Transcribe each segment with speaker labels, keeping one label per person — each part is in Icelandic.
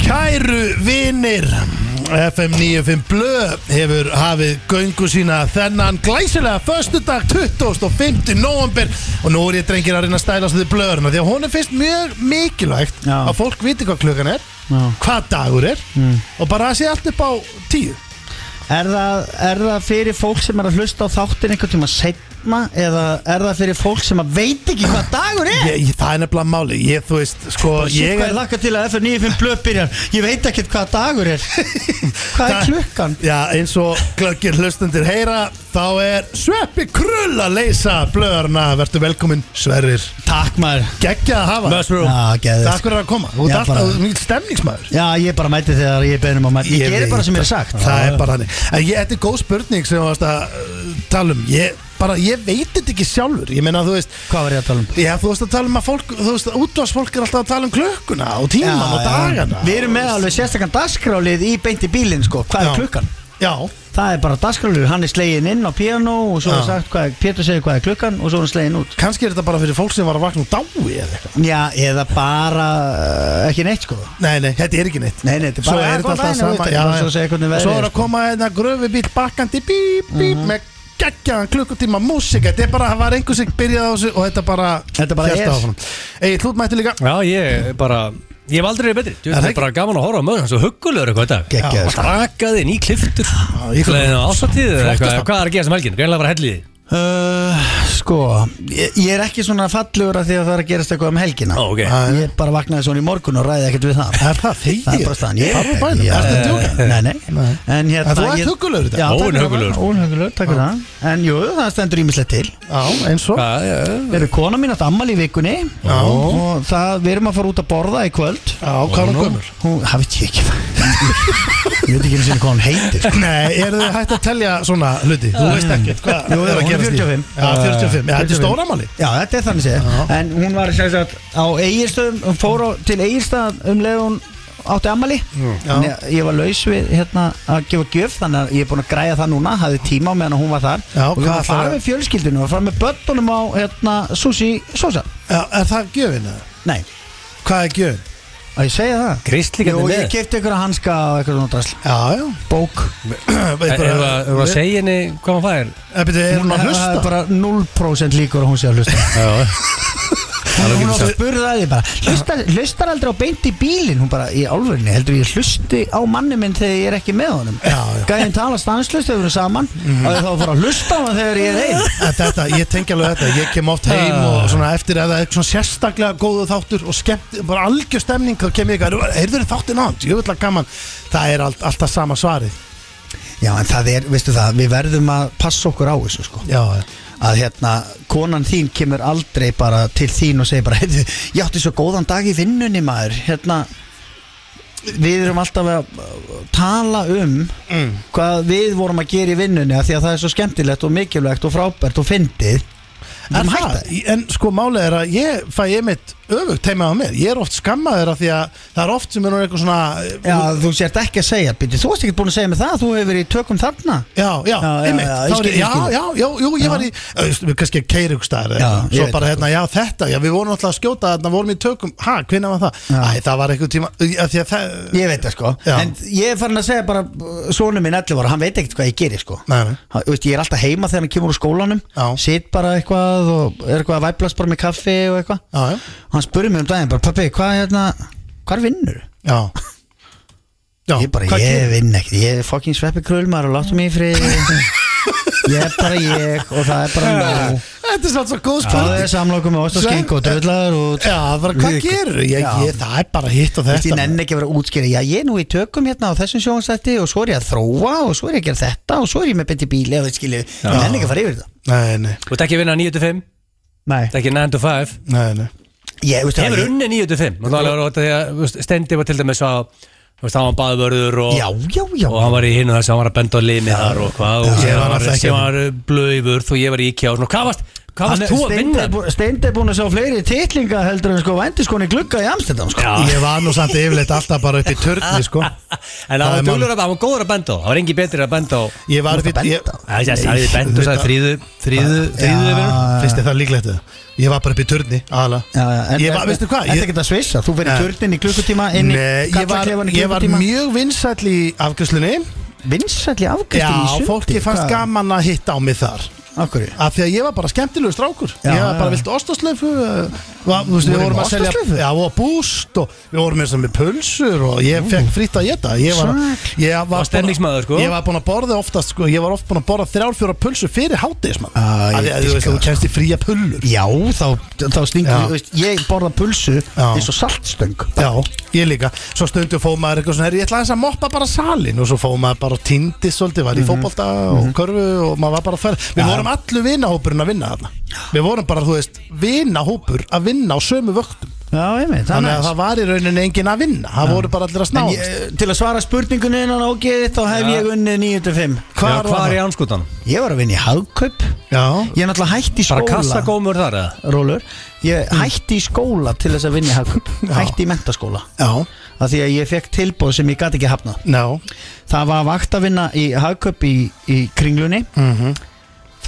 Speaker 1: Kæru vinir FM 95 Blö hefur hafið göngu sína þennan glæsilega föstudag 25. november og nú er ég drengir að reyna að stæla svo þið blöðurna því að hún er fyrst mjög mikilvægt
Speaker 2: Já.
Speaker 1: að fólk viti hvað klukkan er
Speaker 2: Já. Mm.
Speaker 1: hvað dagur er og bara að sé allt upp á tíu
Speaker 2: Er það, er það fyrir fólk sem er að hlusta á þáttin einhvern tíma setna eða er það fyrir fólk sem að veit ekki hvað dagur er?
Speaker 1: ég, ég, það er nefnilega máli ég, þú veist, sko,
Speaker 2: Ég
Speaker 1: ég
Speaker 2: er
Speaker 1: er
Speaker 2: lakka til að F95 blöð byrjar Ég veit ekkert hvað dagur er Hvað er
Speaker 1: Það-
Speaker 2: klukkan?
Speaker 1: Já, eins og glöggir hlustundir heyra þá er Sveppi Krull að leysa blöðurna verður velkominn Sverrir
Speaker 2: Takk maður
Speaker 1: Geggjað að hafa
Speaker 2: Mushroom. Já, geðveikt.
Speaker 1: Takk fyrir að koma Þú
Speaker 2: Já,
Speaker 1: ert alltaf
Speaker 2: bara-
Speaker 1: þú ert mikill stemningsmaður
Speaker 2: Já, ég bara mæti þegar ég beðnum að mæti Ég, gerir
Speaker 1: veit
Speaker 2: bara sem mér er
Speaker 1: það.
Speaker 2: sagt
Speaker 1: Það er bara þannig En ég, þetta er góð spurning sem þú varst að uh, tala um Ég, bara, ég veit þetta ekki sjálfur Ég meina, þú veist
Speaker 2: Hvað var ég að tala um?
Speaker 1: Já, þú veist að tala um að fólk Þú veist að útvarsfólk er alltaf að tala um klukkuna og tíman og dagana
Speaker 2: Við erum með alveg sérstakann dagskrálið í beinti bílinn sko Hvað
Speaker 1: Já.
Speaker 2: er klukkan?
Speaker 1: Já,
Speaker 2: Það er bara dagskrálið, hann er slegin inn á piano og svo
Speaker 1: Já.
Speaker 2: er sagt hvað, er- Pétur segir hvað er klukkan og svo er hann slegin út
Speaker 1: kannski er þetta bara fyrir fólk sem var að vakna úr dái eða eitthvað
Speaker 2: Já, eða bara uh, ekki neitt sko
Speaker 1: Nei, nei, þetta er ekki neitt
Speaker 2: Nei, nei, þetta er
Speaker 1: Svo
Speaker 2: bara
Speaker 1: er þetta alltaf sama
Speaker 2: já,
Speaker 1: já,
Speaker 2: Svo segja hvernig
Speaker 1: já.
Speaker 2: veðrið sko. Mhm.
Speaker 1: Svo er að koma hérna gröfubíl bakkandi bíp, bíp, með geggjaðan klukkutíma músík, þetta er bara, það var einhver sem byrjaði á þessu og þetta bara
Speaker 2: Þetta bara
Speaker 1: hélt
Speaker 2: er.
Speaker 1: áfram. Egil, þú mætti líka
Speaker 3: Já, ég er bara Ég hef aldrei verið betri
Speaker 1: Er
Speaker 3: Þú veist,
Speaker 1: það
Speaker 3: það er bara gaman að horfa á möður Svo huggulegur eitthvað þetta
Speaker 2: Geggjaður,
Speaker 3: Já,
Speaker 2: sko.
Speaker 3: Rakaði ný kliftur
Speaker 1: í kliftur.
Speaker 3: Gleðin á ásatíð eða
Speaker 1: Flottasta.
Speaker 3: eitthvað Hvað er að um gera sem helgin? Reynilega bara helliði
Speaker 2: Uh, sko, ég, ég er ekki svona fallegur að því að það er að gerast eitthvað um helgina
Speaker 3: Ó, ok.
Speaker 2: Ég bara vaknaði svona í morgun og ræði ekkert við það
Speaker 1: Er það þegið?
Speaker 2: Það er bara staðan Ég
Speaker 1: Þarf að bæna,
Speaker 2: ég-
Speaker 1: ertu að djóka?
Speaker 2: Nei, nei,
Speaker 1: Nei.
Speaker 2: En hérna
Speaker 1: En þú ert
Speaker 2: ég-
Speaker 1: huggulegur í dag.
Speaker 2: Já, takk fyrir það.
Speaker 3: Óhuggulegur.
Speaker 2: Óhuggulegur, takk fyrir það En jú, það stendur ímislegt til
Speaker 1: Já, eins og
Speaker 3: Hvað, já, já.
Speaker 2: Við erum kona mín átt ammali í vikunni
Speaker 1: Já.
Speaker 2: Og það, við erum að fara út að borða í kvöld
Speaker 1: Já, hvað er hún gömur?
Speaker 2: Hún, það veit ég ekki Ég veit ekki einu sinni hvað hún heitir sko.
Speaker 1: Nei, eru þið hægt að telja svona hluti? Þú veist ekkert hvað
Speaker 2: Jú, jú,
Speaker 1: er að
Speaker 2: hún er
Speaker 1: gerast í- Já, 45,
Speaker 2: 45.
Speaker 1: já, þetta er
Speaker 2: 45.
Speaker 1: stóramali
Speaker 2: Já, þetta er þannig
Speaker 1: Já.
Speaker 2: séð En hún var sem sagt á Egilstöðum Hún fór á, til Egilstöð um leið hún átti ammali Þannig að ég var laus við hérna að gefa gjöf Þannig að ég er búin að græja það núna Hafði tíma á meðan hún var þar
Speaker 1: Já,
Speaker 2: Og við
Speaker 1: hvað
Speaker 2: varum að fara
Speaker 1: ætlarðu-
Speaker 2: með fjölskyldinu Og fara með börnunum á hérna Susi Sosa
Speaker 1: Já, er það gjöfin eða?
Speaker 2: Nei,
Speaker 1: Hvað er gjöfin?
Speaker 2: að ég segja það
Speaker 3: Kristlíkarnir
Speaker 2: Jú,
Speaker 3: með.
Speaker 2: ég kefti ykkur að hanska og eitthvað svona drasl
Speaker 1: Já, já
Speaker 2: Bók
Speaker 3: Er það Eh, að segja henni hvað maður
Speaker 1: Eða, Eh, er hún að
Speaker 2: Það er
Speaker 1: hlusta?
Speaker 2: bara 0% líkur að hún sé að hlusta
Speaker 3: fær?
Speaker 2: Hún hún var
Speaker 3: Já
Speaker 2: að spurða að því bara hlustar, hlustar aldrei á beint í bílinn Hún bara í álfurinni heldur ég hlusti á manni minn þegar ég er ekki með honum
Speaker 1: Já, já. Mhm.
Speaker 2: Gæðin tala stanslust þegar við erum saman Og ég þá að fara að hlusta á hann þegar ég er einn
Speaker 1: En Þetta, ég tengi alveg þetta, ég kem oft heim
Speaker 2: Ah.
Speaker 1: og svona eftir að það er svona sérstaklega góðu þáttur og skemmt, bara algjör stemning þá kem ég eitthvað, heyrður þáttin ánd, ég vil að gaman það er allt, alltaf sama svarið
Speaker 2: Já en það er, veistu það, við verðum að passa okkur á þessu sko
Speaker 1: Já,
Speaker 2: Að hérna, konan þín kemur aldrei bara til þín og segir bara "Heyrðu, Ég átti svo góðan dag í vinnunni maður Hérna Við erum alltaf að uh, tala um
Speaker 1: mm.
Speaker 2: hvað við vorum að gera í vinnunni af því að það er svo skemmtilegt og mikilvægt og frábært og fyndið Við
Speaker 1: en,
Speaker 2: erum hætta
Speaker 1: það, en sko málið er að ég fæ ég mitt öfugt heima á mér, ég er oft skammaður af því að það er oft sem er nú eitthvað svona uh,
Speaker 2: Já, þú sért ekki að segja, byrju, þú varst ekki búin að segja mig það, þú hefur verið í tökum þarna
Speaker 1: Já, já,
Speaker 2: Já, já,
Speaker 1: einmitt
Speaker 2: já,
Speaker 1: já,
Speaker 2: ég
Speaker 1: já,
Speaker 2: skil, ég
Speaker 1: já,
Speaker 2: skil.
Speaker 1: já, já, jú, ég var í Þú veist, við kannski keirugstæðar
Speaker 2: Já, ég
Speaker 1: Svo
Speaker 2: veit
Speaker 1: bara
Speaker 2: það,
Speaker 1: hérna, já, þetta, já, við vorum alltaf að skjóta þarna, vorum í tökum, ha, hvenær var það?
Speaker 2: Já.
Speaker 1: Æ, það var eitthvað tíma, að því að það
Speaker 2: Ég veit það sko,
Speaker 1: Já.
Speaker 2: en ég er farin að segja bara uh, Sónu minn 11 ára, hann veit ekkert hvað ég gerir sko
Speaker 1: Nei, nei.
Speaker 2: Ha- Þú veist, ég er alltaf heima þegar hann kemur úr skólanum
Speaker 1: Já.
Speaker 2: Sitt bara eitthvað og er eitthvað að væplast bara með kaffi og eitthvað
Speaker 1: Já, já,
Speaker 2: Hann spurði mig um daginn, bara pappi, hvað hérna, hvar vinnur?
Speaker 1: já Já,
Speaker 2: Ég bara,
Speaker 1: hvað
Speaker 2: ég
Speaker 1: gerir-
Speaker 2: vinn ekkert, ég er fucking sveppi krölmar og láttu mig í frið Ég er bara ég og það er bara nóg
Speaker 1: Þetta er samt svo góð
Speaker 2: Það er
Speaker 1: spurning
Speaker 2: samlokum með ost og skink og drullar og
Speaker 1: Já, bara, hvað
Speaker 2: Við-
Speaker 1: gerur? Ég,
Speaker 2: Já.
Speaker 1: ég, það er bara hitt og
Speaker 2: Þú veist, ég
Speaker 1: þetta
Speaker 2: nenni ekki að vera að útskýra Já, ég er nú í tökum hérna á þessum sjónstætti og svo er ég að þróa og svo er ég að gera þetta og svo er ég með beti bíli og það skilju Ég nenni ekki að fara yfir þetta
Speaker 1: Nei, nei,
Speaker 3: Þú ert ekki að vinna 9-5
Speaker 2: Nei
Speaker 3: Þetta ekki 9-5
Speaker 1: nei, nei
Speaker 2: ég, veist,
Speaker 3: Hefur
Speaker 2: ég,
Speaker 3: unni 9-5 Og það var um þetta því að þú veist, Stendi var til dæmis að þú veist, Hann var baðvörður og
Speaker 2: Já, já, já
Speaker 3: og hann var í hinu þess að hann var að benda á limi þar og hvað
Speaker 1: Já,
Speaker 3: og ég
Speaker 1: ég var
Speaker 3: var,
Speaker 1: alltaf ekki
Speaker 3: ég var blöður og ég var í IKEA og svona hvað varst, hvað varst þú að vinna?
Speaker 2: Steindi er búin að sjá fleiri titlinga heldur en sko Vendiskoni glugga í Amstendam sko.
Speaker 3: Já.
Speaker 1: Ég var nú samt yfirleitt alltaf bara upp í törni sko
Speaker 3: En
Speaker 1: Það
Speaker 3: það
Speaker 1: er
Speaker 3: var
Speaker 1: málið.
Speaker 3: dölur að, það var góður að benda á Það var engi betri að benda á
Speaker 1: Ég var
Speaker 2: Þú
Speaker 1: upp
Speaker 2: varst að
Speaker 1: í
Speaker 2: benda á.
Speaker 3: Já, ég sagði benda og sagði þrýðu Þrýðu, þrýðu yfir
Speaker 2: Já.
Speaker 1: Fyrst er það líklegt eða? Ég var bara upp í törni, aðalega
Speaker 2: Já, já, en
Speaker 1: Ég var,
Speaker 2: er-
Speaker 1: veistu hvað
Speaker 2: Ertu
Speaker 1: ég,
Speaker 2: ekki að svissa? Þú verið
Speaker 1: Nei.
Speaker 2: törnin í klukkutíma inn í
Speaker 1: Nei, ég var,
Speaker 2: kallaklefann í
Speaker 1: ég var
Speaker 2: klukkutíma
Speaker 1: mjög vinsæll í afgjöslunni
Speaker 2: Vinsætli afgæstin
Speaker 1: Já,
Speaker 2: í sundi
Speaker 1: fólki fannst
Speaker 2: hvað?
Speaker 1: gaman að hitta á mig þar
Speaker 2: Af hverju?
Speaker 1: Af því að ég var bara skemmtilegu strákur
Speaker 2: Já,
Speaker 1: Ég var bara
Speaker 2: já.
Speaker 1: vilt ostaslöfu uh, var- þú veist, Við
Speaker 2: Voru
Speaker 1: vorum að
Speaker 2: með
Speaker 1: selja
Speaker 2: ostaslaufu?
Speaker 1: Já, og búst og við vorum eins og með pulsur og ég fekk frýtt að geta Ég var,
Speaker 2: Sæll.
Speaker 1: ég var,
Speaker 3: Var stemningsmaður, sko.
Speaker 1: Ég var búin að borða oftast sko, Ég var oft búin að borða þrjár, fjóra pulsur fyrir hátíðismann
Speaker 2: Æ,
Speaker 1: Af því
Speaker 2: ég
Speaker 1: að þú veist,
Speaker 2: dýrka
Speaker 1: þú
Speaker 2: það, sko.
Speaker 1: kemst í fría pullur
Speaker 2: Já, þá, þá stingur
Speaker 1: Já.
Speaker 2: þú veist, Ég borða pulsu
Speaker 1: Já.
Speaker 2: eins og saltstöng
Speaker 1: Já, ég líka Svo stundum fóð maður eitthvað svona "Herri, Ég ætla aðeins að moppa bara salin Og svo fóð maður bara og týndi svolítið Var í fótbolta og körfu og maður var bara að ferð Við
Speaker 2: Mhm. Já.
Speaker 1: vorum allu vinahópurinn að vinna þarna Við vorum bara, þú veist, vinahópur að vinna á sömu vöktum
Speaker 2: Já, ég veit,
Speaker 1: Þannig að það var í rauninni engin að vinna Það voru bara allir að
Speaker 2: En
Speaker 1: snáðast
Speaker 2: ég, til að svara spurningunni innan ágeðið þá hef
Speaker 3: Já.
Speaker 2: ég unnið 9.5
Speaker 3: Hvar,
Speaker 1: Hvar
Speaker 3: já, hvar
Speaker 1: var
Speaker 3: er
Speaker 1: það?
Speaker 3: í anskutan?
Speaker 2: Ég var að vinna í hagkaup Ég
Speaker 1: Já,
Speaker 2: er náttúrulega hætti í
Speaker 3: Bara
Speaker 2: skóla
Speaker 3: kassagómur þar eða?
Speaker 2: Rólur
Speaker 1: Mm.
Speaker 2: Ég hætti í skóla til þess að vinna í hagkaup Hætti í mentaskóla
Speaker 1: já,
Speaker 2: Af því að ég fekk tilbóð sem ég gati ekki hafna
Speaker 1: já
Speaker 2: Það var vakt að vinna í hagkaup í, í kringlunni
Speaker 1: mhm.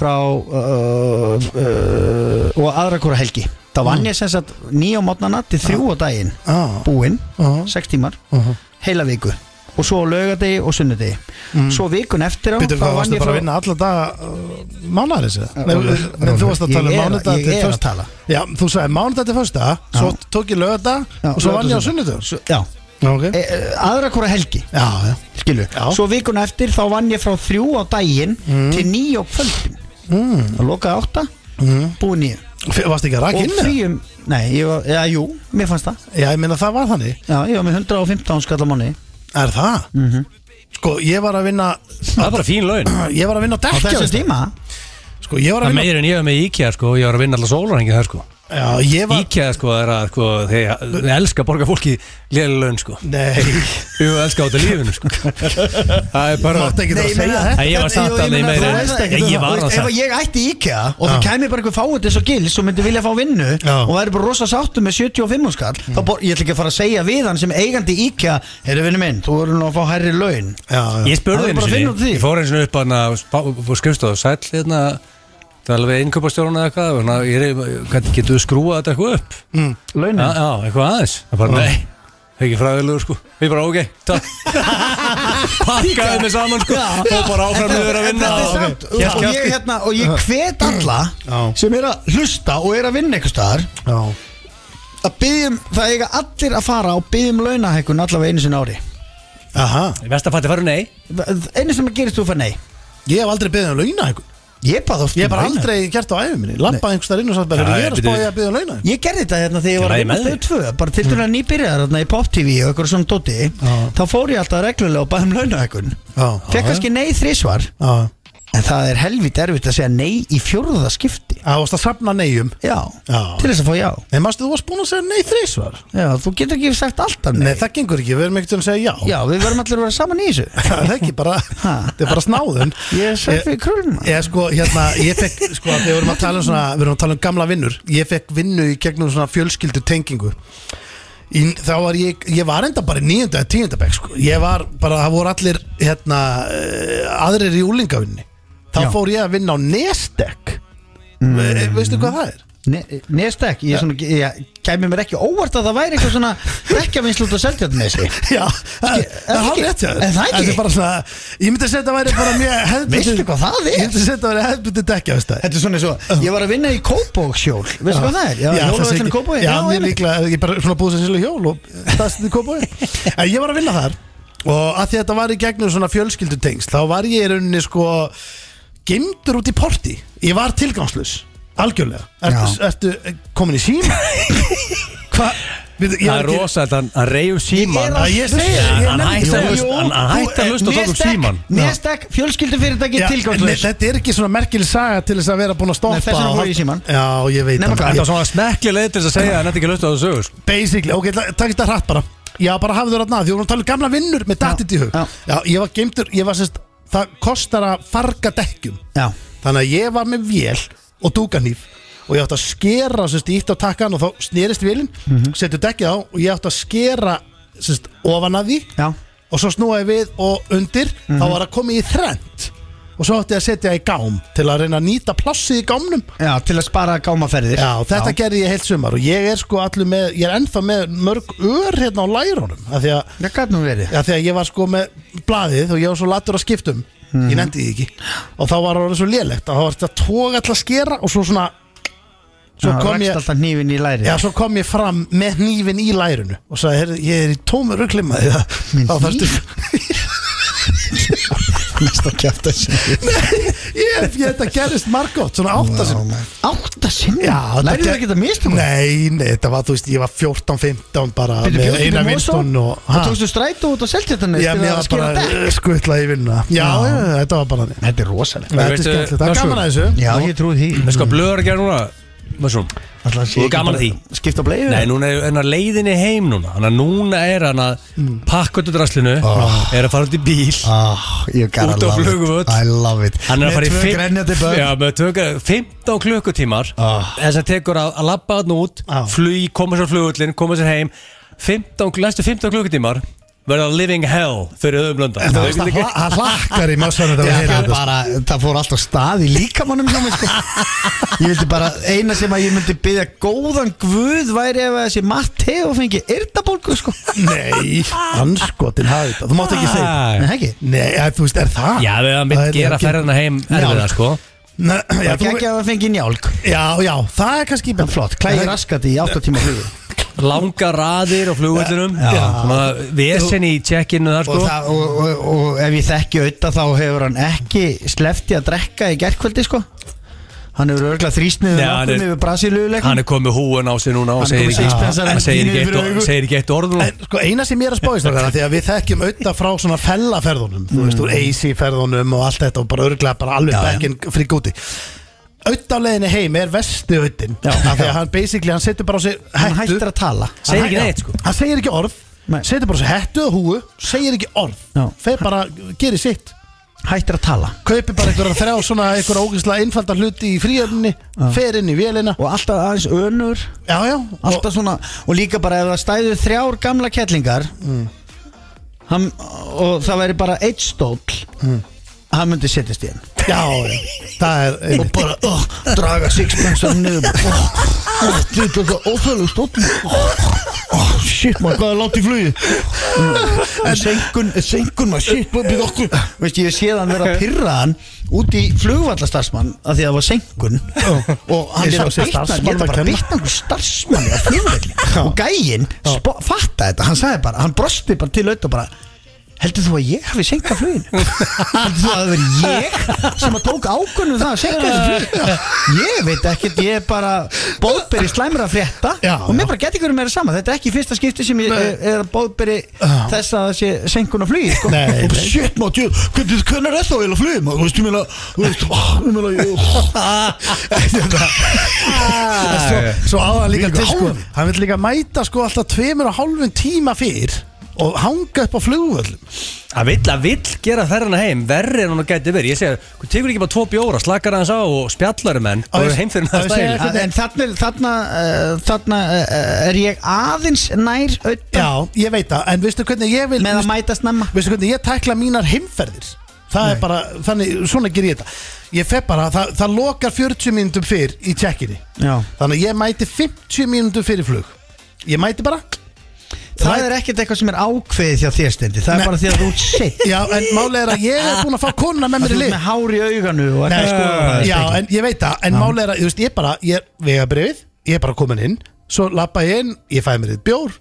Speaker 2: frá uh, uh, og aðra hvora helgi þá
Speaker 1: Mm.
Speaker 2: vann ég sem sagt nýja mótnana til þrjú á daginn
Speaker 1: Já,
Speaker 2: búinn,
Speaker 1: já, Mhm.
Speaker 2: sex tímar
Speaker 1: já
Speaker 2: heila viku og svo á laugadegi og sunnudegi svo vikun eftir á
Speaker 1: Mm. Býtur
Speaker 2: þá
Speaker 1: hvað, varstu bara að
Speaker 2: frá-
Speaker 1: vinna alla daga uh, mánaðarins eða? Nei,
Speaker 2: Rólur,
Speaker 1: Nei, þú
Speaker 2: Rólur.
Speaker 1: varst að tala
Speaker 2: Ég
Speaker 1: um
Speaker 2: er-
Speaker 1: mánadag
Speaker 2: ég
Speaker 1: til
Speaker 2: er að
Speaker 1: föstudag.
Speaker 2: tala.
Speaker 1: Já, þú sagði mánadag til fyrsta Svo tók ég lögadag
Speaker 2: Já,
Speaker 1: og svo vann ég á
Speaker 2: laugardag-
Speaker 1: sunnudag
Speaker 2: Svo- já,
Speaker 1: okay.
Speaker 2: e, e, aðra hvora helgi
Speaker 1: Já, já
Speaker 2: skilu,
Speaker 1: Já.
Speaker 2: svo vikun eftir þá vann ég frá þrjú á daginn til nýja á kvöldin mm. þá lokaði átta,
Speaker 1: mm.
Speaker 2: búið nýja
Speaker 1: F- Varstu ekki að raka
Speaker 2: og
Speaker 1: inn eða?
Speaker 2: fríum, nei, ég var, já, jú mér fannst það,
Speaker 1: Já, ég meina það var þannig
Speaker 2: já, ég var með 115 skallamáni
Speaker 1: Er það?
Speaker 2: Mhm.
Speaker 1: Sko, ég var að vinna
Speaker 3: Það er bara fín laun
Speaker 1: Ég var að vinna á
Speaker 2: á
Speaker 1: dekkja
Speaker 2: þessum tíma
Speaker 1: Sko, ég var
Speaker 3: Það
Speaker 1: að
Speaker 3: er
Speaker 1: vinna
Speaker 3: meira en ég hef með IKEA sko Ég var að vinna allar sólarhengi þar sko
Speaker 1: Já, ég var
Speaker 3: IKEA sko er að sko Þeir þeir elska að borga fólki lélega laun sko
Speaker 1: Nei,
Speaker 3: Jú, elska á þetta lífinu sko Það er bara
Speaker 1: máttu ekki það að segja þetta
Speaker 3: Nei, ég var samt alveg meira en- Ég- ég var það
Speaker 2: Ef
Speaker 3: samt.
Speaker 2: ég ætti í IKEA og
Speaker 1: Já.
Speaker 2: það kæmi bara einhver fáið þess og gil sem myndi vilja fá vinnu
Speaker 1: Já. Mm.
Speaker 2: og væri bara rosa sáttu með 75 skall þá bor, ég ætla ekki að fara að segja við hann sem eigandi í IKEA Heyri vinnu minn, þú verður nú að fá hærri laun
Speaker 1: Já, já
Speaker 3: Ég
Speaker 2: Það
Speaker 3: spurði
Speaker 2: er
Speaker 3: einu
Speaker 2: bara að finna út úr
Speaker 3: sinni
Speaker 2: því.
Speaker 3: Ég fór einu sinni upp hann að skrifstofa sæll hérna Það er alveg innkaupastjórun eða eitthvað svona, ég er- hvernig Getur þú skrúað þetta eitthvað upp?
Speaker 1: Mm.
Speaker 2: Launin
Speaker 3: Já, já, eitthvað aðeins Það bara, nei, það er ekki fræðilegur sko Ég bara, ok, takk Pakkaði mig saman sko Og bara áfram yfir að vinna
Speaker 2: Þetta er
Speaker 3: og-
Speaker 2: samt,
Speaker 3: Ok, hélt
Speaker 2: og, ég,
Speaker 3: kjafti.
Speaker 2: hérna, og ég hvet alla
Speaker 1: Já.
Speaker 2: sem er að hlusta og er að vinna einhvers staðar
Speaker 1: Já,
Speaker 2: að byggjum, það eiga allir að fara og byggjum launahækkun allavega einu sinni á ári
Speaker 1: aha
Speaker 3: Vestafætti faru nei
Speaker 2: einu sem gerist þú fær nei
Speaker 1: Ég hef aldrei beðið um launa
Speaker 2: ég bað oft
Speaker 1: Ég hef
Speaker 2: um
Speaker 1: bara
Speaker 2: launa.
Speaker 1: aldrei gert á æfum minni Lampað einhvers þar inn og satt bara
Speaker 3: Já,
Speaker 1: "Heyrðu, Ég er að
Speaker 3: byrju.
Speaker 1: spája að beðið um launa
Speaker 2: Ég gerði þetta hérna þegar ég var að
Speaker 3: Ég lagi
Speaker 2: vinna stöðu
Speaker 3: með þig.
Speaker 2: tvö bara til
Speaker 1: Mm.
Speaker 2: dæla nýbyrjaðar hérna í Pop-TV og eitthvað svona dóti þá fór ég alltaf reglulega og bæði um launahækun
Speaker 1: Já,
Speaker 2: fekk kannski nei þrísvar
Speaker 1: já
Speaker 2: en það er helvit erfitt að segja nei í fjórða skipti
Speaker 1: Það varst að safna neyjum
Speaker 2: já,
Speaker 1: Já.
Speaker 2: til þess að fá já
Speaker 1: Nei, mástu þú varst búin að segja nei þrísvar
Speaker 2: já, þú getur ekki sagt alltaf nei,
Speaker 1: Nei, það gengur ekki, við erum ekkert að segja já
Speaker 2: já, við verðum allir að vera saman í þessu
Speaker 1: Það er ekki bara, þetta er bara snáðun
Speaker 2: ég er sætt við krullum
Speaker 1: Ég sko, hérna, ég fekk, sko, þegar við erum að tala um svona, við erum að tala um gamla vinnur Ég fekk vinnu í gegnum svona fjölskyldu tengingu í, Þá var ég, ég var enda bara í nýjönda eða tíundabæk, sko Ég var bara, það voru allir, hérna, eh, aðrir í úlingavinni Þá
Speaker 2: Já.
Speaker 1: fór ég að vinna á Nestek mm. Veistu hvað það er?
Speaker 2: nestek, ég, er svona, ég kæmi mér ekki óvart að það væri eitthvað svona dekkjavinnslu út á seldjarnesi
Speaker 1: Já, það það er
Speaker 2: ekki?
Speaker 1: hálf rétt hjá þér
Speaker 2: Er það ekki?
Speaker 1: Þetta er bara svona, ég myndi að segja þetta væri bara mjög hefðbundið
Speaker 2: Veistu hvað það er?
Speaker 1: Ég myndi að segja þetta væri hefðbundið dekja, veist það
Speaker 2: Þetta er svona eins og, ég var að vinna í Kópókshjól, veistu hvað það er? Já, hjólaveitinu Kópói
Speaker 1: Já, mjög líklega, ég bara svona búið sér sérlega hjól og staðstundi kópói En ég var að vinna þar og að því að þetta var í gegnum svona fjölskyldutengst þá var ég í rauninni sko gemdur út í porti, ég var tilgangslus algjörlega, ertu, ertu komin í síma? Hvað? Við- ég
Speaker 3: Það
Speaker 1: var
Speaker 3: er
Speaker 1: ekki-
Speaker 3: rosa þetta, hann- hann reyf síman
Speaker 1: að- ég segi það, ég
Speaker 3: hann
Speaker 1: nefndi
Speaker 3: hætti að
Speaker 1: það.
Speaker 3: hlusta- hann- hann hætti að hlusta og tók upp síman
Speaker 2: Nestek, fjölskyldufyrirtæki,
Speaker 1: Já, nei,
Speaker 2: tilgangslös
Speaker 1: Þetta er ekki svona merkileg saga til þess að vera búin að stoppa
Speaker 2: Nei, þess vegna
Speaker 1: og
Speaker 2: fór ég
Speaker 1: halda-
Speaker 2: í símann.
Speaker 1: Já, ég veit það.
Speaker 2: Nema hvað,
Speaker 3: Þetta
Speaker 1: Ég-
Speaker 3: var svona smekkli leið til þess að segja að hann hefði ekki hlusta á þessu sögur sko.
Speaker 1: Basically, ok, la- takk þetta hratt bara Já, bara hafðu þér að naða, því vorum að tala um gamla vinnur með dattit í hug
Speaker 2: já.
Speaker 1: Já, ég var geimtur, ég var sérst Það kostar að farga dekkjum
Speaker 2: Já,
Speaker 1: Þannig að ég var með vél og dúkanýf og ég átti að skera sérst, ítt á takkan og þá snerist vilin mm
Speaker 2: Mhm.
Speaker 1: setur dekkið á og ég átti að skera sérst, ofan að því
Speaker 2: Já,
Speaker 1: og svo snúaði við og undir þá
Speaker 2: Mhm.
Speaker 1: var að koma í þrend og svo átti ég að setja í gám til að reyna að nýta plassið í gámnum
Speaker 2: já, til að spara gámaferðir
Speaker 1: Já, þetta gerði ég heilt sumar og ég er sko allir með, ég er ennþá með mörg ör hérna á lærunum af því að,
Speaker 2: Það gæti nú verið
Speaker 1: af því að ég var sko með blaðið og ég var svo latur að skiptum
Speaker 2: Mhm.
Speaker 1: ég nefndi því ekki og þá var það svo lélegt að þá var þetta tók alltaf að skera og svo svona svo
Speaker 2: Já,
Speaker 1: kom
Speaker 2: rakst
Speaker 1: ég
Speaker 2: alltaf hnífin í læri
Speaker 1: Já, svo kom ég fram með hnífin í lærinu og sagði, heyrðu, ég er í tómur ruglimaði
Speaker 2: Með
Speaker 1: þá þarfstu
Speaker 2: mest að kjæfta sinni
Speaker 1: ég, ég, þetta gerist margótt, svona áttasinn
Speaker 2: Átta sinni?
Speaker 1: Já,
Speaker 2: Lærið
Speaker 1: þetta-
Speaker 2: það ekki að mista
Speaker 1: Nei, nei, þetta var, þú veist, ég var 14-15 bara
Speaker 2: Byrju,
Speaker 1: með
Speaker 2: bjóstu
Speaker 1: eina
Speaker 2: til Mosó?
Speaker 1: vinstun og
Speaker 2: Og
Speaker 1: Ha?
Speaker 2: tókstu strætó út á seltjartanir
Speaker 1: Já, mér var bara skutla í vinnuna Já,
Speaker 2: Já.
Speaker 1: já, þetta var bara þannig
Speaker 2: Þetta er rosalega
Speaker 1: Þetta er
Speaker 3: veistu,
Speaker 1: skemmtilegt, það er
Speaker 3: Nashville?
Speaker 1: gaman að þessu
Speaker 2: Já, ég trúi því
Speaker 3: Veistu hvað blöð er að gera núna? Mössum
Speaker 2: Ætli það sé
Speaker 3: Þú er
Speaker 2: ekki
Speaker 3: gaman að
Speaker 2: bara-
Speaker 3: því?
Speaker 2: Skipta á bleiðu
Speaker 3: Nei, núna er hennar leiðinni heim núna Þannig að núna er hann að pakka út draslinu Er að fara út í bíl
Speaker 2: Mm. ah, Út
Speaker 3: Út á flugvöll.
Speaker 2: I love it
Speaker 3: Hann er að fara í
Speaker 2: Með tvö
Speaker 3: fimm-
Speaker 2: grenjandi börn
Speaker 3: Já, með tvö grenjandi 15 klukkutímar
Speaker 2: Ah.
Speaker 3: Þess að tekur að, að labba hann út
Speaker 1: Já.
Speaker 3: Flugi, koma sér á flugullin, koma sér heim 15, Læstu 15 klukkutímar Verða living hell fyrir öðum lönda
Speaker 1: Það veist, það hla- það hlakkar í mjössanum
Speaker 2: Já,
Speaker 1: þetta að heyra
Speaker 2: það,
Speaker 1: þetta
Speaker 2: bara, sko. það fór alltaf stað í líkamannum hjá mig sko. Ég vildi bara, eina sem að ég myndi byggja góðan guð væri ef að þessi Matteo fengi yrtabólgu sko.
Speaker 1: Nei, anskotin hafði þetta Þú mátt ekki segja
Speaker 2: Nei, ekki
Speaker 1: Nei, ja, þú veist, er það?
Speaker 3: Já, við hann mynd
Speaker 1: Það er-
Speaker 3: gera ferðina heim Erfiða, sko
Speaker 1: Nei, já,
Speaker 2: Það er
Speaker 1: þú-
Speaker 2: ekki að það fengi njálg
Speaker 1: já, já, það er kannski
Speaker 2: Það er flott, klæði raskat í 8 tíma flugu
Speaker 3: Langa raðir á flugullinum Vesen í check-inu þar,
Speaker 2: og,
Speaker 3: sko
Speaker 2: það, og, og, og ef ég þekki auðvitað þá hefur hann ekki slefti að drekka í gerkvöldi sko Hann hefur örgla þrýstnið
Speaker 3: Nei,
Speaker 2: um
Speaker 3: hann er-
Speaker 2: okkur yfir Brasilíuleikum
Speaker 3: Hann er komið húan á sig núna og
Speaker 2: Hann er
Speaker 3: segir
Speaker 2: komið
Speaker 3: ekki,
Speaker 2: sixpensar,
Speaker 3: hann segir ekki,
Speaker 2: pínu fyrir
Speaker 3: eitt,
Speaker 2: augu.
Speaker 3: segir ekki eitt orð nú.
Speaker 1: En sko eina sem ég er að spáði strákar af Því að við þekkjum auðvitað frá svona fellaferðunum Þú veist, úr AC-ferðunum og allt þetta Og bara örglega bara alveg bekkin frík úti Auðvitað á leiðinni heim er vesti auðin
Speaker 2: Já.
Speaker 1: Af því að hann basically, hann setur bara á sig
Speaker 2: Hann
Speaker 1: hættu.
Speaker 2: hættir að tala
Speaker 3: Segir
Speaker 1: Hann-
Speaker 3: ekki
Speaker 1: já,
Speaker 3: neitt, sko.
Speaker 1: Hann segir ekki orð
Speaker 2: Nei.
Speaker 1: Setur bara á sig hættu og húu Segir ekki orð
Speaker 2: Já.
Speaker 1: Fer bara, gerir sitt
Speaker 2: Hættir að tala
Speaker 1: Kaupir bara einhverja þrjá svona einhverja ógeðslega einfalda hluti í fríöfninni Fer inn í vélina
Speaker 2: Og alltaf aðeins önur
Speaker 1: Já, já og-
Speaker 2: Alltaf svona Og líka bara ef það stæðu þrjár gamla kettlingar hann, Og það væri bara eitt stól Mm. Hann myndi setjast í hann
Speaker 1: Já, já Það er
Speaker 2: og
Speaker 1: einmitt.
Speaker 2: bara oh, draga sixpensar niður oh, oh, þetta er það óþægilegt stótt oh, shit maður, hvað er langt í flugi en senkun, senkun maður, shit maður, byrja okkur veist, ég sé þann vera að pyrra hann út í flugvallastarsmann af því að það var senkun og hann
Speaker 1: Ég
Speaker 2: er
Speaker 1: sá
Speaker 2: að
Speaker 1: sér
Speaker 2: beitna,
Speaker 1: starfsmann
Speaker 2: ég er
Speaker 1: var
Speaker 2: bara að
Speaker 1: kenna.
Speaker 2: beitna einhver starfsmann á flugvalli og gæinn spo- fattaði þetta, hann sagði bara hann brosti bara til auðvitað bara Heldur þú að ég hafi senkað fluginu? Heldur þú að það veri ég sem að tók ákvörnum það að senka þessu fluginu? Ég veit ekkert, ég er bara bóðberi slæmur að frétta
Speaker 1: Já,
Speaker 2: og mér
Speaker 1: já.
Speaker 2: bara geti ykkur meira sama. Þetta er ekki fyrsta skipti sem ég er, er bóðberi
Speaker 1: Já.
Speaker 2: þess að það sé senkun á flugi. Sko.
Speaker 1: Nei,
Speaker 2: Og
Speaker 1: nei.
Speaker 2: Shit, maður, djöð, hvernig, hvernig er það að flugi? Maður, veist, ég meina, þú veist, ah, ég meina, ég...
Speaker 1: Ah. svo á það líka
Speaker 2: Þvílíkur
Speaker 1: til sko
Speaker 2: hálfur.
Speaker 1: hann vil líka mæta sko alltaf tveimur og hálfun tíma fyrr og hanga upp á flugvöllum
Speaker 3: Hann vill, hann vill gera ferðina heim Verri en hann gæti verið Ég segja, hún tekur ekki bara tvo bjóra Slakar hans á og spjallar um henn
Speaker 1: Á,
Speaker 3: Og
Speaker 1: ég-
Speaker 3: er heim
Speaker 1: á,
Speaker 3: fyrir
Speaker 1: ég
Speaker 3: næsta
Speaker 1: segi-
Speaker 2: En
Speaker 3: eil
Speaker 2: en þarna, þarna, uh, þarna uh, er ég aðeins nær auðvitað
Speaker 1: já, ég veit það, en veistu hvernig ég vil
Speaker 2: með að
Speaker 1: veistu,
Speaker 2: mæta snemma
Speaker 1: veistu hvernig ég tækla mínar heimferðir það er bara, þannig, svona ger ég þetta ég fer bara, það, það lokar 40 mínútum fyrr í tjekkinni
Speaker 2: Já.
Speaker 1: þannig að ég mæti 50 mínútum fyrir flug ég mæti bara
Speaker 2: Það er ekkert eitthvað sem er ákveðið hjá þér stendi Það er
Speaker 1: Nei.
Speaker 2: bara því að þú ert sitt
Speaker 1: já, en málega er að ég er búin að fá konuna með
Speaker 2: Þú
Speaker 1: mér
Speaker 2: ert
Speaker 1: í lið
Speaker 2: með hár í auganu og
Speaker 1: Nei,
Speaker 2: eitthvað
Speaker 1: sko,
Speaker 2: skoðað
Speaker 1: já, en ég veit það En málið er að, þú veist, ég bara Ég er vegabrifið, ég er bara komin inn Svo lappa ég inn, ég fæ mér eitt bjór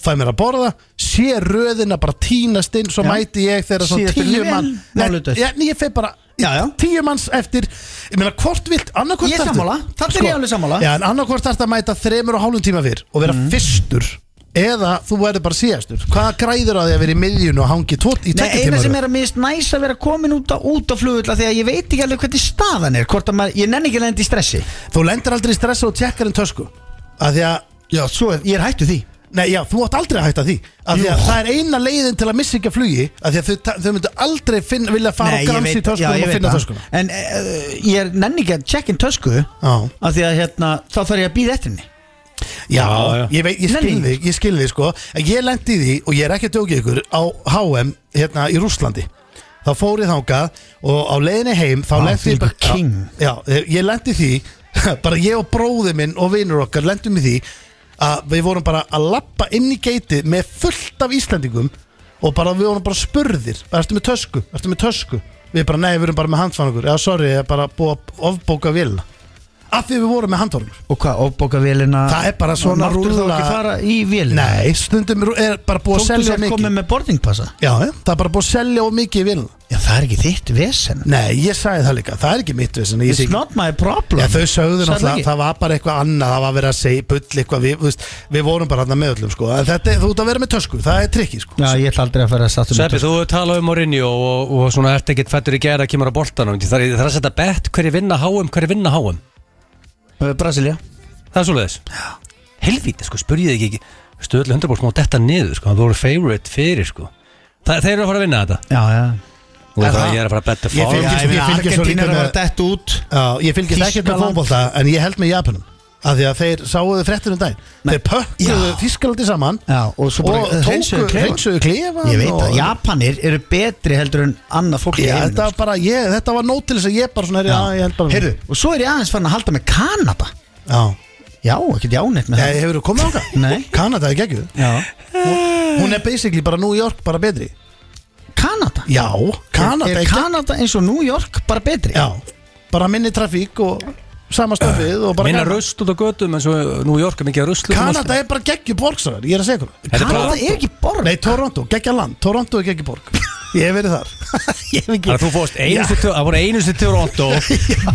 Speaker 1: Fæ mér að borða Sé röðina bara tínast inn Svo
Speaker 2: Já.
Speaker 1: mæti ég þegar svona
Speaker 2: Síðast er
Speaker 1: tíu
Speaker 2: vel
Speaker 1: mann
Speaker 2: málið dautt.
Speaker 1: Nei, En ég feg bara
Speaker 2: Já, já.
Speaker 1: tíu manns eftir Ég meina, hvort vilt, annarkvort
Speaker 2: Ég er sammála, þarna er ég alveg sammála.
Speaker 1: Sko,
Speaker 2: Mm.
Speaker 1: Já, en annarkvort þarf að mæta þremur og hálfum tíma fyrr Og vera fyrstur Eða þú verður bara síðastur Hvað græður á því að vera í miðjun og hangi tótt í
Speaker 2: Nei,
Speaker 1: tveggja
Speaker 2: eina
Speaker 1: tíma
Speaker 2: sem
Speaker 1: röð?
Speaker 2: er að minnst næs að vera komin út á, út á flugulla Þegar ég veit ekki alveg hvernig staðan er Hvort að maður, ég nenni ekki að lenda í stressi
Speaker 1: Þú lendir aldrei í stressa og tjekkar en tösku um Af því að
Speaker 2: Já, svo, er- ég er hættu því
Speaker 1: Nei, já, þú átt aldrei að hætta því af því að það er eina leiðin til að missa ekki að flugi af því að þau, þau myndu aldrei finna, vilja fara og gransi í töskunum og finna
Speaker 2: það.
Speaker 1: töskuna
Speaker 2: En uh, ég er nenni ekki að checka inn tösku
Speaker 1: Já,
Speaker 2: Af því að hérna, þá þarf ég að býða eftir henni
Speaker 1: já,
Speaker 3: Já, já.
Speaker 1: ég veit, ég skil
Speaker 2: Nei.
Speaker 1: þig, ég skil þig sko En Ég lendi í því og ég er ekki að djókið ykkur á HM hérna í Rússlandi Þá fór ég þangað og á leiðinni heim þá
Speaker 2: Vá,
Speaker 1: lendi ég
Speaker 2: þvílíkur king.
Speaker 1: Já, já, ég lendi í því, bara ég og bróði minn og vinur okkar lendum í því að við vorum bara að lappa inn í geitið með fullt af Íslendingum og bara við vorum bara spurðir Ertu með tösku? Ertu með tösku? Við bara, nei, við erum bara með handfangur Já, sorry, ég er bara búið að ofbóka vélina Af því við vorum með handfangur
Speaker 2: Og hvað, ofbóka vélina
Speaker 1: Það er bara svona
Speaker 2: Máttu þá
Speaker 1: rúlla-
Speaker 2: ekki fara í vélina
Speaker 1: Nei, stundum er- er bara búið að
Speaker 2: Tóktu
Speaker 1: selja
Speaker 2: samt
Speaker 1: mikið
Speaker 2: komið með boardingpassa
Speaker 1: Já, já, það er bara búið að selja of mikið í vélina
Speaker 2: Já, það er ekki þitt vesen
Speaker 1: Nei, ég sagði það líka, það er ekki mitt vissin
Speaker 2: It's not my problem
Speaker 1: Já, þau sögðu
Speaker 2: Sagði
Speaker 1: náttúrulega,
Speaker 2: ekki?
Speaker 1: að það var bara eitthvað annað Það var verið að segja bull eitthvað Við, þú veist, við vorum bara hann með öllum sko. En þetta, er- þú ert að vera með tösku, það er trikki sko.
Speaker 2: Já, ég ætla aldrei að fara að sattu
Speaker 3: Sveppi, þú talaði um Mourinho og, og svona ert ekkert fættur í gera að kemur að boltanum Það er, það er að setja bett hverju vinna háum, hverju vinna háum
Speaker 2: Brasilia
Speaker 3: Það er svoleiðis Helvíti, sko, spurði ég ekki Veistu, öllu 100% má detta niður, sko Það voru favorite fyrir, sko Þa, Þeir eru að fara að vinna þetta
Speaker 2: Já, já
Speaker 3: Og
Speaker 2: Er
Speaker 3: það,
Speaker 2: það?
Speaker 3: ég er að fara að betta
Speaker 1: Ég
Speaker 3: form
Speaker 1: fylgist-
Speaker 2: ég meina,
Speaker 1: ég fylgist svo
Speaker 2: Argentína
Speaker 1: lítið
Speaker 2: er að
Speaker 1: með-
Speaker 2: vera dett út
Speaker 1: Já, Ég fylgist ekkert með
Speaker 2: Þýskaland.
Speaker 1: fótbolta En ég held með Japanum Af því að þeir sáðu þið fréttir um daginn Þeir pökkuðu
Speaker 2: Já.
Speaker 1: Þískalandi saman
Speaker 2: Já, og svo bara
Speaker 1: Og tóku,
Speaker 2: hreinsuðu klefann.
Speaker 1: hreinsuðu klefan
Speaker 2: Ég veit
Speaker 1: og-
Speaker 2: það, Japanir eru betri heldur en annað fólk í
Speaker 1: Já,
Speaker 2: heiminum, sko.
Speaker 1: þetta var bara, ég, þetta var nót til þess að ég bara svona, já, ég held bara
Speaker 2: Heyrðu, og svo er ég aðeins farin að halda með Kanada
Speaker 1: Já,
Speaker 2: Já, ekkert jánett
Speaker 3: Eh,
Speaker 2: með
Speaker 1: Nei, hefur þú komið ánga?
Speaker 2: Nei.
Speaker 1: Kanada er geggjuð
Speaker 2: það Já,
Speaker 1: Hún er basically bara New York, bara betri
Speaker 2: Kanada
Speaker 1: Já, Kanada
Speaker 2: Er,
Speaker 1: er
Speaker 2: er
Speaker 1: geggjuð
Speaker 2: Kanada eins og New York bara betri?
Speaker 1: Já, bara minni trafík og sama stöfið og bara
Speaker 3: Eh, Minna
Speaker 1: gaman.
Speaker 3: rusl út á gödum En svo New York er mikið að ruslu
Speaker 1: Kanada er bara geggjuð borg, sagði, ég er að segja ykkur
Speaker 3: Þetta er
Speaker 2: Kanada
Speaker 3: Toronto.
Speaker 2: er ekki borg
Speaker 1: Nei, Toronto, geggja land, Toronto er geggjuð borg Ég hef verið þar Ég hef
Speaker 3: Það
Speaker 1: ekki
Speaker 3: er þú fóst einustu til, það voru einustu til Toronto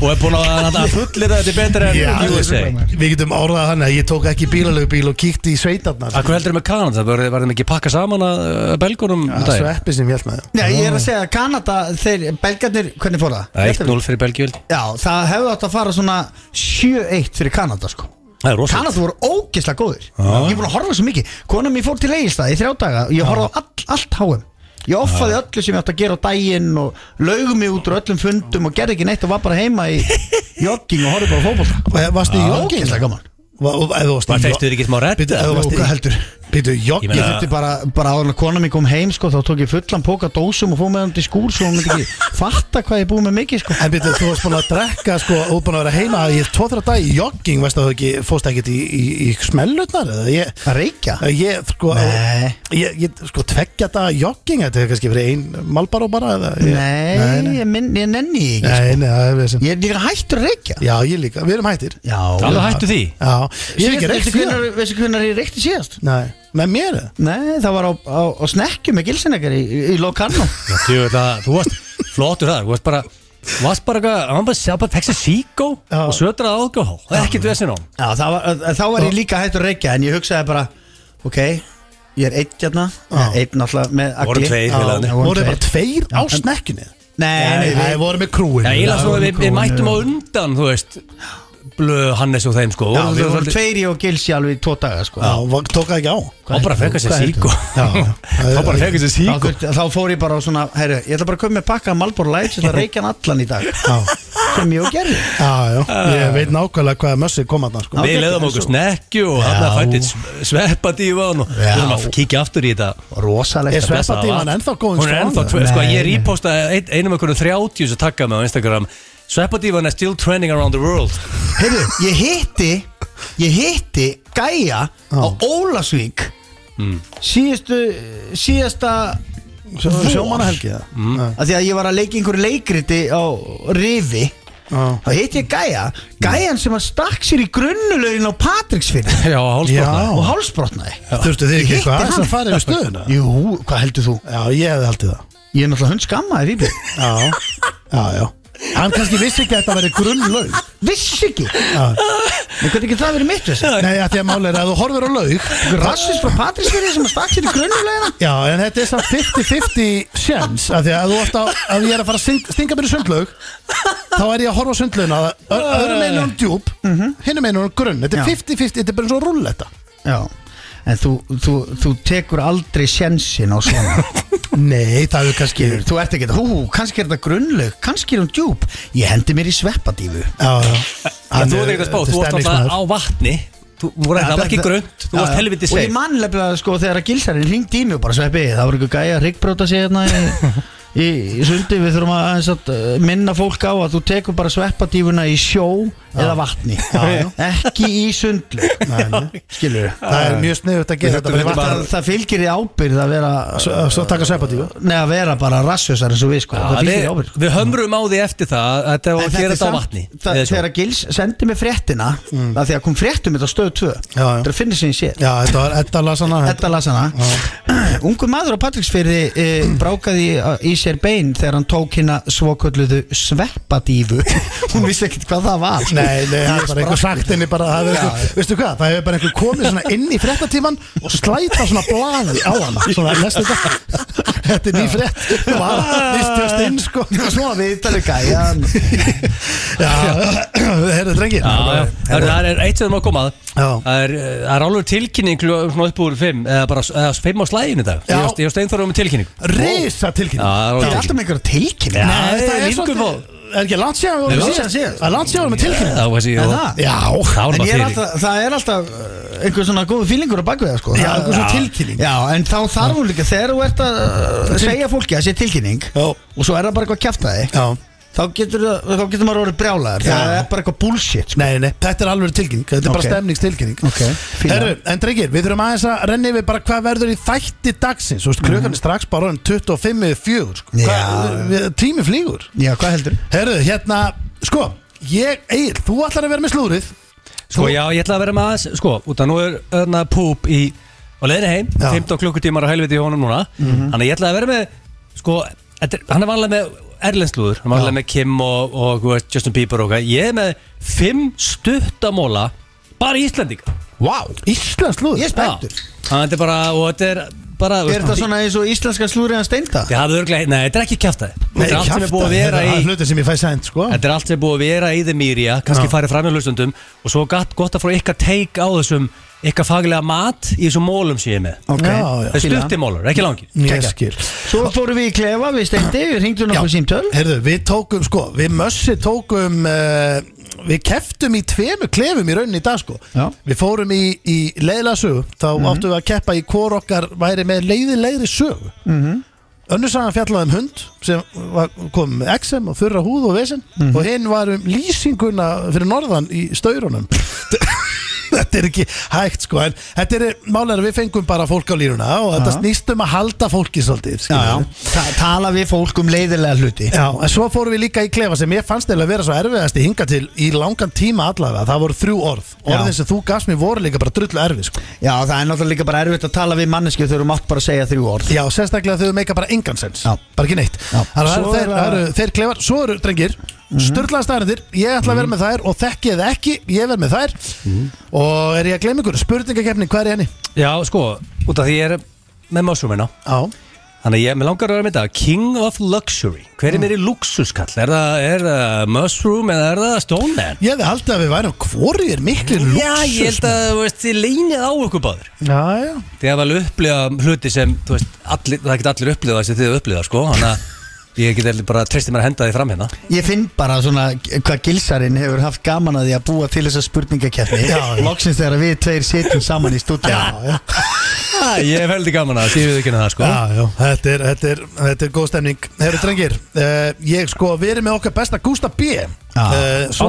Speaker 3: og er búin að, að, að fullera þetta er betra
Speaker 1: Já,
Speaker 3: en USA.
Speaker 1: Við getum orðað þannig að ég tók ekki bílalegu bíl og kíkti í sveitarnar
Speaker 3: Akkur heldur með Kanada, það verður- verðum ekki pakka saman að uh, belgunum um
Speaker 1: Svo
Speaker 3: daginn.
Speaker 1: eppi sem ég held með
Speaker 2: Já, ég er að segja að Kanada, þeir, belgarnir, hvernig fór það?
Speaker 3: Það er 1-0 fyrir Belgjöld.
Speaker 2: Já, það hefði átt að fara svona 7-1 fyrir Kanada sko
Speaker 3: Það er rosalega.
Speaker 2: Kanada voru ógeðslega góður Ég er búin að horfa svo mikið Kona mér fór til Egilstað í þrjá daga og Ég horfði á all, allt háum Ég offaði öllu sem ég átti að gera á daginn og laugum mig út úr öllum fundum og gerði ekki neitt og var bara heima í jogging og horfði bara á fótbolta
Speaker 1: það Varstu í jogging?
Speaker 2: Ógeðslega gaman
Speaker 1: Var
Speaker 3: Það feistu þér ekki smá redd?
Speaker 1: Býtu, eða
Speaker 2: Jú,
Speaker 1: varst í-
Speaker 2: hvað heldur?
Speaker 1: Býtu,
Speaker 3: Ég
Speaker 1: jogg
Speaker 2: Ég
Speaker 3: meina-
Speaker 2: þurfti bara, bara áður en að kona mér kom heim sko, þá tók ég fullan póka af dósum og fóð með hann til skúr svo hún myndi ekki fatta hvað ég er búið með mikið sko.
Speaker 1: En býtu, þú varst búin að drekka sko og búin að vera heima í tvo-þra dag í jogging veist að þú ekki, fóst ekkert í, í, í smellutnar eða ég
Speaker 2: Að reykja?
Speaker 1: Ég, sko,
Speaker 2: Nei.
Speaker 1: ég, ég, sko tveggja þetta jogging, þetta er kannski verið ein malbaró bara eða, ég,
Speaker 2: Nei,
Speaker 3: sko-
Speaker 2: Ég, minn, ég nenni því ekki sko.
Speaker 1: nei, nei, það er við sem
Speaker 2: Ég er líka hættur að reykja
Speaker 1: Já, ég líka, við erum hættir
Speaker 2: Já
Speaker 3: Alveg hættu því?
Speaker 1: Já, ég er ekki reykt fyrir
Speaker 2: fyrir Veistu hvernig ég reykti síðast?
Speaker 1: Nei, með mér eða?
Speaker 2: Nei, það var á, á, á snekkju með gilsinekar í, í, í Locarno
Speaker 3: Já, djú, það- Þú varst flottur þar, þú varst bara, þú varst bara, eitthvað- hann bara, hann bara fekk sér síkó
Speaker 1: Já.
Speaker 3: og sötraði alkohól. Það er ekkert vesinn á. honum.
Speaker 2: Já, það var, þá var ég líka hættur að reykja En ég hugsaði bara, ok Ég er einn hérna
Speaker 1: Já.
Speaker 2: Einn náttúrulega með
Speaker 3: Voru
Speaker 2: agli
Speaker 3: tveir
Speaker 2: Já,
Speaker 3: félagarnir.
Speaker 2: voru
Speaker 1: Voru bara
Speaker 2: tveir.
Speaker 1: tveir á snekkjunni
Speaker 2: Nei, nei,
Speaker 1: við vorum með krúin
Speaker 3: Já, eiginlega svo við, við
Speaker 2: kónur.
Speaker 3: mættum á undan, þú veist, blöð Hannes og þeim, sko.
Speaker 2: Já, við
Speaker 3: Voru svo
Speaker 2: vorum
Speaker 3: svolítið-
Speaker 2: tveir í og gilsi alveg í tvo daga sko.
Speaker 1: Já, var- tók það ekki á
Speaker 3: Þá bara fekk sér
Speaker 2: Hvað heldur?
Speaker 3: síkó. Þá bara fekk sér
Speaker 2: þá,
Speaker 3: sko. síkó.
Speaker 2: þurfti- þá fór ég bara á svona herru, Ég ætla bara að koma með pakka Malbor Lights Ég ætla að reykja hann allan í dag
Speaker 1: Já,
Speaker 2: Sem ég og gerði
Speaker 1: já, já, ég veit nákvæmlega hvaða mössi kom að það sko
Speaker 2: Já.
Speaker 3: Við leiðum okkur snekju og hann að fætti sveppadífan og við
Speaker 2: Já.
Speaker 3: erum að kíkja aftur í þetta
Speaker 2: Rosalegt
Speaker 1: Er
Speaker 2: að-
Speaker 1: sveppa- Sveppadífan ennþá góðum
Speaker 3: Hún er
Speaker 1: skóla?
Speaker 3: ennþá tvö, sko
Speaker 2: Nei,
Speaker 3: ég
Speaker 2: nei.
Speaker 3: repostaði ein- einum okkur 30 sem takkaði mig á Instagram Sveppadífan er still trending around the world
Speaker 2: Heyrðu, ég hitti Ég hitti Gæja á Ólasvík Síðustu Síðasta vor.
Speaker 1: Sjómanahelgi það
Speaker 2: Af Því að ég var að leika í einhverju leikriti á Rifi
Speaker 1: Já.
Speaker 2: Þá hitti ég Gæja Gæjan sem að stakk sér í grunnulögin á Patricksfinn
Speaker 3: Já, hálsbrotna
Speaker 1: Já.
Speaker 2: Og hálsbrotnaði
Speaker 1: Þurftu þið ekki
Speaker 2: Ég
Speaker 1: eitthvað
Speaker 2: hitti
Speaker 1: aðeins
Speaker 2: hann.
Speaker 1: að fara yfir stöðuna?
Speaker 2: Jú, hvað heldur þú?
Speaker 1: Já, ég hefði haldið það
Speaker 2: Ég er náttúrulega hund skammaði Vibi
Speaker 1: Já, já, já Hann kannski vissi ekki að þetta væri grunnlaug
Speaker 2: Vissi ekki En hvernig getur það verið mitt þessi?
Speaker 1: Nei, að því að máli er að þú horfir á laug
Speaker 2: Rassis frá Patricksfinn sem að stakk sér í grunnulögina
Speaker 1: Já, en þetta er samt 50-50 sjens að því að þú ert á, að ég er að fara að syng, stinga mér í sundlaug þá er ég að horfa á sundlaugina að ö- öðrum einu um djúb, hinum einu um grunn þetta er
Speaker 2: Mhm. Já.
Speaker 1: 50-50, þetta er bara eins og rúll þetta
Speaker 2: Já en þú, þú, þú tekur aldrei sjensin á svona
Speaker 1: Nei, það er kannski
Speaker 2: Skilur, þú ert ekki að, hú, kannski er þetta grunnlaug kannski er hún djúp, ég hendi mér í sveppadífu
Speaker 1: Já, já
Speaker 3: En þú ert ekkert að spá, þú varst alltaf á vatni Þú þú voru það var ekki grönt, þú varst helviti
Speaker 2: og ég
Speaker 3: seg
Speaker 2: mannlega sko þegar að gilsarinn ringdi í mig og bara sveppi, það voru ykkur gæja að hryggbróta sig hérna í, í, í sundi við þurfum að, aðeins að uh, minna fólk á að þú tekur bara sveppadífuna í sjó eða vatni,
Speaker 1: Já,
Speaker 2: ekki í sundlu skilur
Speaker 1: Það er mjög sniðut að gera
Speaker 3: Við
Speaker 1: þetta
Speaker 3: höldum
Speaker 1: fyrir
Speaker 2: það,
Speaker 1: vatn
Speaker 3: bara-
Speaker 2: það fylgir í ábyrð að vera
Speaker 1: Svo- Svo taka sveppatíu
Speaker 2: Nei að vera bara rassjösar eins og við sko Það fylgir í
Speaker 3: Við,
Speaker 2: ábyrð
Speaker 3: við hömrum á því eftir það að Þetta var
Speaker 2: En
Speaker 3: að
Speaker 2: þetta
Speaker 3: gera
Speaker 2: er
Speaker 3: þetta á
Speaker 2: samt-
Speaker 3: vatni
Speaker 2: það,
Speaker 3: eða svo.
Speaker 2: Þegar Gils sendi mig fréttina mm. Það því að kom fréttum þetta á stöðu 2
Speaker 1: já.
Speaker 2: Það finnir sem ég sé
Speaker 1: Já, þetta var Edda Lasana
Speaker 2: Edda las hana Ungu maður á Patricksfyrði e, brákaði í- í sér bein þegar hann tók hérna svokölluðu sveppadífu Hún vissi ekkert hvað það var sko.
Speaker 1: Nei, nei, það er bara einhver sagt henni bara það er
Speaker 2: Já,
Speaker 1: einhver, Veistu hvað, það hefur bara einhver komið svona inn í fréttatíman og slæta svona blaði á hana Svona, lestu þetta Þetta er ný frétt Það var nýstjöst inn, sko
Speaker 2: Svo við tala gæjan
Speaker 1: Já, heyrðu drengir
Speaker 3: Já, já. Það er- það er eitt sem það má koma að
Speaker 1: Já.
Speaker 3: Það er, eh, það er alveg tilkynning klu- svona upp úr 5 eða bara s- eða 5 á slæðinu í dag
Speaker 1: Já.
Speaker 3: Ég var steinþorðum með tilkynning
Speaker 1: Risa
Speaker 3: Já,
Speaker 1: tilkynning
Speaker 3: það
Speaker 2: Það er
Speaker 3: var
Speaker 2: alltaf með einhverja
Speaker 1: Nei,
Speaker 2: tilkynning
Speaker 1: það
Speaker 3: Nei,
Speaker 1: er
Speaker 3: líkum
Speaker 1: svolítið
Speaker 3: fór.
Speaker 1: Er ekki langt síðan við
Speaker 2: Nei, langt
Speaker 1: vorum
Speaker 2: síðan síðast.
Speaker 1: Það er langt síðan við vorum með tilkynning
Speaker 3: Það var
Speaker 2: Er
Speaker 3: síðan
Speaker 2: það?
Speaker 1: Já,
Speaker 3: Það var
Speaker 2: En
Speaker 3: bara
Speaker 2: ég er
Speaker 3: fyrir
Speaker 2: alltaf, það er alltaf uh, einhver svona góðu fílingur á bakveða sko.
Speaker 1: Já,
Speaker 2: Það-
Speaker 1: einhver svona tilkynning.
Speaker 2: Já, en þá þarf hún líka Þegar þú ert að uh, segja fólki að það sé tilkynning
Speaker 1: Já.
Speaker 2: Og svo er það bara eitthvað kjaftaði
Speaker 1: já
Speaker 2: Þá getur, það- þá getur maður orðið brjálaður
Speaker 1: Já.
Speaker 2: Það er bara eitthvað bullshit sko.
Speaker 1: Nei, nei, þetta er alveg tilkynning, þetta er bara
Speaker 2: Ok.
Speaker 1: stemningstilkynning
Speaker 2: Ok, fíla.
Speaker 1: Herru, en drengir, við þurfum aðeins að renni við bara hvað verður í þætti dagsins Þú veist, klukkan
Speaker 3: Mhm.
Speaker 1: er strax bara um 25 eða 4 sko.
Speaker 2: Já.
Speaker 1: Hvað- við- Tími flýgur
Speaker 2: Já, hvað heldur?
Speaker 1: Herru, hérna, sko Ég, Egil, þú ætlar að vera með slúrið
Speaker 3: Sko já, ég ætla að vera með aðeins Sko, út að nú er öðna púp í á leiðinu heim,
Speaker 1: Já.
Speaker 3: 15 klukkutímar á helviti í honum núna Þannig að ég ætla að vera með Sko, þetta er- hann er vanlega með Erlenslúður, hann er vanlega með Kim og, og þú veist, Justin Bieber og hvað Ég er með 5 stuttamóla bara í Íslandinga
Speaker 1: Vá, Íslands slúður
Speaker 2: Ég er spenntur
Speaker 3: Þannig að þetta er bara, og þetta er bara þú
Speaker 2: Er
Speaker 3: veist,
Speaker 2: þetta svona eins og íslenska slúriðan steinda?
Speaker 3: Þið hafðu örglega, nei, þetta er ekki kjaftaði Þetta
Speaker 1: Nei,
Speaker 3: er allt sem er búið að vera
Speaker 1: þetta
Speaker 3: í
Speaker 1: er hluti sem ég fæ sænt, sko
Speaker 3: Þetta er allt sem er búið að vera í þeim mýrja kannski
Speaker 1: Já.
Speaker 3: farið fram í hlustundum og svo gott, gott að fá ykkar teik á þessum ykkar faglega mat í þessum mólum sem ég er með
Speaker 2: Ok.
Speaker 1: Já, já.
Speaker 3: Það er stutti mólur, ekki langi
Speaker 1: Ég skil
Speaker 2: Svo fórum við í klefa, við steindi, við ringdum nokkuð símtöl
Speaker 1: Herðu, við tókum sko, við mössi tókum uh, Við keftum í tveimu klefum í rauninni í dag sko
Speaker 2: Já. Mhm.
Speaker 1: Við fórum í, í leiðilega sögu Þá áttum við að keppa í hvor okkar væri með leiðilegri sögu mm
Speaker 2: Mhm.
Speaker 1: -hmm. Önnur sagan fjallaði um hund sem var, kom með exem og þurra húð og vesen
Speaker 2: Mhm.
Speaker 1: og hinn var um lýsinguna fyrir norðan í staurunum Þetta er ekki hægt sko en þetta er málega að við fengum bara fólk á lýruna og þetta
Speaker 2: Já.
Speaker 1: snýst um að halda fólki svolítið skilurðu.
Speaker 2: Ta Tala við fólk um leiðilega hluti
Speaker 1: Já, en svo fórum við líka í klefa sem ég fannst eða að vera svo erfiðasti hinga til í langan tíma allavega, það voru þrjú orð orðin sem þú gafst mér voru líka bara drullu erfið sko.
Speaker 2: Já, það er náttúrulega líka bara erfitt að tala við manneski þegar þú mátt bara segja þrjú orð
Speaker 1: Já, sérstaklega þau meika bara engan sens
Speaker 2: Já.
Speaker 1: bara ekki neitt
Speaker 2: Já.
Speaker 1: Þannig að
Speaker 2: Svo
Speaker 1: það
Speaker 2: er
Speaker 1: eru
Speaker 2: að- Mhm.
Speaker 1: þeir, þeir, þeir klefar, svo eru drengir mm störlaða stærindir, ég ætla að vera með þær og þekki eða ekki, ég verð með þær
Speaker 2: Mhm.
Speaker 1: og er ég að gleyma ykkur, spurningakefni hvað er í henni?
Speaker 3: Já, sko, út af því ég er með másrúmina
Speaker 1: Já,
Speaker 3: Þannig að ég með langar að vera með þetta King of Luxury, hver er mér í luxuskall? Er það, er það mushroom eða er það stone man?
Speaker 1: ég hefði haldið að við værum hvori er miklu lúksus
Speaker 3: Já, ég held að, þú veist, þið leynið á okkur báður
Speaker 1: Já, já,
Speaker 3: Þið hafa alveg upplifað hluti sem þú veist, allir, það get allir upplifað sem þið hafa upplifað sko, þannig að ég get allir bara treysti mér að henda því fram hérna
Speaker 2: Ég finn bara svona hvað gilsarinn hefur haft gaman að því að búa til þessa spurningakefni
Speaker 1: Já, já.
Speaker 2: Loksins þegar við tveir sitjum saman í stúdíu
Speaker 1: já, já.
Speaker 3: ah, Ég er veldig gaman að því við ekki það sko
Speaker 1: Já, já, þetta er, þetta er, þetta er góð stemning Herru drengir, uh, ég sko verið með okkar besta Gústa B uh,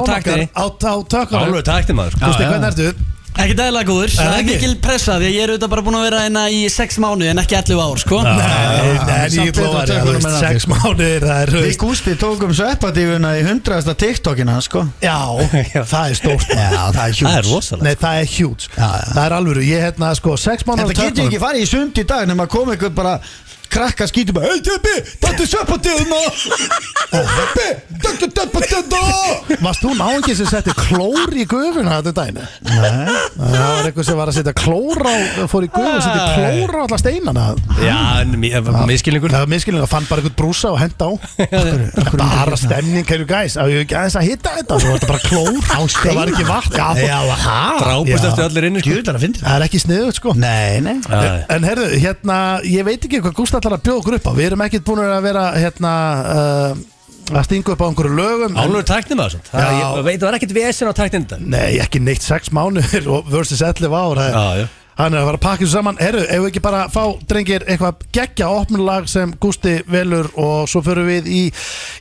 Speaker 3: taktinni.
Speaker 1: Á, á takkar
Speaker 3: Álfur takti maður sko.
Speaker 1: Gústi,
Speaker 2: já,
Speaker 1: hvernig ertu?
Speaker 4: Ekki dæla góður, það er
Speaker 1: ekki?
Speaker 4: mikil pressa því að ég er auðvitað bara búin að vera hérna í 6 mánu en ekki 11 ár sko
Speaker 1: Nei, nei,
Speaker 2: samt
Speaker 1: ég
Speaker 2: betur á
Speaker 1: glóðar
Speaker 2: tökunum en allir.
Speaker 1: Sex mánuðir, það er
Speaker 2: Við
Speaker 1: raust
Speaker 2: Gústi tókum sveppadífuna í hundraðasta TikTokina sko
Speaker 1: Já, það er stórt
Speaker 2: Já, það er hjúts
Speaker 3: Það er rosalegt
Speaker 1: Nei, það er huge
Speaker 2: Já, já.
Speaker 1: Það er alvöru, ég hérna sko Sex mánuðir á
Speaker 2: Þetta getur
Speaker 1: tökunum.
Speaker 2: ekki farið í sund í dag nema að koma ykkur bara krakka skýtur bara Hei Teppi, þetta er söpatíðuna Teppi, þetta er
Speaker 3: Sko!
Speaker 2: söpatíðuna
Speaker 1: Varst þú náðingi sem setti klór í gufuna þetta dæni? Nei Það var eitthvað sem var að setja klór á Fór í gufu og setti klór á alla steinana
Speaker 3: Já, en mi- eh, misskilningur
Speaker 1: Það var miskilin að fann bara eitthvað brúsa og henda á Bara stemning, kæru gæs Það var ekki aðeins að hitta þetta Það var þetta bara klór Það var ekki vatn Já,
Speaker 2: Já, hæ?
Speaker 3: Drápust
Speaker 1: Já.
Speaker 3: eftir allir inni sko.
Speaker 2: Djúðlar að fyndi
Speaker 1: Það er ekki sniðugt sko
Speaker 2: Nei, nei
Speaker 3: Já,
Speaker 1: En herðu, hérna, ég veit ekki hvað Gústa ætlar að bjóða okkur upp á Við erum ekkert búin að vera, hérna, uh, að stinga upp á einhverju lögum en-
Speaker 3: Álur tæknir maður svona Það-
Speaker 1: Já.
Speaker 3: Ég veit, það var ekkert vesen á tæknir þetta
Speaker 1: Nei, ekki neitt sex mánuður og versus 11 ár það er-
Speaker 3: Já, já.
Speaker 1: Hann er að fara að pakka þessu saman Herru, ef við ekki bara fá, drengir, eitthvað geggja opnulag sem Gústi velur og svo förum við í,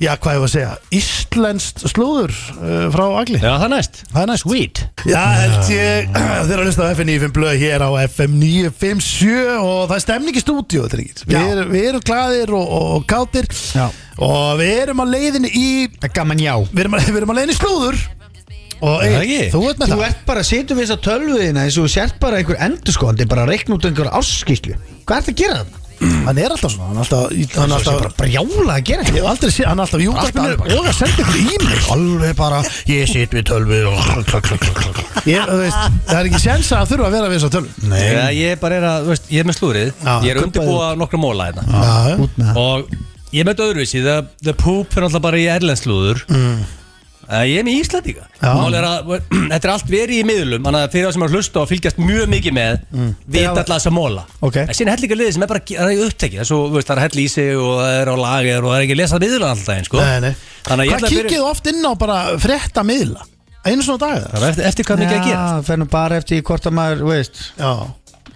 Speaker 1: já, hvað ég var að segja Íslenskt slúður uh, frá Agli
Speaker 3: Já, það er næst
Speaker 1: Það er næst
Speaker 3: Sweet
Speaker 1: Já, held ég, þeir að hlusta á FM 95 blöð hér á FM 957 og það er stemning í stúdíu, drengir Við,
Speaker 2: Já.
Speaker 1: erum- við erum glaðir og, og, og kátir
Speaker 2: Já.
Speaker 1: og við erum á leiðinni í
Speaker 2: Það er gaman já
Speaker 1: við erum, að- við erum á leiðinni í slúður og
Speaker 3: Er það
Speaker 1: Egill,
Speaker 3: ekki?
Speaker 1: þú ert með
Speaker 2: Þú
Speaker 1: það
Speaker 2: ert bara að setja við þessa tölvuðina eins og þú sért bara einhver endurskóðandi bara að reikna út einhver áskýslu Hvað ert að gera þarna?
Speaker 1: hann er alltaf svona hann er alltaf, hann er
Speaker 2: Það er
Speaker 1: alltaf
Speaker 2: bara brjála að gera
Speaker 1: ég hef aldrei séð, hann er alltaf í
Speaker 2: alveg
Speaker 1: útvarpinu
Speaker 2: bara-
Speaker 1: og að senda ykkur e-mail
Speaker 2: Alveg bara, ég sit við tölvu og
Speaker 1: ég, þú veist, það er ekki séns að þurfa að vera við þess að tölum
Speaker 2: Nei,
Speaker 3: Já, Ég bara er að, þú veist, ég er með slúrið
Speaker 1: Já,
Speaker 3: Ég er að
Speaker 2: kubbaði
Speaker 3: undirbúa nokkra móla hérna
Speaker 1: Já,
Speaker 2: út með það
Speaker 3: Og ég er með þetta öðruvísi The, the poop er alltaf bara í erlenslúður mm. Ég er með Íslandíka
Speaker 1: Já.
Speaker 3: er að, Þetta er allt verið í miðlum Þannig að fyrir það sem er að hlusta og fylgjast mjög mikið með Vita alltaf þessa móla
Speaker 1: Ok.
Speaker 3: En síðan er hellinga liðið sem er bara það er í upptekið Það er svo, þú veist, það er hell í sig og það er á lagir Og það er ekki að lesa miðlum alltaf einn sko.
Speaker 1: Nei, nei.
Speaker 3: Þannig að ég
Speaker 1: hvað
Speaker 3: ætla að byrja
Speaker 1: kikið oft inn á bara frétta miðla einu svona dag
Speaker 3: Það er eftir, eftir hvað mikið að gera
Speaker 2: Já, fennum bara eftir hvort að maður, veist
Speaker 1: já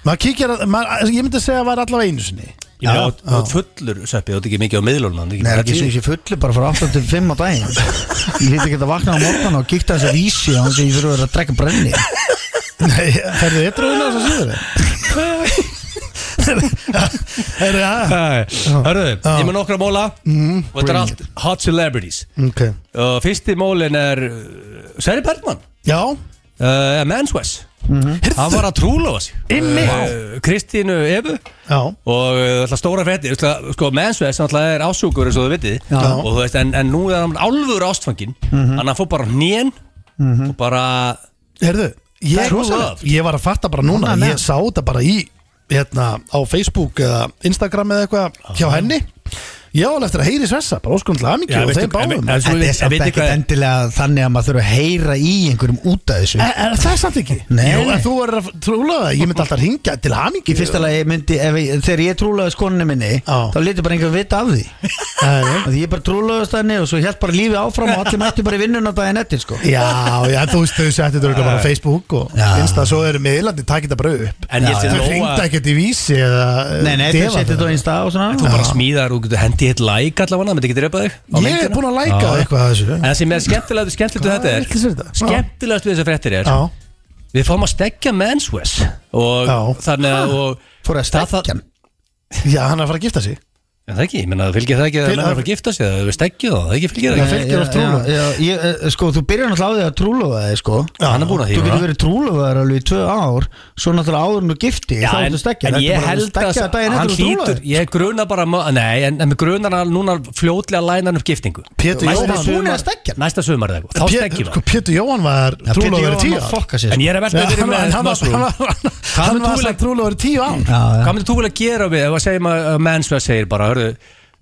Speaker 1: maður kíkir að, maður, ég myndi að segja að var allavega einu sinni
Speaker 3: Já, þú ert fullur söppið og ekki mikið á miðlunum þannig
Speaker 2: Nei,
Speaker 3: að
Speaker 2: ekki
Speaker 3: þetta
Speaker 2: svo
Speaker 3: sé-
Speaker 2: ég sé fullu bara frá 8 til 5 á daginn Ég hitt ekki að vakna á morgun og kíkta þessi vísi á þess að ég fyrir að vera að drekka brenni
Speaker 1: nei, ferðu ytrúðin á þess að síður er það
Speaker 3: Nei, Hörðu, ég með nokkra móla og þetta er
Speaker 2: bring
Speaker 3: allt hot celebrities
Speaker 1: ok
Speaker 3: og fyrsti mólin er uh, Sverri Bergman
Speaker 1: já
Speaker 3: uh, Manswes hann var að trúlofa sig
Speaker 1: Einmitt.
Speaker 3: uh, Kristínu Efu
Speaker 1: já
Speaker 3: og uh, alltaf stóra fætti sko, Manswes náttúrulega er ásúkur eins og þú vitið
Speaker 1: Já. Mhm.
Speaker 3: og þú veist en, en nú er hann alvöru ástfangin hann að fór bara nén og bara
Speaker 1: Herðu,
Speaker 3: Það
Speaker 1: ég,
Speaker 3: er rosalegt.
Speaker 1: ég var að fatta bara núna
Speaker 2: Annað
Speaker 1: Ég
Speaker 2: með.
Speaker 1: sá þetta bara í hérna, á Facebook eða Instagram eða eitthvað hjá henni Ég var alveg eftir að heyri svessa, bara óskunlega
Speaker 3: Já,
Speaker 1: aðmikið og
Speaker 3: veistu-
Speaker 1: þeim báðum
Speaker 3: en- en-
Speaker 1: En
Speaker 3: Svo
Speaker 2: Þetta
Speaker 3: við-
Speaker 2: er samt
Speaker 3: veitir
Speaker 2: ekkert
Speaker 3: hvað-
Speaker 2: endilega þannig að maður þurfa að heyra í einhverjum út af
Speaker 1: en
Speaker 2: þessu
Speaker 1: það er Eh, samt ekki
Speaker 2: Nei.
Speaker 1: Jú, en þú verður að trúlega það, ég myndi alltaf ringja til
Speaker 2: Í
Speaker 1: hamingi
Speaker 2: fyrsta lagi myndi, ef ég, þegar ég trúlaðist konunni minni
Speaker 1: Já.
Speaker 2: þá liti bara einhver vita af því
Speaker 1: Já,
Speaker 2: Því ég bara trúlaðist henni og svo hjælt bara lífið áfram og allir mættu bara í vinnuna daginn eftir sko
Speaker 1: já, en þú veist þau settu þetta örugglega bara á Facebook og
Speaker 2: Já.
Speaker 1: Insta, svo eru miðlandi, takk þetta bara upp
Speaker 3: En ég sé
Speaker 1: Þau
Speaker 3: nóg að-
Speaker 1: ringda ekkert í vísi eða eh,
Speaker 2: Nei, nei, þau setja þetta á einsta og
Speaker 3: þú
Speaker 2: svona
Speaker 3: bara smíðar og getur hendi hitt like allavega myndi ekki drepa þig á
Speaker 1: Ég er
Speaker 3: myndina.
Speaker 1: búin að læka
Speaker 3: Já.
Speaker 1: eitthvað að þessu
Speaker 3: en það sem er skemmtilegt skemmtilegt við
Speaker 1: Hvað
Speaker 3: þetta er
Speaker 1: vitleysa er þetta? Já.
Speaker 3: skemmtilegast við þessar fréttir er
Speaker 1: Já,
Speaker 3: við fáum að stekja menswes og
Speaker 1: Já.
Speaker 3: þannig að og,
Speaker 2: Fór að
Speaker 3: Það- það-
Speaker 2: stekja hann
Speaker 1: já, hann er að fara að gifta sig
Speaker 3: en það ekki, ég menna það fylgir það ekki að
Speaker 1: Fylgir-
Speaker 3: menn er að fara að gifta sig það við stekjum það, það ekki fylgir það
Speaker 1: Já,
Speaker 3: ekki
Speaker 1: fylgir
Speaker 2: Já,
Speaker 1: oft trúlofa.
Speaker 2: já, já, ég, eh, Sko, þú byrjar náttúrulega á því að trúlaða þig sko
Speaker 3: hann er búin að því
Speaker 2: Þú getur
Speaker 3: núna.
Speaker 2: verið trúlofaður alveg í tvö ár Svo náttúrulega áður en þú gifti
Speaker 3: Já,
Speaker 2: Þá
Speaker 3: en,
Speaker 2: ertu stekkja
Speaker 3: en ég held að
Speaker 2: Stekkja daginn
Speaker 3: hann
Speaker 2: eftir þú
Speaker 3: hlýtur,
Speaker 2: trúlaður
Speaker 3: ég gruna bara ma- nei, en, en mig grunar hann núna fljótlega lænan upp giftingu
Speaker 1: Pétur
Speaker 3: Næsta
Speaker 1: Jóhann-
Speaker 3: sumar-
Speaker 2: Búin að stekkja?
Speaker 3: næsta sumar eða eitthvað, þá
Speaker 1: Pé-
Speaker 3: stekkjum
Speaker 1: sko,
Speaker 3: við
Speaker 1: Pétur Jóhann var trúlega verið tíu
Speaker 2: að
Speaker 1: ár.
Speaker 2: fokka sér
Speaker 3: en ég er
Speaker 1: Já,
Speaker 3: að velta
Speaker 1: hann
Speaker 3: fyrir
Speaker 1: var-
Speaker 3: mér
Speaker 1: hann var-
Speaker 3: mushroom.
Speaker 1: hann var-
Speaker 3: Hvað
Speaker 1: hann
Speaker 3: myndir
Speaker 1: var
Speaker 3: þú
Speaker 1: sagt trúlega verið tíu án
Speaker 3: hvað myndir þú vilja gera við ef að segja maður að mensveð segir bara hörðu,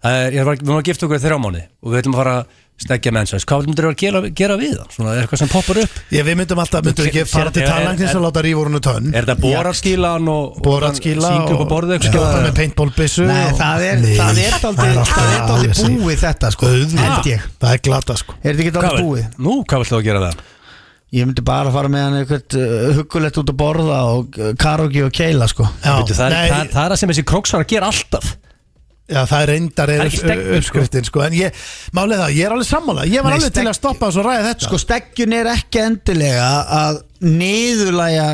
Speaker 3: það er, ég var, við erum að gifta okkur í þrjá mánu og við ætlum að fara að stekja mensveð hvað myndir þú að gera, gera við það, svona eitthvað sem poppar upp
Speaker 1: Ég, við myndum alltaf, myndum við ekki
Speaker 3: Sér-
Speaker 1: fara til
Speaker 3: sér-
Speaker 1: talagnins
Speaker 3: er-
Speaker 1: að láta rífur húnu tönn
Speaker 3: er þetta boratskílan og
Speaker 1: Boratskíla
Speaker 3: og síkur upp á borðið eitthvað
Speaker 1: skjóta með
Speaker 3: skilur?
Speaker 1: paintballbissu
Speaker 2: Nei, það er Það er daldið Það er daldið búið þetta sko Held ég
Speaker 1: Það er glata sko
Speaker 2: Er þetta ekki
Speaker 3: Hvað
Speaker 2: daldið
Speaker 3: vil-
Speaker 2: búið?
Speaker 3: nú, hvað vilt þú að gera við það
Speaker 2: Ég myndi bara fara með hann eitthvað uh, huggulegt út að borða og uh, karogi og keila sko
Speaker 1: Já,
Speaker 3: Bíddu, það,
Speaker 1: nei,
Speaker 3: er, það, það er það sem þessi kroksar að gera alltaf
Speaker 1: já, það er reyndar
Speaker 3: Það er
Speaker 1: er
Speaker 3: ekki stegning, sko.
Speaker 1: uppskriftin sko En ég, málið það, ég er alveg sammála Ég var
Speaker 2: Nei,
Speaker 1: alveg til
Speaker 2: stegn-
Speaker 1: að stoppa þess að ræða þetta
Speaker 2: Sko stekjun er ekki endilega að niðurlæja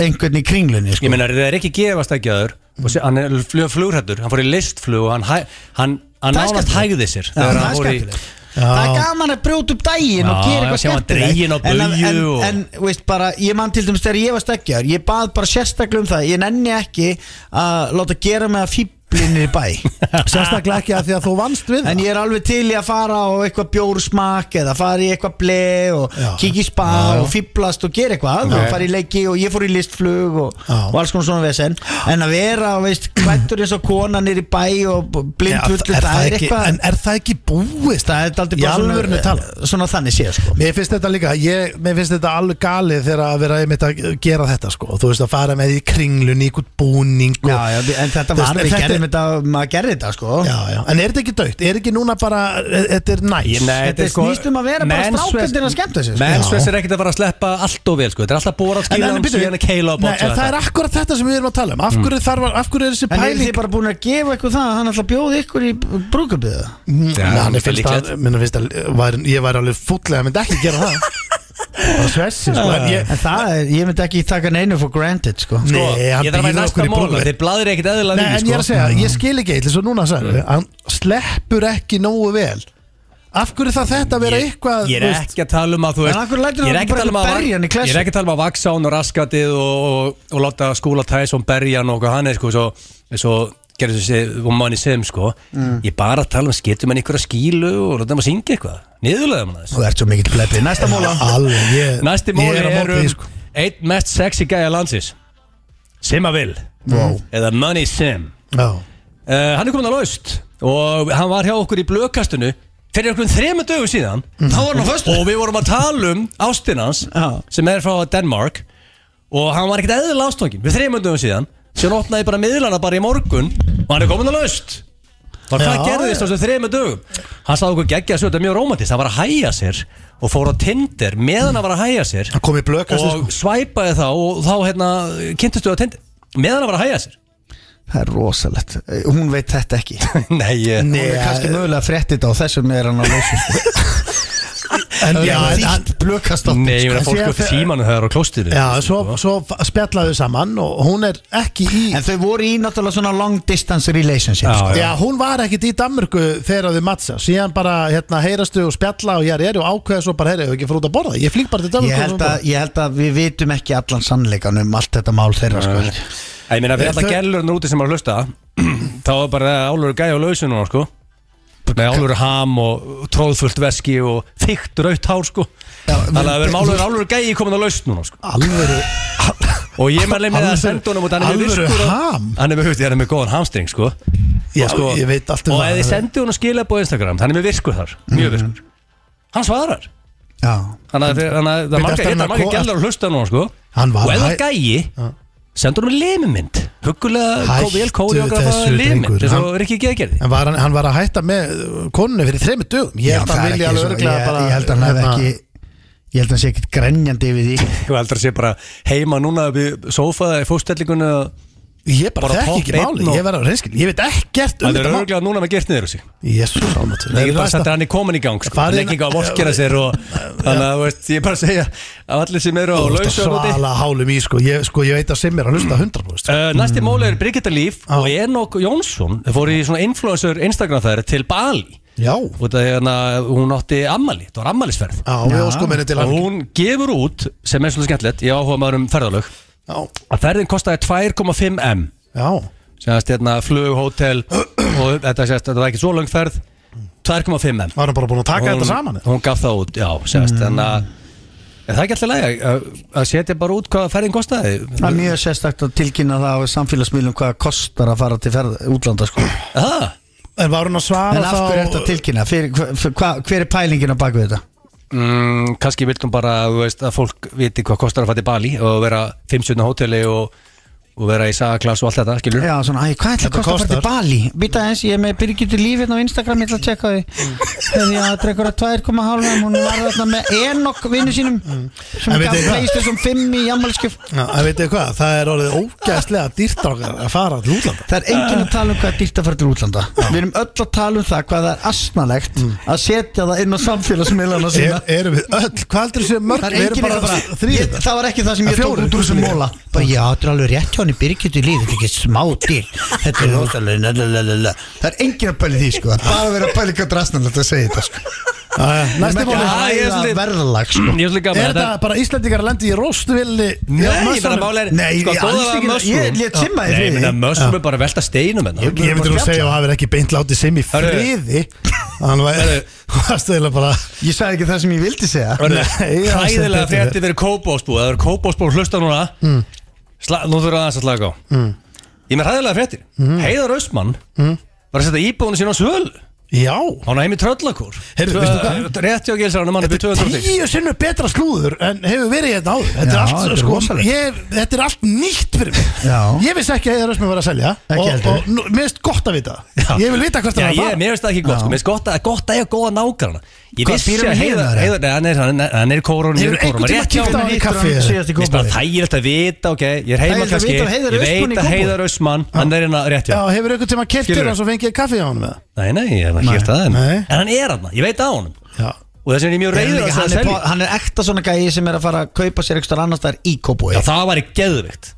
Speaker 2: einhvern í kringlunni sko
Speaker 3: ég meina, það er ekki gefast ekki aður
Speaker 1: Mm.
Speaker 3: hann er flug, flugrættur, hann fór í listflug og hann, hæ- hann, hann
Speaker 2: Það er
Speaker 3: nánast
Speaker 2: skemmtilegt.
Speaker 3: hægði sér
Speaker 2: Já,
Speaker 3: þegar
Speaker 2: það
Speaker 3: hann
Speaker 2: er
Speaker 3: fór í-
Speaker 2: skemmtilegt Það er gaman að brjóta upp daginn og
Speaker 3: Já,
Speaker 2: gera
Speaker 3: já,
Speaker 2: eitthvað
Speaker 3: sjá hann dreginn á
Speaker 2: skemmtilegt En,
Speaker 3: bauju
Speaker 2: en,
Speaker 3: og-
Speaker 2: en veist bara, ég man til dæmis þegar ég var stekkjar Ég bað bara sérstaklega um það Ég nenni ekki að láta gera mig að fíb djöflinni í bæ
Speaker 1: Sérstaklega ekki að því að þú vannst við
Speaker 2: En ég er alveg til í að fara á eitthvað bjórsmak eða fara í eitthvað ble og
Speaker 1: Já.
Speaker 2: kikið í spa og fýblast og gera eitthvað
Speaker 3: Ok.
Speaker 2: og fara í leiki og ég fór í listflug og,
Speaker 1: Já.
Speaker 2: og alls konar svona vesen en að vera, veist, kvættur eins og kona nýri bæ og blind
Speaker 1: það.
Speaker 2: fullu
Speaker 1: Er
Speaker 2: það er
Speaker 1: ekki-
Speaker 2: eitthvað
Speaker 1: En er það ekki búist?
Speaker 2: það er aldrei
Speaker 1: Í
Speaker 2: bara
Speaker 1: alvörunni
Speaker 2: svona,
Speaker 1: talað.
Speaker 2: svona þannig séð sko.
Speaker 1: Mér finnst þetta líka, ég, mér finnst þetta alveg galið þegar að vera einmitt að gera þetta sko Þú veist að fara með í kringlun, í einhvern búning og,
Speaker 2: já, já, en þetta
Speaker 1: Þú veist,
Speaker 2: var,
Speaker 1: þetta
Speaker 2: við
Speaker 1: er-
Speaker 2: gerðum þetta maður gerði þetta sko
Speaker 1: já, já. En er þetta ekki dögt? Er ekki núna bara, e- þetta er næs?
Speaker 3: Ég- nei,
Speaker 2: Þetta
Speaker 3: er sko-
Speaker 2: snýst um að vera bara
Speaker 3: mensvest-
Speaker 2: strákandinn að skemmta sér, sko.
Speaker 3: Mensvest
Speaker 1: Já.
Speaker 3: er ekkert að fara að sleppa allt og vel sko. Þetta er alltaf bóra að
Speaker 1: En,
Speaker 3: skýra
Speaker 1: en,
Speaker 3: um
Speaker 1: byrju,
Speaker 3: síðan að Mm. keila sko. og
Speaker 1: nei,
Speaker 3: bóta
Speaker 1: en það er akkurat þetta sem við erum að tala um Af hverju, þarf, að- af hverju er þessi
Speaker 2: En er
Speaker 1: pæling
Speaker 2: þið bara búin að gefa ykkur það að hann ætla að bjóða ykkur í brúkabíða?
Speaker 3: Já,
Speaker 1: Mér
Speaker 3: það er
Speaker 1: finnst að,
Speaker 3: líklegt.
Speaker 1: mér finnst að var, ég væri alveg fúllega, myndi ekki gera það Bara svessi sko en ég,
Speaker 2: Ah. En það er, ég myndi ekki taka neinu for granted sko
Speaker 1: Nei, hann
Speaker 3: Ég þarf að
Speaker 1: býður
Speaker 3: vera
Speaker 1: okkur
Speaker 3: næsta
Speaker 1: í
Speaker 3: móla
Speaker 1: brúðkaup.
Speaker 3: Þið blaðir ekkert eðlilega
Speaker 1: Nei,
Speaker 3: mikið,
Speaker 1: en ég er að
Speaker 3: sko. Mm.
Speaker 1: segja, ég skil ekki eitthvað svo núna sagði, hann sleppur ekki nógu vel af hverju það þetta að vera
Speaker 3: Ég-
Speaker 1: eitthvað
Speaker 3: Ég er
Speaker 1: þú veist,
Speaker 3: ekki að tala um að þú
Speaker 2: En af hverju lætur
Speaker 3: Ég er
Speaker 2: hann
Speaker 3: ekki að
Speaker 2: bara
Speaker 3: tala um að
Speaker 2: berja
Speaker 3: vak-
Speaker 2: hann í klessu?
Speaker 3: Ég er ekki að tala um að vaksa hann og raskatið og, og, og láta skúla Tyson berja hann og hvað hann er sko, svo, svo gerðu þessi manni sem sko
Speaker 1: Mm.
Speaker 3: Ég er bara að tala um skitum hann einhverja skílu og láta hann að syngja eitthvað Niðurlega hann aðeins
Speaker 2: Þú ert svo mikill plebbi Næsta móla
Speaker 1: alveg, ég,
Speaker 3: Næsti
Speaker 1: ég
Speaker 3: móli
Speaker 1: er að
Speaker 3: er
Speaker 1: móti
Speaker 3: um
Speaker 1: því, sko.
Speaker 3: Eitt mest sexy gæja landsins Simma Vil
Speaker 2: wow.
Speaker 3: Eða Money Sim
Speaker 1: Já.
Speaker 3: Uh, hann er komin á laust og hann var hjá okkur í blökastinu fyrir okkur þrema dögum síðan
Speaker 2: Þá var hann á föstu
Speaker 3: Mhm. og við vorum að tala um ástinans
Speaker 2: Já.
Speaker 3: sem er frá Danmark og hann var ekkert eðla ástofngin við þrema dögum síðan sem opnaði bara miðlana bara í morgun og hann er komin á laust og hvað
Speaker 1: Já,
Speaker 3: gerðist á þessu þrema dögum hann sagði okkur geggja þessu, þetta er mjög rómantist hann var að hæja sér og fór á Tinder meðan hann var að hæja sér
Speaker 1: hann kom í blökast
Speaker 3: og svæpaði þá og þá hérna kynntustu á Tinder meðan hann var að hæja sér
Speaker 2: Það er rosalegt Eh, Hún veit þetta ekki Hún
Speaker 3: Nei, ég...
Speaker 2: er kannski mögulega fréttið á þessum er hann á leysu
Speaker 1: en, já, en,
Speaker 2: Þýtt
Speaker 1: hann,
Speaker 2: blökast á
Speaker 3: Nei, ég meina
Speaker 1: Sko,
Speaker 3: fólk
Speaker 1: sé
Speaker 3: upp í
Speaker 1: að-
Speaker 3: símanu þegar það er á klóstinu
Speaker 1: já, svo, svo f- spjallaðu saman og hún er ekki í
Speaker 2: En þau voru í náttúrulega svona long distance relationship
Speaker 3: Já,
Speaker 2: sko.
Speaker 1: já, hún var ekkit í Danmörku þegar þau mattsa síðan bara hérna, heyrastu og spjalla og ég er, og ákveða svo bara, heyri, ég ekki fór út að borða ég flýg bara til Danmörku
Speaker 2: ég, held að, ég held að við vitum ekki allan sannleikan um allt þetta mál þeirra sko.
Speaker 3: Æ, Ég meina fyrir alltaf
Speaker 1: Þau-
Speaker 3: gælurinn úti sem er að hlusta Þá er bara álur gæja á lausu núna sko Nei, álur ham og tróðfullt veski og þykkt raut hár sko Þannig að við erum álur, álur gæji komin á laus núna sko
Speaker 1: alvöru,
Speaker 3: Og ég meðlega með að
Speaker 1: Alvöru-
Speaker 3: senda honum út Hann er með
Speaker 1: alvöru
Speaker 3: virkur og-
Speaker 1: ham?
Speaker 3: Hann er með hútt, hann er með góðan hamstring sko
Speaker 1: Já,
Speaker 3: Og sko-
Speaker 1: ég veit allt um það.
Speaker 3: Og
Speaker 1: Mhm.
Speaker 3: ef þið sendu honum skila á Instagram Hann er með virkur þar, mjög virkur Hann svarar
Speaker 2: Já
Speaker 3: Þannig að- þannig að það er
Speaker 1: Bíddu,
Speaker 3: marga,
Speaker 1: eftir hann
Speaker 3: hérna
Speaker 1: að
Speaker 3: marga
Speaker 1: ko-
Speaker 3: gælur að hlusta núna sko
Speaker 1: hann
Speaker 3: Og
Speaker 1: var
Speaker 3: ef það
Speaker 1: hæ-
Speaker 3: er gæi Sendur hún limumynd Huggulega
Speaker 1: Hættu
Speaker 3: vel kóriógrafa
Speaker 1: þessu,
Speaker 3: limumynd
Speaker 1: drengur.
Speaker 3: Þess
Speaker 1: Hann-
Speaker 3: að Rikki G gerði
Speaker 1: En var hann, hann var að hætta með konunni fyrir þremi dögum Ég
Speaker 2: Já,
Speaker 1: held að
Speaker 2: það
Speaker 1: hann
Speaker 2: er
Speaker 1: vilja
Speaker 2: ekki
Speaker 1: alveg
Speaker 2: svo-
Speaker 1: örglega
Speaker 2: ég-
Speaker 1: bara
Speaker 2: Ég held að hann hef
Speaker 1: hérna,
Speaker 2: ekki Ég held að hann sé ekkit grenjandi yfir því
Speaker 3: Ég heldur að sé bara heima núna við sófaða í fóstellingunni
Speaker 1: Ég bara,
Speaker 3: bara
Speaker 1: þekki ekki
Speaker 3: popp
Speaker 1: máli
Speaker 3: einn og-
Speaker 1: Ég verður reynskil, ég veit ekkert um
Speaker 3: Það er
Speaker 1: þetta mál
Speaker 3: örgulega núna með gert niður þessi
Speaker 1: Jésús ámatur
Speaker 3: Ég er bara að setja hann í komin í gang sko.
Speaker 1: Farin-
Speaker 3: Legging á vorkera sér og Þannig að þú veist, ég er bara að segja að allir sem eru á lausu uh,
Speaker 1: Svala hálum í sko Ég, sko, ég veit að sem er að hlusta
Speaker 3: Eh.
Speaker 1: 100%
Speaker 3: Næsti mól er Brigitta Líf og Enok Jónsson Þau fóru í svona influencer Instagram þær til Bali
Speaker 1: Já,
Speaker 3: Út af því hérna, hún átti ammali, það var ammalisferð
Speaker 1: á, við óskum henni til
Speaker 3: og
Speaker 1: hann
Speaker 3: hún gefur út sem er svona skemmtilegt, ég áhuga maður um ferðalög
Speaker 1: Já,
Speaker 3: að ferðin kostaði 2,5 m
Speaker 1: já,
Speaker 3: sem að stjórna flug, hótel og þetta, sést, þetta var ekki svo lang ferð 2,5 m
Speaker 1: var hann bara búin að taka þetta saman Mm.
Speaker 3: hún gaf það út, já, sést, en að En það er ekki alltaf læg að setja bara út hvað ferðin kostaði
Speaker 2: Það er mjög sérstakt að tilkynna það á samfélagsmiðlum hvað kostar að fara til ferð, útlanda sko.
Speaker 3: Það,
Speaker 1: En var hún að
Speaker 2: En
Speaker 1: svara
Speaker 2: af hverju ertu að
Speaker 1: þá
Speaker 2: tilkynna? Fyrir, hver, hver, hver er pælingin á bakvið þetta?
Speaker 3: mm, kannski viltum bara þú veist, að fólk viti hvað kostar að fara til Bali og vera 50 hóteli og, og vera í sagaklass og allt þetta, skilur
Speaker 2: Já, svona, æ, hvað ætla að
Speaker 1: Þetta
Speaker 2: kosta að fara
Speaker 1: kostar.
Speaker 2: til Bali? Býta eins, ég er með Birgitur Líf hérna á Instagram, ég ætla að tjekka því Þegar ég að drekkur að 2,5 hún var þarna með Enok vinnu sínum sem
Speaker 1: En
Speaker 2: gaf
Speaker 1: vitið þið hvað?
Speaker 2: pleistur sem 5 í jammalskjöf
Speaker 1: Já, En veitir hvað, það er orðið ógæðslega dýrt á okkar að fara til útlanda
Speaker 2: Það er enginn að tala um hvað er dýrt að fara til útlanda Við erum öll að tala um það hvað það er asnalegt að setja það inn á samfélagsmiðlana
Speaker 1: er,
Speaker 2: sína
Speaker 1: Erum við öll, hvað heldur þessi mörg
Speaker 2: Það er
Speaker 1: Við
Speaker 2: enginn
Speaker 1: erum bara, hérna. bara
Speaker 2: eitthvað bara
Speaker 1: þrýð
Speaker 2: ég, Það var ekki það
Speaker 1: Ja,
Speaker 2: sem ég tók
Speaker 1: fjórir,
Speaker 2: út úr þessum
Speaker 1: fjórir.
Speaker 2: móla Bara já, þetta er alveg rétt hjá henni Birgit í líf, þetta er ekki smá dýr Þetta er rosalega la, la, la, la, la. Það er enginn að pæli því sko Það er bara að vera að pæli hvað drastnalegt að segja þetta sko
Speaker 1: Jæja, Næsti
Speaker 3: Já,
Speaker 1: bóli
Speaker 3: ég er svolítið-
Speaker 2: verðalag sko
Speaker 3: Ég er svolítið
Speaker 1: Er
Speaker 3: gaman
Speaker 1: þetta bara Íslandingar að lendi í róstvilli
Speaker 3: Nei, ég bara máli er
Speaker 2: Nei,
Speaker 3: Sko,
Speaker 2: ég-
Speaker 3: góða
Speaker 2: alls
Speaker 3: var
Speaker 2: ekki-
Speaker 3: mushroom
Speaker 2: ég- ég timma þig
Speaker 3: Nei,
Speaker 2: fyrir
Speaker 3: ég meina
Speaker 2: því.
Speaker 3: mushroom er bara að velta steinum hérna
Speaker 1: Ég ég myndi nú segja að það hefur ekki beint látið sem í
Speaker 3: Hörru.
Speaker 1: friði Hann var stöðilega bara
Speaker 2: Ég sagði ekki það sem ég vildi segja
Speaker 1: Nei, ég-
Speaker 3: Hræðilega frétti fyrir kópásbú Það eru kópásbú að hlusta núna
Speaker 1: Mm.
Speaker 3: Sla, Nú þurfa aðeins að slaka á Ég er með hræðilega fréttir
Speaker 1: Mm.
Speaker 3: Heiðar Östmann var að setja íbúinu sín á svöl
Speaker 1: Já
Speaker 3: Hann er heim í tröllakór
Speaker 1: Heyrðu,
Speaker 3: Tvö-
Speaker 1: veistu hvað?
Speaker 3: Rétti á gilsarunum, hann er byrð 210
Speaker 1: Tíu sinnum betra slúður en hefur verið hérna áður Þetta er
Speaker 2: Já,
Speaker 1: allt,
Speaker 2: þetta er
Speaker 1: sko,
Speaker 2: rosalegt.
Speaker 1: ég, þetta er allt nýtt fyrir mig
Speaker 2: Já.
Speaker 1: Ég vissi ekki að Heiðar Ösmi var að selja
Speaker 2: Ekki
Speaker 1: Og,
Speaker 2: heldur.
Speaker 1: og nú- mér finnst gott að vita það. Ég vil vita hvert
Speaker 3: Já,
Speaker 1: það
Speaker 3: ég,
Speaker 1: var
Speaker 3: mér finnst það ekki gott, sko, mér finnst gott að, gott að ég góða nákvæmna Ég
Speaker 2: Hvað
Speaker 3: vissi
Speaker 2: býr hann
Speaker 3: að
Speaker 2: í
Speaker 3: Heiðar,
Speaker 2: Heiðari?
Speaker 3: Heiðar, nei, hann er- hann er- hann er í kórunum, ég
Speaker 1: Hefur
Speaker 3: er í
Speaker 1: einhvern tíma
Speaker 3: kórunum Rétt hjá
Speaker 1: kýft á
Speaker 3: honum.
Speaker 1: hann í
Speaker 2: Hittir hann
Speaker 1: kaffi eða?
Speaker 2: síðast í
Speaker 3: Mér finnst bara
Speaker 2: Kópavogi.
Speaker 3: þægilegt að vita, ok, ég er heima
Speaker 2: Þægilegt að
Speaker 3: kannski
Speaker 2: vita að Heiðar
Speaker 3: Ég
Speaker 2: er Austmann í
Speaker 3: veit að
Speaker 2: Kópavogi.
Speaker 3: heiðar ausmann, hann er hérna rétt hjá
Speaker 1: Já, hefur einhvern tíma keft
Speaker 3: Skilurðu?
Speaker 1: þér og svo fengið kaffi á hann með
Speaker 3: Nei, nei, ég hef ekki gert það en,
Speaker 1: Nei.
Speaker 3: en hann er hann, ég veit að honum
Speaker 1: Já
Speaker 3: Og þess vegna er ég mjög reyður að það
Speaker 2: hann, er
Speaker 3: selja
Speaker 2: po- hann er ekta svona gæi sem er að fara að kaupa sér eitthvað annars þar í kópúi
Speaker 3: Já, það var í geðvikt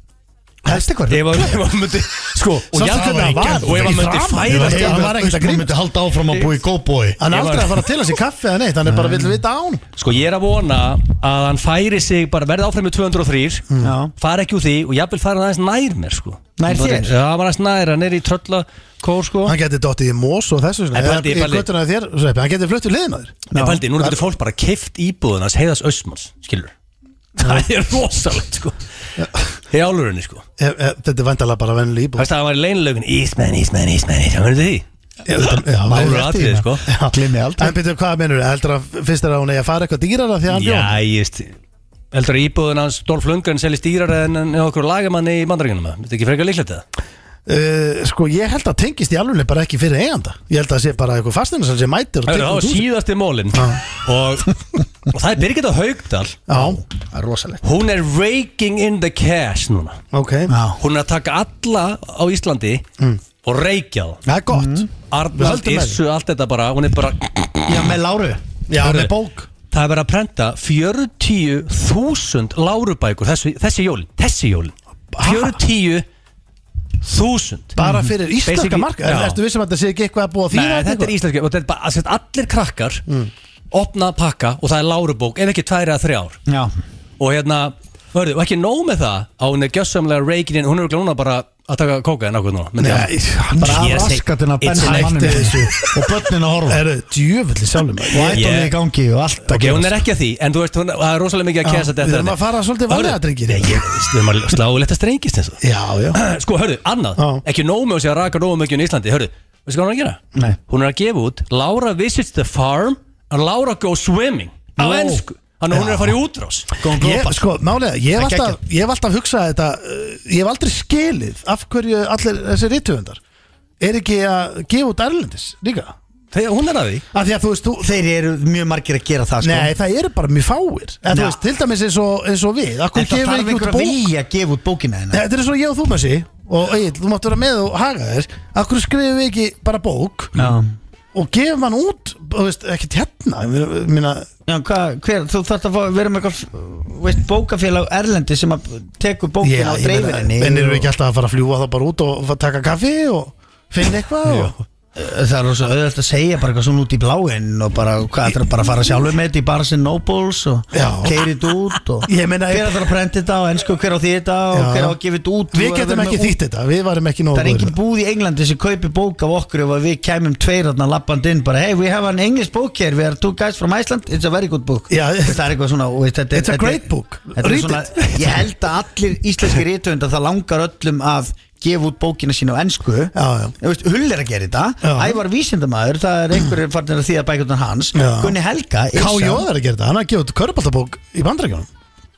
Speaker 2: Hætti hvað
Speaker 3: Ég var, ég var myndi, sko, og
Speaker 1: Samt
Speaker 3: ég
Speaker 1: það var í geðveikt.
Speaker 3: Og ég var myndi
Speaker 1: Í framan. Ég
Speaker 3: fæðast
Speaker 1: var- hann ekkert
Speaker 3: í-
Speaker 1: að
Speaker 2: Austmann
Speaker 1: grínast.
Speaker 2: myndi halda áfram að búa í kópúi
Speaker 1: Hann er
Speaker 3: Ég var-
Speaker 1: aldrei að fara að tila sér kaffi eða neitt Hann er bara að vilja vita á hann
Speaker 3: Sko, ég er að vona að hann færi sig bara verði áfram með 203
Speaker 2: Já.
Speaker 3: fari ekki úr því og jafnvel fara aðeins nær mér, sko
Speaker 2: Mm. Nær
Speaker 3: Bara-
Speaker 2: þér?
Speaker 3: Já, hann var aðeins nær, hann er í tröllakór, sko
Speaker 1: Hann geti dottið í mós og þessu svona,
Speaker 3: En
Speaker 1: eða
Speaker 3: pældi,
Speaker 1: Í
Speaker 3: pældi.
Speaker 1: göttuna þér, sveppi, hann geti flutt við liðin á þér
Speaker 3: Ég pældi, núna getur fólk bara keift íbúðunars heiðas Ösmanns, skilur Það er rosalegt, sko Í álurinni, sko
Speaker 1: E- e- Þetta er vandalega bara vennileg íbúð
Speaker 3: Fæst að það var í leinlögun Ísmenn, Ísmenn, Ísmenn, Ísmenn, verður því?
Speaker 1: Já, þetta- já,
Speaker 3: Málur
Speaker 1: já,
Speaker 3: atriði, sko
Speaker 1: já.
Speaker 2: Glimmi
Speaker 1: En
Speaker 2: aldrei
Speaker 1: betur, hvað mennur, heldur að fyrst er að hún eigi að fara eitthvað dýrara því að hann bjóð
Speaker 3: Já, ég veist Heldur að íbúðun hans Dolph Lundgren selist dýrar en, en okkur lagamanni í bandaríkjunum eða? Þetta er ekki frekar líklegt eða?
Speaker 1: uh, Sko, ég held að tengist í alveg bara ekki fyrir eiganda Ég held að það sé bara eitthvað fastinu sem sé mætir og
Speaker 3: Það
Speaker 1: tekur
Speaker 3: var
Speaker 1: út húsið.
Speaker 3: síðasti mólin og, og það er Birgitta Haugdal
Speaker 1: Já,
Speaker 2: Það er rosalegt
Speaker 3: Hún er raking in the cash núna
Speaker 1: ok
Speaker 3: Hún er að taka alla á Íslandi og reykja það
Speaker 1: Það er
Speaker 3: Mhm.
Speaker 1: gott
Speaker 3: Arnald,
Speaker 1: Mm. höldum með
Speaker 3: Issu, allt þetta bara Hún er bara
Speaker 2: Já, með Láru
Speaker 1: Já,
Speaker 3: Hörru.
Speaker 1: með bók
Speaker 3: Það er verið að prenta 40.000 lárubækur þessi, þessi jólin, þessi jólin 40.000
Speaker 1: Bara fyrir íslenska
Speaker 3: Mhm. Basically,
Speaker 1: marka Er-
Speaker 3: já.
Speaker 1: Ertu vissum að þetta sé ekki eitthvað að búa því
Speaker 3: Nei, þetta er íslenski og þetta er bara, að sett allir krakkar
Speaker 1: Mm.
Speaker 3: opna pakka og það er lárubók ef ekki tværi að þrjár
Speaker 2: Já
Speaker 3: og hérna, hörðu, og ekki nóg með það á hún er gjössamlega reikinin, hún er örugglega núna bara að taka kóka en okkur núna myndi ég-
Speaker 1: íslenska
Speaker 2: Bara
Speaker 3: Ég
Speaker 2: að
Speaker 3: seg-
Speaker 2: raskatina
Speaker 3: It's
Speaker 2: bensin
Speaker 3: like
Speaker 2: mannum
Speaker 1: this.
Speaker 2: Og börnin að horfa
Speaker 1: Eru djöfulli sjálfum
Speaker 2: Og ætlum í gangi og allt
Speaker 3: Ok, hún er ekki að því, en þú veist, hún, það er rosalega mikið að
Speaker 1: Já,
Speaker 3: kæsa þetta
Speaker 1: við erum að fara svolítið varlega,
Speaker 3: Hörðu,
Speaker 1: drengir.
Speaker 3: Já, ég, við erum að slá letta strengist eins og
Speaker 1: Já, já
Speaker 3: Sko, hörðu, annað,
Speaker 1: Já.
Speaker 3: ekki nóg með að segja raka nóg mjög í Íslandi, hörðu, veistu hvað hún er að gera?
Speaker 2: Nei.
Speaker 3: Hún er að gefa út Laura visits the farm and Laura goes swimming á
Speaker 1: Ó.
Speaker 3: ennsku, þannig að hún er að fara í útrás
Speaker 2: Góðan
Speaker 1: Ég,
Speaker 2: glópa
Speaker 1: sko, málega, ég hef
Speaker 2: Það er
Speaker 1: alltaf, ég hef alltaf hugsað þetta uh, Ég hef aldrei skilið af hverju allir þessi rithöfundar Er ekki að gefa út Erlendis líka
Speaker 3: Þegar hún er að því
Speaker 1: Af því að þú veist, þú
Speaker 2: Þeir eru mjög margir að gera það sko
Speaker 1: Nei, það eru bara mjög fáir En þú
Speaker 2: Já.
Speaker 1: veist, til dæmis eins og, eins og við Akkur
Speaker 2: En það
Speaker 1: gefur
Speaker 2: þarf
Speaker 1: ekki út
Speaker 2: einhver að
Speaker 1: bók
Speaker 2: vilja að gefa út bókina hennar
Speaker 1: Þetta er svo ég og þú með sig Og Egil, þú mátt vera með og haga þér Akkur skrifum við ekki bara bók
Speaker 2: Já
Speaker 1: Og gefum hann út, þú veist, ekkert hérna ég Meina,
Speaker 2: Já, hvað, hver, þú þarft að fá- vera með eitthvað, veist, bókafélag erlendi sem að tekur bókina á
Speaker 1: ég meina,
Speaker 2: dreifinni
Speaker 1: En eru við ekki alltaf að fara að fljúa þá bara út Og taka kaffi og finna eitthvað og...
Speaker 2: Það er rosa auðvitað að segja bara eitthvað svona út í bláinn og bara, hvað, það er bara að fara sjálfur með þetta í Barnes and Nobles og
Speaker 1: Já.
Speaker 2: keiri þetta út og
Speaker 1: Ég meina-
Speaker 2: hver að það að prenta þetta og ennsku hver á því þetta og
Speaker 1: Já.
Speaker 2: hver á að gefa þetta
Speaker 1: Við
Speaker 2: út Þú
Speaker 1: getum
Speaker 2: verður
Speaker 1: ekki
Speaker 2: með út-
Speaker 1: þýtt þetta, við varum ekki nógu
Speaker 2: Það er
Speaker 1: góðir.
Speaker 2: engin búð í Englandi sem kaupi bók af okkur ef að við kæmum tveir þarna lappand inn bara hey we have an English book here we are two guys from Iceland it's a very good book
Speaker 1: Já.
Speaker 2: það er eitthvað svona og veist, þetta, er-
Speaker 1: It's a
Speaker 2: þetta er-
Speaker 1: great book.
Speaker 2: þetta er
Speaker 1: Read
Speaker 2: svona,
Speaker 1: it.
Speaker 2: ég held að allir íslenski rítuvendar það langar öllum að gefa út bókina sína á ennsku
Speaker 1: Já, já.
Speaker 2: Veist, Hull er að gera þetta
Speaker 1: Já.
Speaker 2: Ævar vísindamaður það er einhverjir farnir að þýða bækjöndan hans
Speaker 1: Já.
Speaker 2: Gunni Helga
Speaker 1: KJ er að gera þetta, hann er að gefa út körubaltabók í bandrækjunum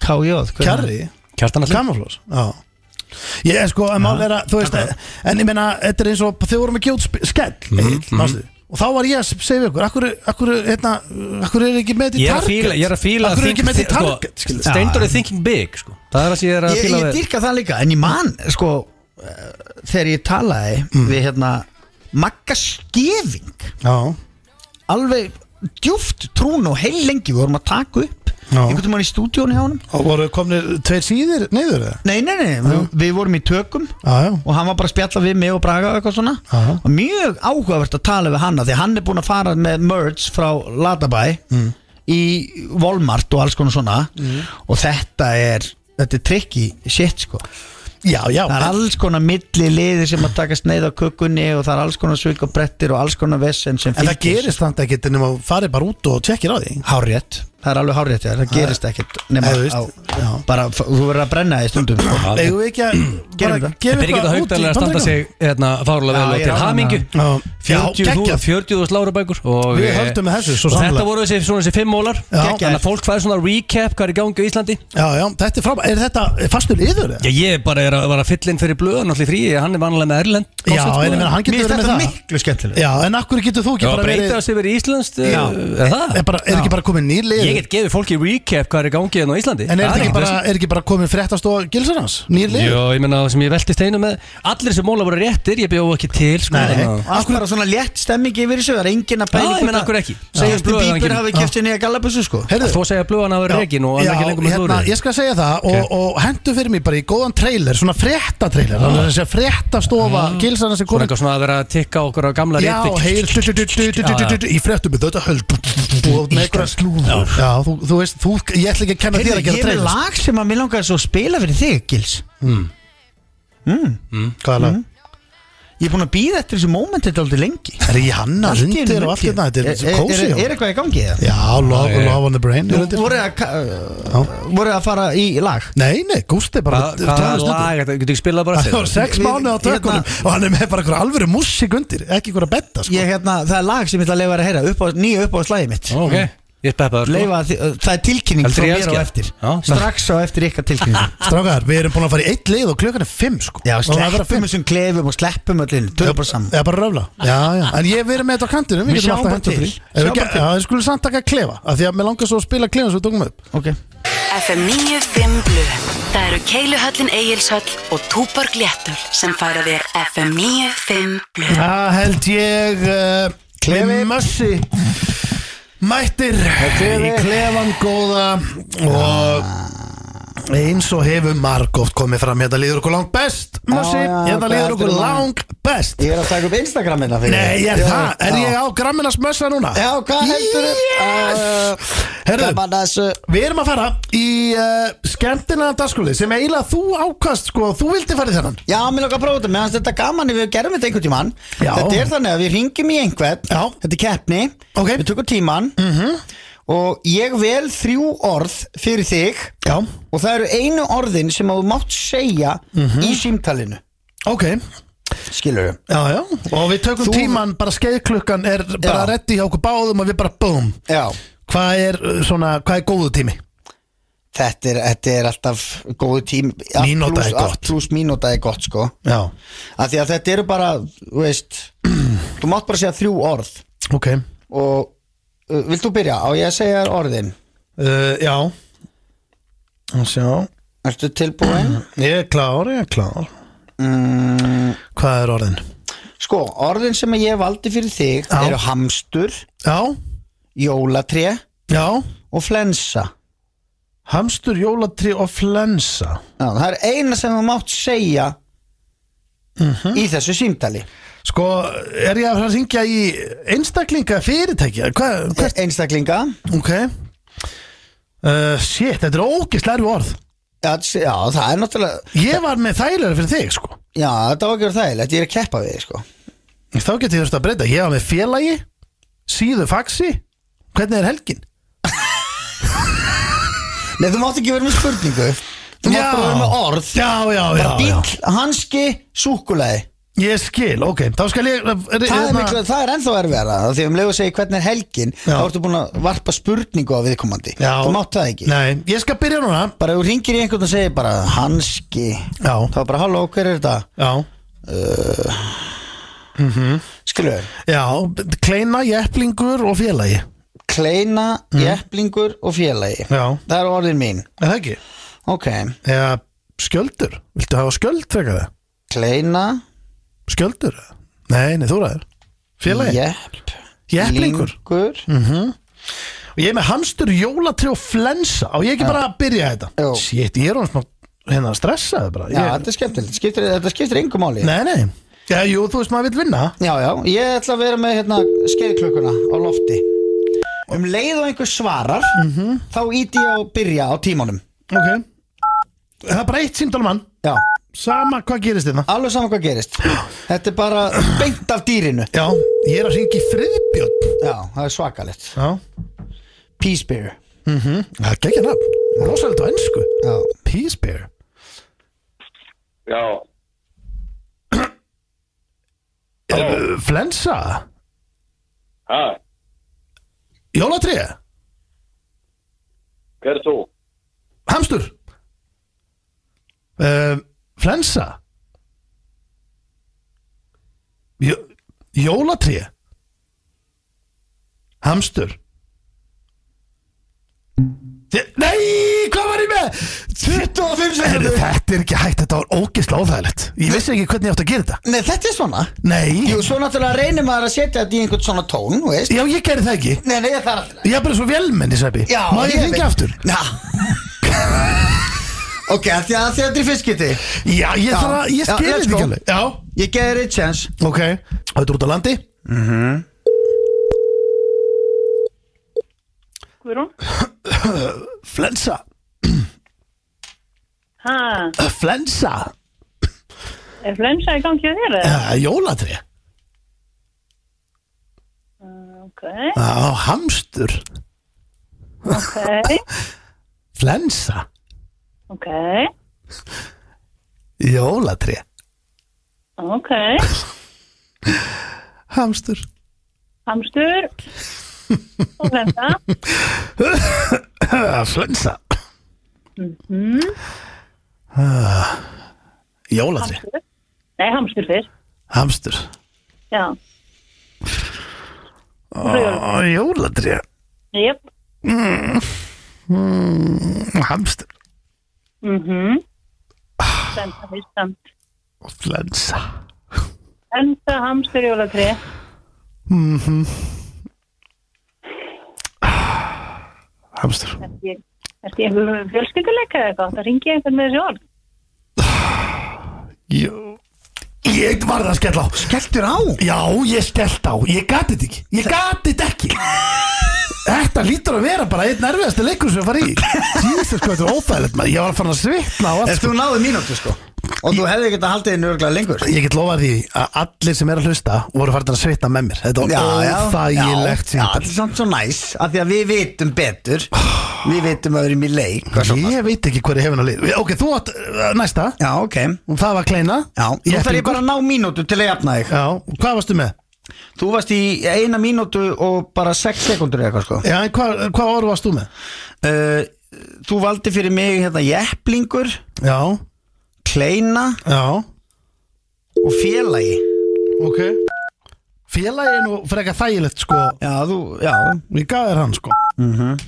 Speaker 2: Kájóð
Speaker 1: Kjarri,
Speaker 3: Kjartan allir
Speaker 1: Kamaflós Já Ég er sko, en mál er að, þú veist En ég meina, þetta er eins og, þau vorum að gefa út sp- skell
Speaker 2: Mhm,
Speaker 1: mm -hmm. Og þá var ég að segja við ykkur Akkur, akkur, hérna, akkur er ekki með þetta í
Speaker 3: Ég er að
Speaker 1: target
Speaker 3: fíla, ég er að fíla
Speaker 1: Akkur er ekki með þetta í
Speaker 3: sko,
Speaker 1: target, skilur
Speaker 3: Steindor er thinking big, sko Það er það sem ég er að
Speaker 2: ég,
Speaker 3: fíla
Speaker 2: ég
Speaker 3: við
Speaker 2: dyrka það líka en ég man sko eh, þegar ég talaði við hérna Magga Skeving
Speaker 1: Já,
Speaker 2: alveg djúft trún og heil lengi við vorum að taka upp einhvern veginn í stúdíónu hjá honum
Speaker 1: Og voru komnir tveir síðir neyður eða?
Speaker 2: Nei, nei, nei, við, við vorum í tökum
Speaker 1: Já, já
Speaker 2: og hann var bara að spjalla við mig og Braga og eitthvað svona
Speaker 1: Aha.
Speaker 2: og mjög áhugavert að tala við hann af því að hann er búin að fara með merge frá Latabæ í Walmart og alls konar svona og þetta er þetta er tricky shit sko
Speaker 1: Já, já
Speaker 2: það er alls konar milli liðir sem að taka sneið á kökunni og það er alls konar svik og brettir og alls konar vesen sem
Speaker 1: En það gerist þannig ekkert nema að farið bara út og tjekkir á því
Speaker 2: Hárrétt, það er alveg hárrétt, já, það gerist ekkert nema
Speaker 1: Nei, þú veist,
Speaker 2: á,
Speaker 1: já.
Speaker 2: bara, f- þú verður að brenna því stundum sko.
Speaker 1: Eigum við ekki að
Speaker 2: Gerum
Speaker 1: bara
Speaker 2: þetta.
Speaker 1: gefa
Speaker 3: Þetta er ekki
Speaker 1: eitthvað út
Speaker 3: það
Speaker 1: í
Speaker 3: haugtalega að standa
Speaker 1: bandregnum?
Speaker 3: sig hérna, fárlega
Speaker 2: Já,
Speaker 3: vel
Speaker 2: ég er
Speaker 3: og
Speaker 2: ánægður.
Speaker 3: til hamingju
Speaker 1: Já, já,
Speaker 3: 40.000
Speaker 1: geggjað.
Speaker 3: 40 lárabækur og,
Speaker 1: Við
Speaker 3: eh,
Speaker 1: höldum með þessu, svo
Speaker 3: og þetta
Speaker 1: sannlega.
Speaker 3: voru þessi, svona, þessi fimm mólar
Speaker 1: Já.
Speaker 3: þannig að fólk fæði svona recap hvað er í gangi á Íslandi
Speaker 1: Já, já, þetta er frábæð Er þetta fastur yður?
Speaker 3: Já, ég bara er að, var að fylla inn fyrir blöðan allir frí, hann er vanlega með Erlend sko.
Speaker 1: Já, en ég meina, hann getur
Speaker 2: Mér
Speaker 1: verið
Speaker 2: finnst
Speaker 1: með
Speaker 2: þetta
Speaker 1: það
Speaker 2: miklu skemmtilega
Speaker 1: Já, en akkur getur þú
Speaker 3: Já,
Speaker 1: ekki bara
Speaker 3: breyta
Speaker 1: verið
Speaker 3: þessi yfir í Íslands
Speaker 1: Já.
Speaker 3: er eh, það?
Speaker 1: Er, bara, er ekki bara komið nýr lið
Speaker 3: Ég get gefið fólki recap hvað er í gangi hérna á Íslandi
Speaker 1: En er,
Speaker 3: Það
Speaker 1: þetta ekki
Speaker 3: ekkert
Speaker 1: bara, er ekki bara komið fréttast og gilsarans? Nýr lið?
Speaker 3: Jó, ég meina það sem ég veltist einu með Allir þessi mólar voru réttir, ég bjóð ekki til sko,
Speaker 1: Nei.
Speaker 3: þannig að-
Speaker 2: Og allt bara svona létt stemming yfir þessu Það er engin að
Speaker 3: Já,
Speaker 2: pæla
Speaker 3: ég meina, akkur ekki
Speaker 2: Segjast
Speaker 3: Já.
Speaker 2: Bíber
Speaker 3: Já.
Speaker 2: hafi kæft henni að gallabussu sko
Speaker 1: Heyrðu,
Speaker 3: Þú segja að blöðan hafa verið rekin og hann er ekki lengur með
Speaker 1: hérna,
Speaker 3: glúrið
Speaker 1: ég skal segja það og, og hendu fyrir mig bara í góðan trailer svona frétta trailer þannig að þessi fréttastofa
Speaker 3: Ah.
Speaker 1: mm. gilsarna sem
Speaker 3: Svona
Speaker 1: konar
Speaker 3: eitthvað svona að vera að tikka okkur á gamla
Speaker 1: já, heyr du- du- du- du- du- du- du- du- du- í fréttum þetta höld og með einhverja slúður já, þú, þú veist, þú, ég ætla ekki að kenna þér að
Speaker 2: Heyrðu, Ég
Speaker 1: gera
Speaker 2: er með
Speaker 1: trailer sko.
Speaker 2: lag sem að mér langar svo að spila fyrir þig Gils
Speaker 1: hvað
Speaker 2: Mhm.
Speaker 1: er það?
Speaker 2: Ég er búin að býða eftir þessu moment Þetta aldrei lengi
Speaker 1: er í hanna
Speaker 2: Allt í einu
Speaker 1: undir og allt
Speaker 2: mundi
Speaker 1: hérna,
Speaker 2: ég.
Speaker 1: þetta þetta er svo
Speaker 2: Er- er-
Speaker 1: kósi
Speaker 2: Er eitthvað í gangi eða?
Speaker 1: já, love,
Speaker 3: Já, já.
Speaker 1: love on the brain er þetta-
Speaker 2: Voru að ka- uh, voru að fara í lag
Speaker 1: nei, nei, Gústi bara
Speaker 3: Hvaða lag, þetta getur ekki spilað bara
Speaker 1: það var sex
Speaker 2: Við-
Speaker 1: mánuð á
Speaker 2: hérna-
Speaker 1: tökunum og hann er með bara einhverja alvöru músík undir ekki einhverja betta sko
Speaker 2: Ég, hérna, það er lag sem ég ætla að leifa að heyra upp á, nýja upp á slagið mitt
Speaker 3: Ó, Ok, ég er peppaður sko.
Speaker 2: leifa, að þi- uh, það er tilkynning frá
Speaker 3: Heldur ég
Speaker 2: mér
Speaker 3: elski
Speaker 2: á
Speaker 3: það?
Speaker 2: eftir
Speaker 3: Já.
Speaker 2: strax á eftir ykkar tilkynning
Speaker 1: Strákar, við erum búin að fara í eitt leið og klukkan er fimm sko
Speaker 2: já,
Speaker 1: Og það er að vera
Speaker 2: sleppum
Speaker 1: fimm.
Speaker 2: þessum klefum og sleppum öllin tökum bara saman
Speaker 1: Eða bara röfla Já, já En ég verið með þetta á kantinum
Speaker 2: Við
Speaker 1: getum
Speaker 2: sjáum
Speaker 1: alltaf
Speaker 2: bara
Speaker 1: hent okkur í.
Speaker 2: til.
Speaker 1: Ef við
Speaker 2: Sjáum
Speaker 1: ge-
Speaker 2: bara til.
Speaker 1: Já, við skulum samt taka að klefa af Því að mér langar svo að spila klefan svo við tókum upp
Speaker 2: okay.
Speaker 5: FM 95 Blu Það eru Keiluhöllin Egilshöll og Túborg Léttul sem færa þér FM 95 Blu
Speaker 1: Það held ég uh, Klefi Mössi Mættir Í klefan góða Og eins og hefur margóft komið fram hérna líður okkur langt best Mössi,
Speaker 2: Já, já,
Speaker 1: hérna
Speaker 2: hvað
Speaker 1: líður
Speaker 2: heldur
Speaker 1: okkur
Speaker 2: þú?
Speaker 1: langt best
Speaker 2: ég er að taka upp Instagramina
Speaker 1: Nei, er það? Er ég á gramminas mössa núna?
Speaker 2: já, hvað heldur Uh,
Speaker 1: Yes! Herðu,
Speaker 2: gaman að þessu
Speaker 1: við erum að fara í uh, skemmtilegan dagskóli sem eiginlega þú ákast, sko, þú vildi fara í þennan
Speaker 2: Já, mér lóka að prófa þetta, meðan þetta er gaman ef við gerum þetta einhvern tímann
Speaker 1: Já.
Speaker 2: Þetta er þannig að við ringjum í einhvern
Speaker 1: Já.
Speaker 2: Þetta er keppni,
Speaker 1: Ok. Mhm.
Speaker 2: við tökum tímann -hmm. Og ég vel þrjú orð fyrir þig
Speaker 1: Já,
Speaker 2: Og það eru einu orðin sem að þú mátt segja
Speaker 1: Mhm.
Speaker 2: í símtalinu
Speaker 1: ok,
Speaker 2: Skilur við
Speaker 1: já, já Og við tökum
Speaker 2: Þú-
Speaker 1: tíman, bara skeiðklukkan er bara
Speaker 2: Já.
Speaker 1: reddi hjá okkur báðum og við bara boom
Speaker 2: Já,
Speaker 1: Hvað er, uh, svona, hvað er góðu tími?
Speaker 2: þetta er, þetta er alltaf góðu tím Allt
Speaker 1: Mínúta
Speaker 2: plús-
Speaker 1: er gott.
Speaker 2: allt Plús mínúta er gott sko
Speaker 1: Já,
Speaker 2: Af því að þetta eru bara, þú veist Þú mátt bara segja þrjú orð
Speaker 1: ok uh,
Speaker 2: Og uh, vilt þú byrja á ég að segja þér orðin?
Speaker 1: Uh, Já Að Sjá,
Speaker 2: Ertu tilbúin?
Speaker 1: ég er klár, ég er klár
Speaker 2: Mm,
Speaker 1: Hvað er orðin?
Speaker 2: sko, orðin sem ég valdi fyrir þig
Speaker 1: Já.
Speaker 2: eru hamstur,
Speaker 1: Já,
Speaker 2: jólatré
Speaker 1: já
Speaker 2: og flensa
Speaker 1: Hamstur, jólatri og flensa
Speaker 2: Já, það er eina sem þú mátt segja í þessu símtali
Speaker 1: Sko, er ég að fara að ringja í einstaklinga fyrirtækja? Hvað, hva,
Speaker 2: einstaklinga
Speaker 1: ok uh, Shit, þetta er ógislega erfi orð
Speaker 2: já, s- já, það er náttúrulega
Speaker 1: Ég var með þægilega fyrir þig, sko
Speaker 2: já, þetta var ekki verið þægilegt, ég er að keppa við þig, sko.
Speaker 1: Þá geti ég þurft að breyta, ég var með félagi Síðu faxi Hvernig er helgin?
Speaker 2: Nei, þú mátt ekki vera með spurningu þú mátt bara vera með orð
Speaker 1: Já, já, já, já
Speaker 2: bíll, hanski, súkulaði
Speaker 1: Ég skil, ok, þá skal ég uh, hérna- er,
Speaker 2: það, er miklu, það er ennþá erfiðara af því að um leið að segja hvernig er helgin
Speaker 1: Já.
Speaker 2: þá ertu búin að varpa spurningu á viðkomandi
Speaker 1: Já.
Speaker 2: þú mátt það ekki
Speaker 1: Nei, ég skal byrja núna
Speaker 2: bara þú ringir í einhvern og segir bara hanski
Speaker 1: Já,
Speaker 2: þá er bara halló hver er þetta
Speaker 1: já,
Speaker 2: skilur
Speaker 1: já Kleina, jeplingur og félagi
Speaker 2: kleina,
Speaker 1: Mm.
Speaker 2: jepplingur og félagi
Speaker 1: Já,
Speaker 2: það er orðin mín
Speaker 1: er það ekki?
Speaker 2: ok
Speaker 1: Eða skjöldur, viltu hafa skjöld þegar það?
Speaker 2: kleina,
Speaker 1: Skjöldur? Nei, nei, þú ræður Félagi,
Speaker 2: jepp
Speaker 1: Jepplingur. Mm,
Speaker 2: lingur.
Speaker 1: og ég er með hamstur, jólatri og flensa og ég ekki bara að byrja þetta
Speaker 2: Já.
Speaker 1: shit, ég er hann smá hérna að stressa það bara
Speaker 2: Já,
Speaker 1: ég,
Speaker 2: þetta er skemmtilegt, skiptir, þetta skiptir engum máli
Speaker 1: nei, nei, já, jú, þú veist maður vill vinna
Speaker 2: Já, já, ég ætla að vera með hérna skeiðklökkuna á lofti Um leið og einhver svarar
Speaker 1: Mhm.
Speaker 2: þá íti ég að byrja á tímanum
Speaker 1: ok, það er bara eitt síndalmann
Speaker 2: Já,
Speaker 1: sama hvað gerist hérna. þetta
Speaker 2: alveg saman hvað gerist Þetta er bara beint af dýrinu
Speaker 1: já, ég er að ringi friðbjörn
Speaker 2: Já, það er svakalegt
Speaker 1: já,
Speaker 2: Peace beer
Speaker 1: það er geggja nafn rosalega ennsku,
Speaker 2: Já,
Speaker 1: peace bear
Speaker 6: Já,
Speaker 1: uh, flensa,
Speaker 6: hæ,
Speaker 1: jólatri
Speaker 6: hver er þú?
Speaker 1: hamstur uh, flensa Jó, jólatri hamstur Þi- Nei, hvað var ég með? 25 sekundur Þetta er ekki hægt, þetta var ógislega óþægilegt Ég vissi ekki hvernig ég átti að gera þetta
Speaker 2: Nei, þetta er svona
Speaker 1: Nei,
Speaker 2: Jú, svo náttúrulega reynir maður að setja þetta í einhvern svona tón, þú veist
Speaker 1: já ég gerði það ekki
Speaker 2: Nei, nei, það er alltaf
Speaker 1: Ég er bara svo velmenni, Sveppi
Speaker 2: Já,
Speaker 1: Má ég
Speaker 2: veit.
Speaker 1: hringja aftur?
Speaker 2: Já Ok, af því að af því að þetta er fiskiti
Speaker 1: Já, ég
Speaker 2: Já.
Speaker 1: þarf að, ég
Speaker 2: Já,
Speaker 1: skil
Speaker 2: let's
Speaker 1: þetta ekki
Speaker 2: go.
Speaker 1: alveg Já,
Speaker 2: Ég geði þér eitt chance
Speaker 1: Ok, þetta er út á landi
Speaker 7: Guðrún?
Speaker 1: Flensa,
Speaker 7: Ha,
Speaker 1: flensa
Speaker 7: er flensa í gangi á þér? eða?
Speaker 1: uh, Jólatri
Speaker 7: Ok,
Speaker 1: uh, Hamstur,
Speaker 7: ok,
Speaker 1: flensa
Speaker 7: ok,
Speaker 1: Jólatri,
Speaker 7: ok.
Speaker 1: hamstur
Speaker 7: Hamstur og flensa.
Speaker 1: uh, Flensa mm Eh, uh, Jólatri,
Speaker 7: Nei, hamstur fyrst.
Speaker 1: hamstur
Speaker 7: Já,
Speaker 1: uh, Jólatri,
Speaker 7: jöp.
Speaker 1: hamstur
Speaker 7: Mhm. Flensa fyrst samt.
Speaker 1: og flensa
Speaker 7: Flensa, hamstur, jólatri.
Speaker 1: Hamstur
Speaker 7: Ertu í einhverjum fjölskylduleika eða eitthvað? Það ringi ég einhvern með þessi orð.
Speaker 1: Jó Ég varð að skella á
Speaker 2: Gættur á
Speaker 1: Já, ég skellt á, ég gati þetta ekki Ég gati þetta ekki Þetta lítur að vera bara einn erfiðasti leikur sem ég fari í Jesus, hvað þetta er óþægilegt maður Ég var að fara að svitna á allt
Speaker 2: Ef
Speaker 1: sko.
Speaker 2: þú náðu mínútu sko Og þú hefði ekki að haldið þér örglega lengur
Speaker 1: sko, Ég get lofað því að allir sem er að hlusta voru farin að svitna með mér Þetta var óþægilegt
Speaker 2: já, já,
Speaker 1: símtal. Ah.
Speaker 2: þetta er samt svo næs af því að við vitum betur Við vitum að við erum í leik og svona.
Speaker 1: Ég veit ekki hver ég hefur að lið Ok, þú átt uh, næsta
Speaker 2: Já, ok Já,
Speaker 1: og Það var kleina
Speaker 2: nú þarf ég bara að ná mínútu til að jafna þig
Speaker 1: Já, og hvað varstu með?
Speaker 2: Þú varst í eina mínútu og bara 6 sekundur eða eitthvað sko
Speaker 1: Já, en hvað, hvað orð varst þú með?
Speaker 2: uh, Þú valdi fyrir mig hérna jepplingur,
Speaker 1: Já,
Speaker 2: kleina
Speaker 1: já,
Speaker 2: og félagi
Speaker 1: ok Félagi er nú frekar þægilegt sko
Speaker 2: Já, þú, já
Speaker 1: Ég gaf þér hann sko
Speaker 2: Mhm.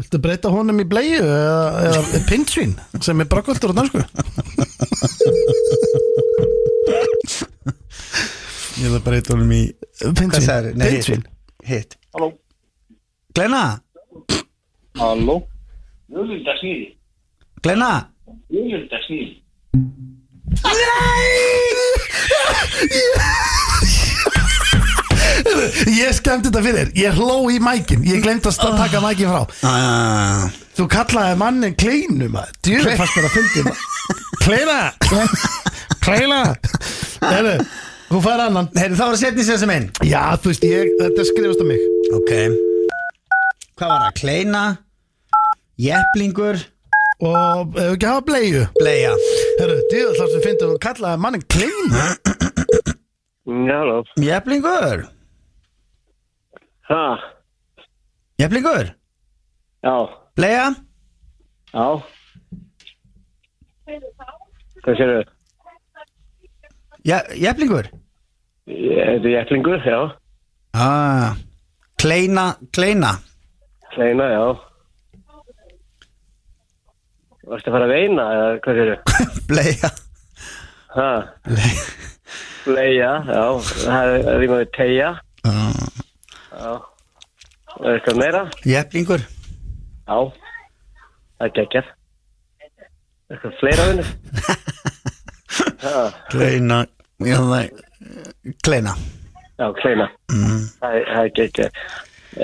Speaker 1: Viltu breyta honum í bleiðu eða, eða pinnsvín sem er brakkvöldur á dansku
Speaker 2: Ég vil breyta honum í Hvað sagði,
Speaker 1: Pinnsvín,
Speaker 2: nei, hitt,
Speaker 1: pinnsvín
Speaker 2: hitt.
Speaker 6: Halló.
Speaker 2: Glenna,
Speaker 6: Halló? Júlinda snýði.
Speaker 2: Glenna
Speaker 6: Júlinda snýði.
Speaker 1: Ég skemmt þetta fyrir, þér. ég hló í mækin Ég glemt að sta- taka mækin frá
Speaker 2: uh,
Speaker 1: Þú kallaði mannin kleinu maður Djúri fannst bara að fyndi Kleina Kleina Heru, Þú fær annan
Speaker 2: Heyrðu, þá var að setja sér sem einn
Speaker 1: Já, þú veist, ég, þetta skrifast á mig
Speaker 2: Ok Hvað var það? Kleina Jepplingur
Speaker 1: Og ef ekki hafa bleiðu
Speaker 2: Bleia
Speaker 1: Herru, djúri þar sem fyndi Þú kallaði mannin kleinu
Speaker 6: Halló.
Speaker 2: Jepplingur
Speaker 6: Hæ?
Speaker 2: Jepplingur
Speaker 6: Já,
Speaker 2: Bleia
Speaker 6: já. Hvað sér þau?
Speaker 2: Je Jepplingur
Speaker 6: Þetta er jæklingur, já.
Speaker 2: ah. Kleina Kleina
Speaker 6: Kleina, já. Varstu að fara að veina, eða hvað sér þau?
Speaker 2: Bleia
Speaker 6: Hæ? Leia, já. Það er- það rýma við teia.
Speaker 2: ah.
Speaker 6: Já. Eitthvað meira?
Speaker 2: Jeflingur
Speaker 6: Já. Það er geggjað. Eitthvað fleira vinnur?
Speaker 2: Kleina já, það- Kleina
Speaker 6: Já, kleina. Mm. Það er- það er geggjað.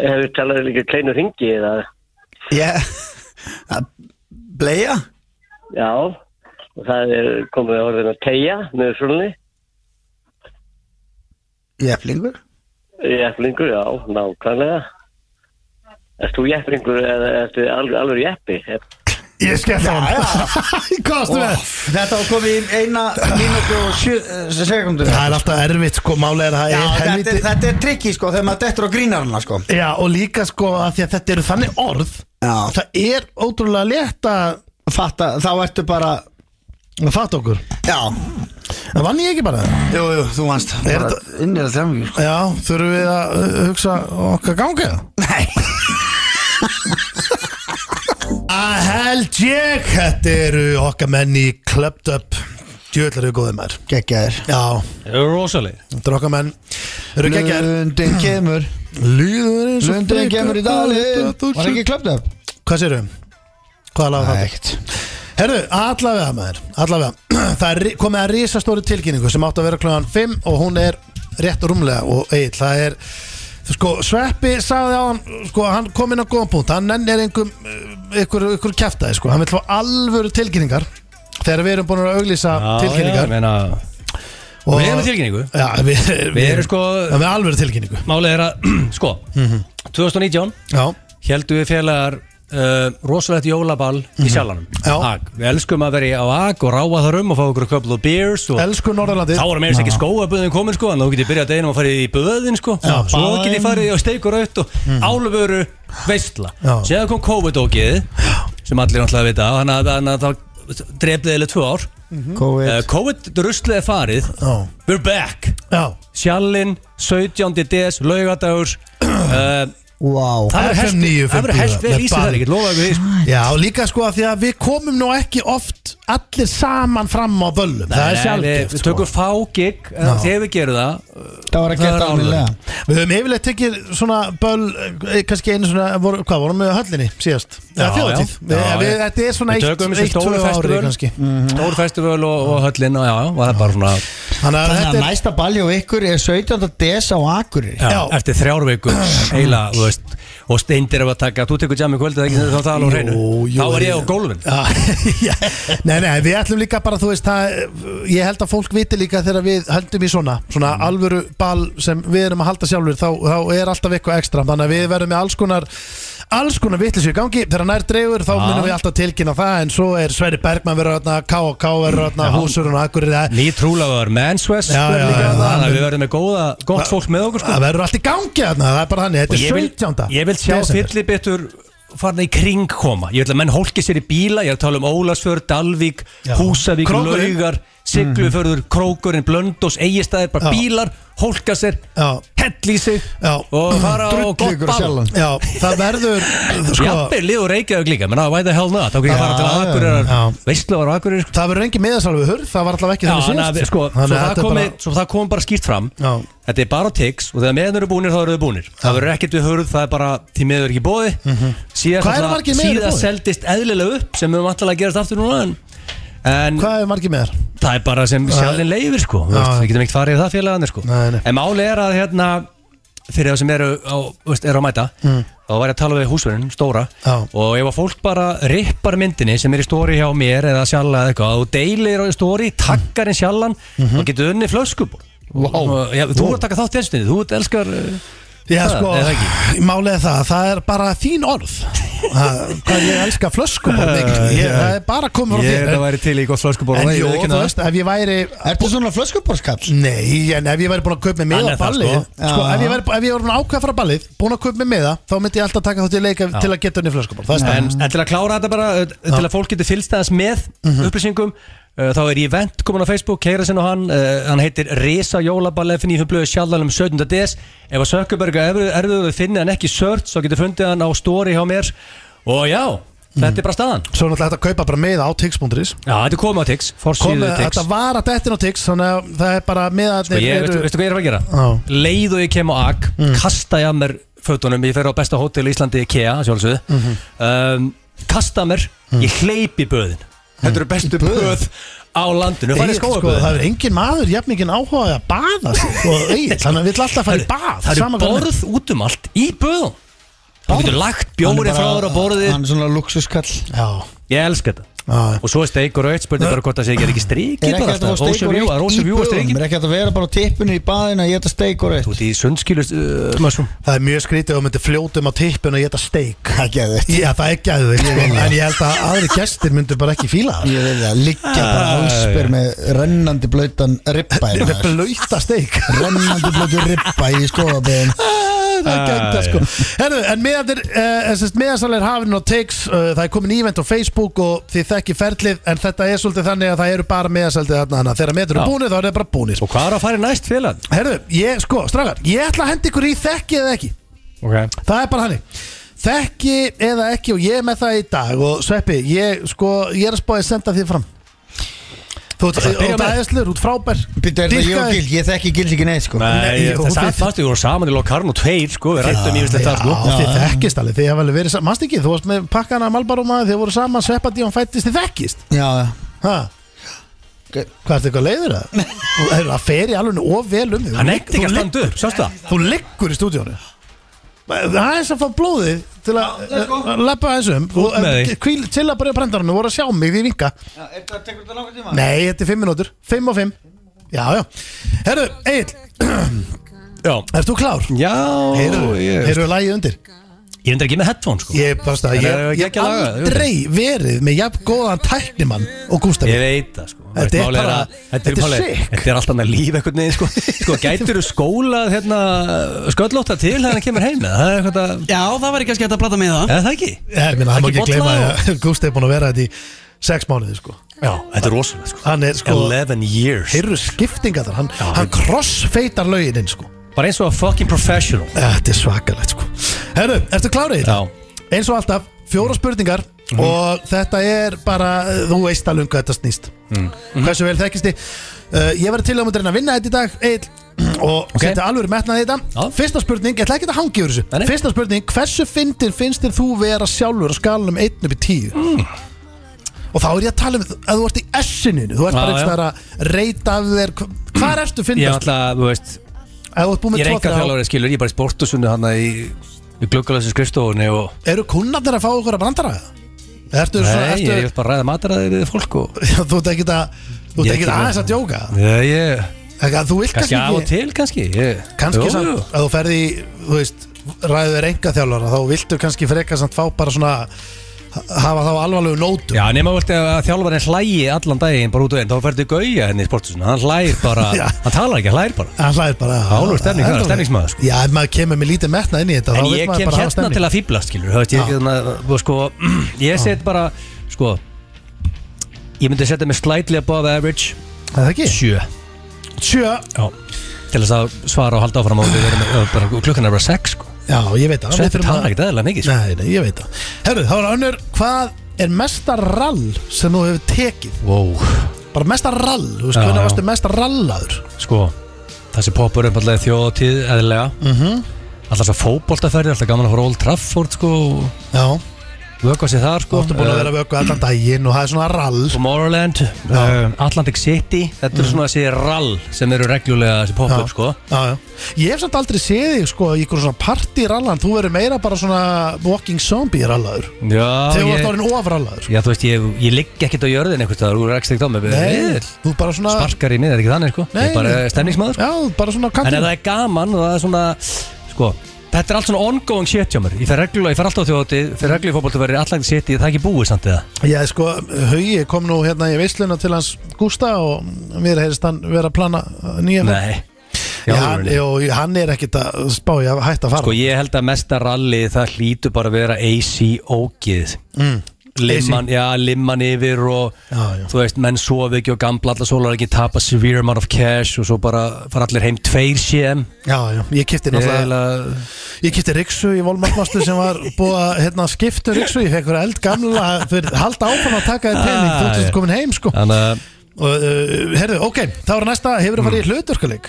Speaker 6: Hefur talað um líka kleinu ringi eða?
Speaker 2: Já Bleia
Speaker 6: Já. Og það er komið að orðin að tegja með frunni.
Speaker 2: Jeflingur
Speaker 6: Jepplingur, já, nákvæmlega. Erst þú jepplingur eða ertu alveg, alveg jeppi?
Speaker 1: Ég skemmt á hann Kostu með
Speaker 2: Þetta var komið í eina mínúti og sjö eh, sekundu
Speaker 1: Það er alltaf erfitt sko, málega er að það
Speaker 2: Já,
Speaker 1: er
Speaker 2: þetta, er-
Speaker 1: helviti
Speaker 2: þetta er trikki sko þegar maður dettur á grínarna sko
Speaker 1: Já, og líka sko að því að þetta eru þannig orð
Speaker 2: Já.
Speaker 1: Það er ótrúlega létt að
Speaker 2: Fatta, þá ertu bara
Speaker 1: fatta okkur
Speaker 2: Já,
Speaker 1: Það vann ég ekki bara það
Speaker 2: jú, jú, þú vannst
Speaker 1: Er
Speaker 2: Bara Innir að þjámi
Speaker 1: Já, þurfum við að uh, hugsa okkar ganga
Speaker 2: Nei
Speaker 1: Að held ég Þetta eru okkar menn í Clubbed Up Djöðlar eru góðið mær
Speaker 2: Gekkjaður
Speaker 1: Já,
Speaker 3: Rosaleg
Speaker 1: þetta eru okkar menn Eru geggjar
Speaker 2: Lundin kemur
Speaker 1: Lýður eins og
Speaker 2: Lundin kemur í dalinn Var ekki klöpt upp?
Speaker 1: Hvað séru? Hvað laga það? Herru, allavega maður, allavega Það er ri- komið að risastóri tilkynningu sem átt að vera klokkan 5 og hún er rétt og rúmlega og eill, það er sko, Sveppi sagði á hann sko, hann kom inn á góðan punkt, hann nennir einhver, einhver, einhver kjaftaði, sko hann vil fá alvöru tilkynningar þegar við erum búin að auglýsa tilkynningar
Speaker 3: meina,
Speaker 1: og,
Speaker 3: Við erum með tilkynningu.
Speaker 1: Já, við, við,
Speaker 3: erum sko-
Speaker 1: Já, Við erum alvöru tilkynningu
Speaker 3: Málið er að, sko
Speaker 1: Mhm.
Speaker 3: 2019
Speaker 1: Já,
Speaker 3: heldum við félagar uh, rosalegt jólaball í sjálfanum
Speaker 1: Mhm. Já.
Speaker 3: Ag. Við elskum að vera í- á Ag og ráfa þar um og fá okkur a couple of beers og
Speaker 1: elsku Norðurlandi
Speaker 3: Sko. Þá voru meira ekki skóaböðin komin sko en þá getið byrjað deginum að fara í böðin sko
Speaker 1: Já,
Speaker 3: svo
Speaker 1: bæinn.
Speaker 3: getið farið og steikur aukt og mm. álfuru veistla
Speaker 1: Já.
Speaker 3: síðan kom COVID-ógið sem allir náttúrulega vita og þannig að- þannig að það drefði eða tvö ár
Speaker 2: Hmm?
Speaker 3: uh,
Speaker 2: COVID
Speaker 3: COVID-ruslið er farið
Speaker 1: Mhm. Já.
Speaker 3: We're back
Speaker 1: Já,
Speaker 3: Sjallinn, 17. des, laugadagur uh,
Speaker 2: Wow
Speaker 1: Það er helst-
Speaker 3: Það verður helst vel í sig það Ég lofa ykkur því
Speaker 1: Já, og líka sko að því að við komum nú ekki oft allir saman fram á böllum Það er
Speaker 3: Við
Speaker 1: sjálfgeft
Speaker 3: við
Speaker 1: sko.
Speaker 3: tökum fá gig eh, þegar við gerum það uh,
Speaker 2: Það var að
Speaker 3: Það er
Speaker 2: geta alveg
Speaker 1: Við höfum yfirleitt tekið svona böll eh, kannski einu svona, voru, hvað vorum við á höllinni síðast? Já, þjóðatíð
Speaker 3: já.
Speaker 1: Við-
Speaker 3: Já,
Speaker 1: við-
Speaker 3: já.
Speaker 1: Þetta er svona
Speaker 3: Við
Speaker 1: eitt,
Speaker 3: tökum þessi
Speaker 1: eitt, tvö
Speaker 3: stóru
Speaker 1: ári
Speaker 3: festival Mhm.
Speaker 1: kannski
Speaker 3: Stóru festival og, og höllin og já, já, var það bara svona
Speaker 1: Þannig að
Speaker 2: Þannig að
Speaker 1: þetta er
Speaker 2: næsta balli á ykkur er 17. des á Akureyri
Speaker 3: já,
Speaker 1: Já.
Speaker 3: Eftir þrjár vikur heila þú veist, og steindir ef að taka Þú tekur jam í kvöld eða ekki þá það er alveg á hreinu
Speaker 1: Jú, jú,
Speaker 3: Þá er ég á gólfin
Speaker 1: Já, nei, nei, við ætlum líka bara, þú veist, það, ég held að fólk viti líka þegar við höldum í svona, svona
Speaker 3: Mm.
Speaker 1: alvöru ball sem við erum að halda sjálfur, þá, þá er alltaf eitthvað ekstra, þannig að við verðum með alls konar, alls konar vitlis í gangi, þegar nær dreigur þá munum við alltaf tilkynna það, en svo er Sverri Bergmann verður þarna, K.K. verður þarna, Húsurinn og Akureyri, það-
Speaker 3: Ný trúlafar mensvest
Speaker 1: Já, já, já,
Speaker 3: Þannig
Speaker 1: það-
Speaker 3: að við verðum með góða, gott fólk með okkur sko.
Speaker 1: það verður allt í gangi þarna, það er bara þannig,
Speaker 3: Og
Speaker 1: þetta
Speaker 3: ég
Speaker 1: er
Speaker 3: vil,
Speaker 1: 17.
Speaker 3: ég vil sjá
Speaker 1: desember.
Speaker 3: fyllibittur farna í kring koma ég vil að menn hólki sér í bíla, ég er að tala um Ólasfjör, Dalvík,
Speaker 1: Já.
Speaker 3: Húsavík
Speaker 1: Krókurinn. Mm.
Speaker 3: Laugar, Siglufjörður, Krókurinn Blöndós, Egistæðir, bara
Speaker 1: Já.
Speaker 3: bílar hólka sér,
Speaker 1: Já.
Speaker 3: hell í sig
Speaker 1: Já.
Speaker 3: og fara á gott
Speaker 2: ykkur
Speaker 3: ball
Speaker 2: sjálfan.
Speaker 1: Já, það verður, sko,
Speaker 3: Jafnir, liður Reykjavík líka, menn að why the hell not þá kan ég fara til
Speaker 1: já,
Speaker 3: Akureyrar,
Speaker 1: já.
Speaker 3: Veistlavar og Akureyrar sko.
Speaker 1: það verður engin miðasalvi hurð, það var allavega ekki
Speaker 3: Já,
Speaker 1: þannig
Speaker 3: þannig að
Speaker 1: síðast.
Speaker 3: við- sko, svo
Speaker 1: Þannig að
Speaker 3: það
Speaker 1: þetta er
Speaker 3: komi-
Speaker 1: bara-
Speaker 3: svo það kom bara skýrt fram
Speaker 1: Já.
Speaker 3: Þetta er bara tix og þegar meðan eru búinir þá eru þau búinir Það verður ekkert við hörð, það er bara því miður ekki bóði mm -hmm. Síðast,
Speaker 1: Mhm. Hvað eru margir miðar í boði?
Speaker 3: seldist eðlilega upp sem við höfum alltaf að gerast aftur núna en, en
Speaker 1: Hvað er margir með þér?
Speaker 3: það er bara sem sjálfinn leifir sko Þú veist,
Speaker 1: Já.
Speaker 3: Við getum ekkert farið í það félagarnir sko
Speaker 1: Nei, nei.
Speaker 3: En máli er að hérna fyrir það sem eru á, þú veist, eru á mæta þá var ég að tala við húsverðin, stóra
Speaker 1: Mm. Já.
Speaker 3: og ef að fólk bara rippar myndinni sem er í stóri hjá mér eða sjalla eða eitthvað og deilir á stóri, takkar einn sjallan
Speaker 1: Mhm.
Speaker 3: og getur unni flöskubor wow. Já, þú ert að taka þátt í einstunni, þú ert elskar uh,
Speaker 1: Já,
Speaker 3: Það,
Speaker 1: sko,
Speaker 3: eða ekki?
Speaker 1: málið er það, það er bara þín orð Það- Hvað ég elska flöskum og mikið, ég- það er bara komið frá
Speaker 3: ég er
Speaker 1: þér
Speaker 3: að væri til í gott flöskubor
Speaker 1: En jú, þú veist, ef ég væri
Speaker 2: Ertu svona flöskuborskall?
Speaker 1: Nei, en ef ég væri búin að kaupa með
Speaker 3: Hann
Speaker 1: miða
Speaker 3: er
Speaker 1: á
Speaker 3: það,
Speaker 1: ballið
Speaker 3: sko.
Speaker 1: sko. ef, ég væri, ef ég væri búin að ákveða frá ballið Búin að kaupa með miða, þá myndi ég alltaf taka þátt í leika Til að geta henni flöskum Það er
Speaker 3: En,
Speaker 1: stæðan
Speaker 3: en til að klára þetta bara, uh, til að fólk getur fylgst aðeins með upplýsingum uh, Þá er event komin á Facebook, keira sinna hann uh, Hann heitir Risa Jólaball FNI Hún blöðu sjálfðalum 17. um des Ef að Sökkuberg er erfiður að finna hann ekki search Þá getur fundið hann á story hjá mér Og já, þetta er bara staðan
Speaker 1: Svo er náttúrulega hægt að kaupa bara miða á tix.is
Speaker 3: Mhm. Já, þetta er komið á Tix, forsýðu
Speaker 1: Komið,
Speaker 3: Tix
Speaker 1: þetta var að dettin á tix Þannig að það er bara miða
Speaker 3: Sko, ég, veistu, veistu hvað ég er að fara að gera?
Speaker 1: Já.
Speaker 2: Mm.
Speaker 3: Leið og ég kem á AK, kasta ég að mér fötunum, ég fer á besta hótel í Íslandi IKEA, sjálfsögðu
Speaker 2: Mhm.
Speaker 3: um, kasta mér,
Speaker 2: Mm.
Speaker 3: ég hleyp í böðin þetta eru bestu böð á landinu,
Speaker 1: Egill,
Speaker 3: farið
Speaker 1: sko,
Speaker 3: skóaböðin
Speaker 1: það er engin maður jafn mikið áhuga á að baða sig sko, og Egil, hann vill alltaf fara í bað
Speaker 3: það
Speaker 1: sama
Speaker 3: eru
Speaker 1: hvað hann
Speaker 3: borð út um allt í böðum þú getur lagt bjóri frá þér á borðið
Speaker 2: Hann er svona luxuskall
Speaker 1: Já,
Speaker 3: ég elska þetta
Speaker 1: já
Speaker 3: og svo er steik og raut, spurning bara hvort það sé ekki er ekki
Speaker 2: Er
Speaker 3: strikið
Speaker 2: ekki
Speaker 3: bara
Speaker 2: hægt að
Speaker 3: alltaf,
Speaker 2: fá steik og
Speaker 3: ósefjú,
Speaker 2: rautt í
Speaker 3: ósefjú og
Speaker 2: böðum
Speaker 3: strikið
Speaker 2: Er ekki hægt að vera bara á tippinu í baðinu að geta steik og rautt
Speaker 3: þú ert í sundskilust uh, mössum
Speaker 1: Það er mjög skrítið og myndi fljótum á tippinu og geta steik
Speaker 2: Það geði þetta
Speaker 1: Já, það er gæðið En ég held að aðri gestir myndu bara ekki fíla það
Speaker 2: Ég vil að liggja bara halsper með rennandi blöytan ribba í
Speaker 1: Það er
Speaker 2: maður
Speaker 1: blöyta steik sko.
Speaker 2: Rennandi blöytan ribba í skoðabæðin
Speaker 1: Það er gegnt sko Herru, en meðandir, uh, meðansalir hafinn og takes uh, Það er komin ívent á Facebook og þið þekki ferlið En þetta er svolítið þannig að það eru bara meðansaldið þarna þannig að Þegar meður
Speaker 3: Já.
Speaker 1: eru búnir þá eru þeir bara búnir
Speaker 3: og hvað er að fara í næst félag?
Speaker 1: Herru, ég, sko, strafgar Ég ætla að henda ykkur í þekki eða ekki
Speaker 3: Okay.
Speaker 1: Það er bara hannig Þekki eða ekki og ég er með það í dag Og Sveppi, ég, sko, ég er að spáði að senda þig fram Þú ert
Speaker 3: að byrja
Speaker 1: þú ert
Speaker 3: með-
Speaker 1: æðislegur, þú ert frábær
Speaker 2: Býttu, er það ég og
Speaker 1: Dýrkaður.
Speaker 2: Gil? Ég þekki Gil ekki neitt sko
Speaker 3: Nei,
Speaker 1: Nei,
Speaker 3: ég-
Speaker 1: jú,
Speaker 3: það
Speaker 1: þið-
Speaker 3: sagði fast við vorum saman í Locarno 2 sko, við rættum ívislegt það sko
Speaker 1: Já, þið þekkist alveg, þið hafa alveg verið saman Manst ekki, þú varst með pakkana Malbarum að þið voru saman Sveppandi og hann fættist, þið þekkist
Speaker 2: Já, já
Speaker 1: ha? Hvað ertu eitthvað leiður að? Þú- heyrðu, Það fer í alveg of vel um þig
Speaker 3: hann
Speaker 1: Þú
Speaker 3: ekkert ekki
Speaker 1: ligg-
Speaker 3: að standa upp, sástu það?
Speaker 1: Þú liggur í stúdíónu Það er eins að fá blóðið til að leppa aðeins um Þú-
Speaker 3: með
Speaker 1: eh,
Speaker 3: þig.
Speaker 1: hvíl- Til að byrja brandarinn og voru að sjá mig því vinka
Speaker 2: Er þetta tekur þetta langar tíma?
Speaker 1: Nei, þetta er 5 minútur, 5 og 5 Já, já, herru, Egil,
Speaker 3: Já,
Speaker 1: ert þú klár?
Speaker 3: já
Speaker 1: Heyrðu,
Speaker 3: ég
Speaker 1: heyrðu lagið undir
Speaker 3: ég er ekki með headphone sko
Speaker 1: Ég, pasta,
Speaker 3: En
Speaker 1: ég,
Speaker 3: það er
Speaker 1: ég,
Speaker 3: ekki
Speaker 1: ég
Speaker 3: ekki að laga það,
Speaker 1: aldrei verið með jafn góðan tæknimann og Gústaf
Speaker 3: Ég veit það sko
Speaker 1: Þetta
Speaker 3: Veist,
Speaker 1: er
Speaker 3: málið
Speaker 1: bara-
Speaker 3: að- Þetta er
Speaker 1: þetta er
Speaker 3: málið-
Speaker 1: sick.
Speaker 3: þetta er alltaf annað líf einhvern veginn sko Sko gætur þú skólað hérna sköllóta til þegar hann kemur heim eða? Það er eitthvað að
Speaker 4: Já, það var ekki að skæta að plata með það
Speaker 3: Eða það ekki?
Speaker 1: Ég meina, það má
Speaker 3: Ekki
Speaker 1: ekki gleyma
Speaker 3: bolla
Speaker 1: að Gústaf er búin að vera þetta í 6 mánuði sko.
Speaker 3: Já, þetta er rosalega sko
Speaker 1: Hann er sko,
Speaker 3: 11 years
Speaker 1: heyrðu skiptinga þar Hann, hann crossfeitar lögininn sko.
Speaker 3: Bara eins og að fucking professional
Speaker 1: Þetta er svakalegt sko. Herru, ertu klárið?
Speaker 3: Já Mhm.
Speaker 1: Eins og alltaf, fjóra spurningar Og þetta er bara, þú veist alveg um hvað þetta snýst
Speaker 3: Mm. Mhm.
Speaker 1: Hversu vel þekkist þið uh, Ég verði til að mútið reyna að vinna þetta í dag Egil Og okay. setja alveg metnaði í þetta
Speaker 3: Já.
Speaker 1: Fyrsta spurning, ég ætla ekki að hangi yfir þessu
Speaker 3: Nei, nei.
Speaker 1: Fyrsta spurning, hversu fyndin finnst þér þú vera sjálfur á skalunum 1 upp í 10
Speaker 3: Mm.
Speaker 1: Og þá er ég að tala um að þú ert í S-inu Þú ert
Speaker 3: Já,
Speaker 1: bara
Speaker 3: já.
Speaker 1: eitthvað að reyta af þér Hva- Hvar ertu
Speaker 3: Ég er
Speaker 1: fyndast?
Speaker 3: alltaf, þú veist
Speaker 1: Ef þú ert búin
Speaker 3: Ég
Speaker 1: með 2
Speaker 3: er enga þjálfari skilur Ég er bara í sportusunni hann í Í gluggalæsum skrifstofunni og
Speaker 1: Eru kunnarnir að fá okkur að brandara það? Ertu, svona,
Speaker 3: Nei,
Speaker 1: ertu,
Speaker 3: ég er ekkert bara að ræða mataræði við fólk og
Speaker 1: þú ert ekkert að Þú
Speaker 3: Ég
Speaker 1: ert
Speaker 3: er
Speaker 1: ekkert
Speaker 3: ekki
Speaker 1: aðeins að djóka
Speaker 3: Já, ég
Speaker 1: Ekki að Þú vilt
Speaker 3: Kannski
Speaker 1: kannski
Speaker 3: af og
Speaker 1: ekki
Speaker 3: til, kannski ég-
Speaker 1: Kannski
Speaker 3: Jú, jú.
Speaker 1: samt að þú ferði í, Þú veist, ræður þér enga þjálfara Þá viltu kannski frekar samt fá bara svona Hafa þá alvarlegu nótum
Speaker 3: Já, nema þú vilt að þjálfarinn hlægi allan daginn bara út og einn, þá færðu gauja henni í sportusinu hann hlægir bara,
Speaker 1: Já.
Speaker 3: hann talar ekki, hann hlægir bara
Speaker 1: Hann hlæðir bara
Speaker 3: Álfur stemning, hann er
Speaker 1: Heldur þú?
Speaker 3: stemningsmaður, sko.
Speaker 1: Já, ef maður kemur með lítið metna inn í þetta
Speaker 3: En
Speaker 1: þá vill
Speaker 3: ég
Speaker 1: maður
Speaker 3: kem
Speaker 1: bara hafa
Speaker 3: hérna
Speaker 1: stemning.
Speaker 3: til að fýblast, skilur þú veist, ég,
Speaker 1: Já.
Speaker 3: þannig, að, þú, sko, ég set bara, sko ég myndi setja mig slightly above average
Speaker 1: Er Það ekki?
Speaker 3: sjö,
Speaker 1: Sjö
Speaker 3: já til þess að svara og halda áfram og við erum ö, bara, klukkan er bara sex, sko
Speaker 1: Já, ég veit það Við
Speaker 3: Sveppi
Speaker 1: þurfum
Speaker 3: talar
Speaker 1: að-
Speaker 3: ekki eðlilega mikið, sko
Speaker 1: Nei, nei, ég veit það Herru, þá er önnur Hvað er mesta rall sem þú hefur tekið?
Speaker 3: wow.
Speaker 1: Bara mesta rall Þú veist,
Speaker 3: Já,
Speaker 1: hvernig
Speaker 3: já.
Speaker 1: varstu mesta rallaður?
Speaker 3: sko það sem poppar upp alltaf þjóðatíð eðlilega mm
Speaker 1: Mhm.
Speaker 3: -hmm. alltaf svo fótboltaferði, alltaf gaman að fara á Old Trafford sko, og
Speaker 1: Já
Speaker 3: vöka sér þar
Speaker 1: Þú
Speaker 3: sko
Speaker 1: ertu búin að vera að vöku allan daginn og það er svona rall
Speaker 3: Tomorrowland, uh, Atlantic City þetta eru svona þessi rall sem eru reglulega þessi poppa upp sko
Speaker 1: Mhm. já, já. Ég hef samt aldrei séð þig sko í einhverjum svona partyrallan Þú verður meira bara svona walking zombie rallaður
Speaker 3: Já,
Speaker 1: Þegar þú ert
Speaker 3: ég,
Speaker 1: orðin ofrallaður sko.
Speaker 3: já, þú veist, ég, ég ligg ekkert á jörðin einhvers staðar, þú er ekki stegt á mig
Speaker 1: Nei,
Speaker 3: Egill,
Speaker 1: þú er bara svona
Speaker 3: sparkar í mig, þetta er ekki þannig sko
Speaker 1: Nei,
Speaker 3: ég er bara
Speaker 1: nei.
Speaker 3: stemningsmaður sko.
Speaker 1: Já, þú er bara svona
Speaker 3: en ef
Speaker 1: kantur
Speaker 3: það er gaman og það er svona sko, þetta er allt svona ongoing shit hjá mér ég fer reglulega, ég fer alltaf á þjóðatíð, fer reglulega í fótboltaferði Atlantic City, það er ekki búið samt eða
Speaker 1: Já, sko, Hauji kom nú hérna í veisluna til hans Gústa og mér heyrist hann vera að plana uh, nýja ferð.
Speaker 3: Nei
Speaker 1: Já, hann, jó, hann er ekkit að spá ég að hætta að fara
Speaker 3: Sko ég held að mesta rally það hlýtu bara að vera AC ógið mm. Limman, já, limman yfir og
Speaker 1: Já, já.
Speaker 3: þú veist, menn sofi ekki og gamla allar sólar ekki tapa severe amount of cash og svo bara fara allir heim tveir CM
Speaker 1: Já, já, ég kipti
Speaker 3: Ég
Speaker 1: náttúrulega
Speaker 3: eiginlega-
Speaker 1: Ég kipti Riksu í Volmartmastu sem var búið að hérna, skipta Riksu Ég fekk verið eldgamla fyrir að halda áfram að taka þér pening þú
Speaker 3: Ah,
Speaker 1: ert komin heim sko
Speaker 3: Þannig að Mm.
Speaker 1: og, uh, Herðu, ok, þá er næsta Hefur þú farið í hlutverkuleik?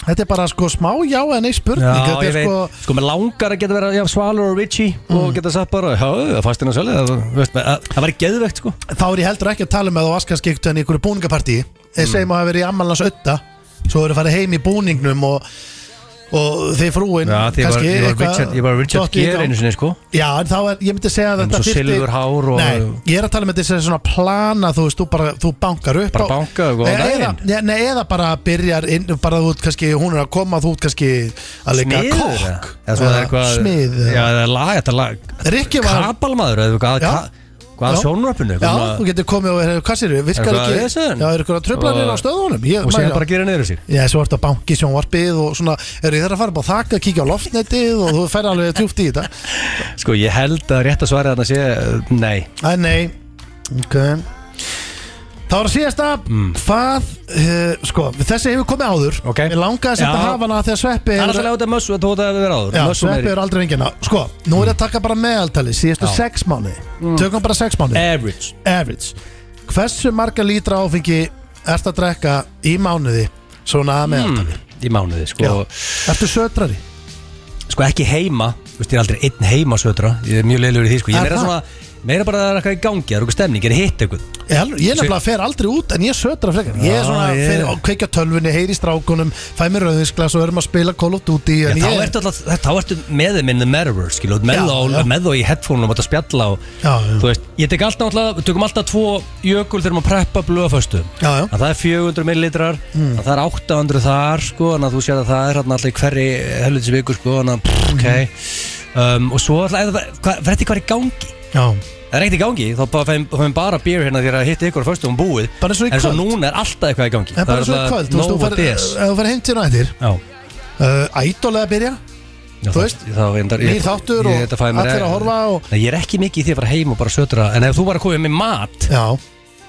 Speaker 1: Þetta er bara sko smá já eða nei spurning
Speaker 3: Já,
Speaker 1: Þetta
Speaker 3: ég
Speaker 1: er
Speaker 3: veit,
Speaker 1: sko
Speaker 3: sko, Mm. með langar að geta verið já, Svalur og Richie og geta sagt bara Já, það fannst hérna svolítið það, veist, með- að- það var geðvegt sko
Speaker 1: þá er ég heldur ekki að tala með á askaskiktu en í einhverju búningapartí þeir
Speaker 3: Mm.
Speaker 1: segjum að hafa verið í ammalans ötta svo eru farið heim í búningnum og, og þeir frúin
Speaker 3: Já, því ég var, ég var Richard, ég var Richard Gere einu sinni sko
Speaker 1: Já, en þá er, ég myndi segja að
Speaker 3: Með
Speaker 1: þetta
Speaker 3: svo
Speaker 1: þyrfti-
Speaker 3: silfurhár og-
Speaker 1: Nei, ég er að tala með þessi svona plana þú veist, þú bara, þú bankar upp
Speaker 3: Bara
Speaker 1: á-
Speaker 3: banka og góðan
Speaker 1: Nei, eða,
Speaker 3: daginn.
Speaker 1: nei, nei, eða bara byrjar inn, bara þú ert kannski, hún er að koma þú ert kannski að leika
Speaker 3: Smiður, eða?
Speaker 1: kokk
Speaker 3: Eða svo það er eitthvað
Speaker 1: smið
Speaker 3: Já, eða lag, þetta lag
Speaker 1: Rikki var
Speaker 3: Kapalmaður, eða hvað
Speaker 1: Já.
Speaker 3: ka- Hvað
Speaker 1: Já.
Speaker 3: sjónröpunu
Speaker 1: Já, þú getur komið og hefur kassir Virkar
Speaker 3: Er eitthvað
Speaker 1: ekki,
Speaker 3: að vesen?
Speaker 1: já, er eitthvað tröflanir á
Speaker 3: Og-
Speaker 1: stöðunum ég,
Speaker 3: Og séðan
Speaker 1: maður-
Speaker 3: bara að gera niður sér
Speaker 1: Já, svo ertu að banki sjónvarpið og svona Er ég þarf að fara upp á þakka, kíkja á loftnetið Og þú fer alveg tjúft í þetta
Speaker 3: Sko, ég held að rétt að svara þarna sé uh, Nei
Speaker 1: Æ, nei Ok Þá er að síðasta Hvað, uh, sko, þessi hefur komið áður
Speaker 3: Mm. Ok.
Speaker 1: Mér langaði að setja
Speaker 3: Já.
Speaker 1: hafa hana þegar sveppi
Speaker 3: Það er
Speaker 1: hefur-
Speaker 3: alltaf látið mössu að tóta að vera áður
Speaker 1: Já,
Speaker 3: Mössu
Speaker 1: sveppi
Speaker 3: meiri
Speaker 1: er aldrei engina Sko, nú er ég að taka bara meðaltali Síðustu
Speaker 3: Já. Mm. Eh,
Speaker 1: sex mánuði Tökum bara sex mánuði
Speaker 3: Average
Speaker 1: average Hversu marga lítra áfengi ert að drekka í mánuði svona að
Speaker 3: Hmm.
Speaker 1: meðaltali?
Speaker 3: mm, Í mánuði,
Speaker 1: Mm. Já.
Speaker 3: sko
Speaker 1: Ertu sötrari?
Speaker 3: Sko, ekki heima Þú veist, ég er aldrei einn heima sötra Ég er mjög leilugur í því, sko Ég
Speaker 1: Er
Speaker 3: er meira
Speaker 1: það?
Speaker 3: svona Meira bara að það er eitthvað í gangi Það er eitthvað stemning, er hitt eitthvað
Speaker 1: Ég, ég nefnilega fer aldrei út en ég sötra frekar Ég er
Speaker 3: Já,
Speaker 1: svona,
Speaker 3: ég-
Speaker 1: fer að kveikja á tölvunni, heyri í strákunum Fæ mér rauðinsglas og erum að spila Call of Duty
Speaker 3: Já,
Speaker 1: en
Speaker 3: þá
Speaker 1: ég,
Speaker 3: ertu alltaf, þá ertu með þeim in the mirror, skilu, þú ert með
Speaker 1: Já, já.
Speaker 3: þá- með þá í headphoneum og ert að spjalla og
Speaker 1: Já, já.
Speaker 3: þú veist, ég tek alltaf, alltaf, við tökum alltaf tvo jökul þegar maður preppa blöðaföstu
Speaker 1: Já, já. Hmm.
Speaker 3: að það er 400 millilitrar, mm. það er 800 þar, sko, en að þú sér að það er hann alltaf í hverri helvitis viku, sko,
Speaker 1: Hmm.
Speaker 3: en að, pff, ok, um, og svo alltaf, eða, hvað, verði hvað er í gangi?
Speaker 1: Já,
Speaker 3: Það er ekkert í gangi, þá bara fæum fæum bara bér hérna þegar að hitta ykkur á föstu um búið
Speaker 1: Bara eins og í
Speaker 3: En svo
Speaker 1: kvöld.
Speaker 3: núna er alltaf eitthvað í gangi
Speaker 1: en bara svona kvöld Þú veist, þú
Speaker 3: nóg að
Speaker 1: fer-
Speaker 3: des
Speaker 1: ef þú fer heim til nættir
Speaker 3: Já,
Speaker 1: uh, Ædólega að byrja
Speaker 3: Já,
Speaker 1: Þú veist,
Speaker 3: þá endar
Speaker 1: nýr þáttur og allir að horfa og-
Speaker 3: Nei, ég er ekki mikið í því að fara heim og bara sötra En ef þú bara komið með mat,
Speaker 1: Já,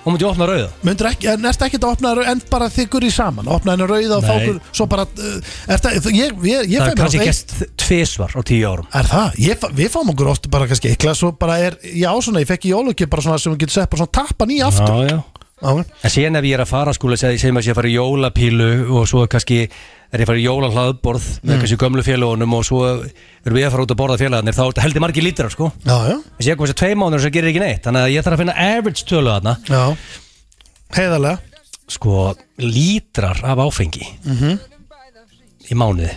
Speaker 3: þá mútti ég opna rauða
Speaker 1: Myndur ekki, en ertu ekkert að opna en bara þiggur í saman, opna henni rauða og
Speaker 3: Nei.
Speaker 1: fákur svo bara, uh, ertu, ég, ég, ég fæ
Speaker 3: Það er
Speaker 1: mér oft
Speaker 3: kannski
Speaker 1: eitt-
Speaker 3: gæst tvisvar á tíu árum
Speaker 1: Er það? Ég, fa- við fáum okkur oft bara kannski eitthvað svo bara er, já svona, ég fekk í jólugjöf bara svona sem við getum sett bara svona tappan í aftur
Speaker 3: já
Speaker 1: Já,
Speaker 3: En síðan ef ég er að fara skúla, segjum að ég sé að fara í jólapílu og svo kannski er ég að fara í jólahlaðborð
Speaker 1: Mm.
Speaker 3: með kannski gömlu félagunum og svo erum við að fara út að borða félagarnir þá heldur margir lítrar sko
Speaker 1: já, já,
Speaker 3: Þessi ég kom þessi tvei mánuður sem gerir ekki neitt þannig að ég þarf að finna average tölu þarna
Speaker 1: já. Heiðarlega
Speaker 3: sko lítrar af áfengi í mánuði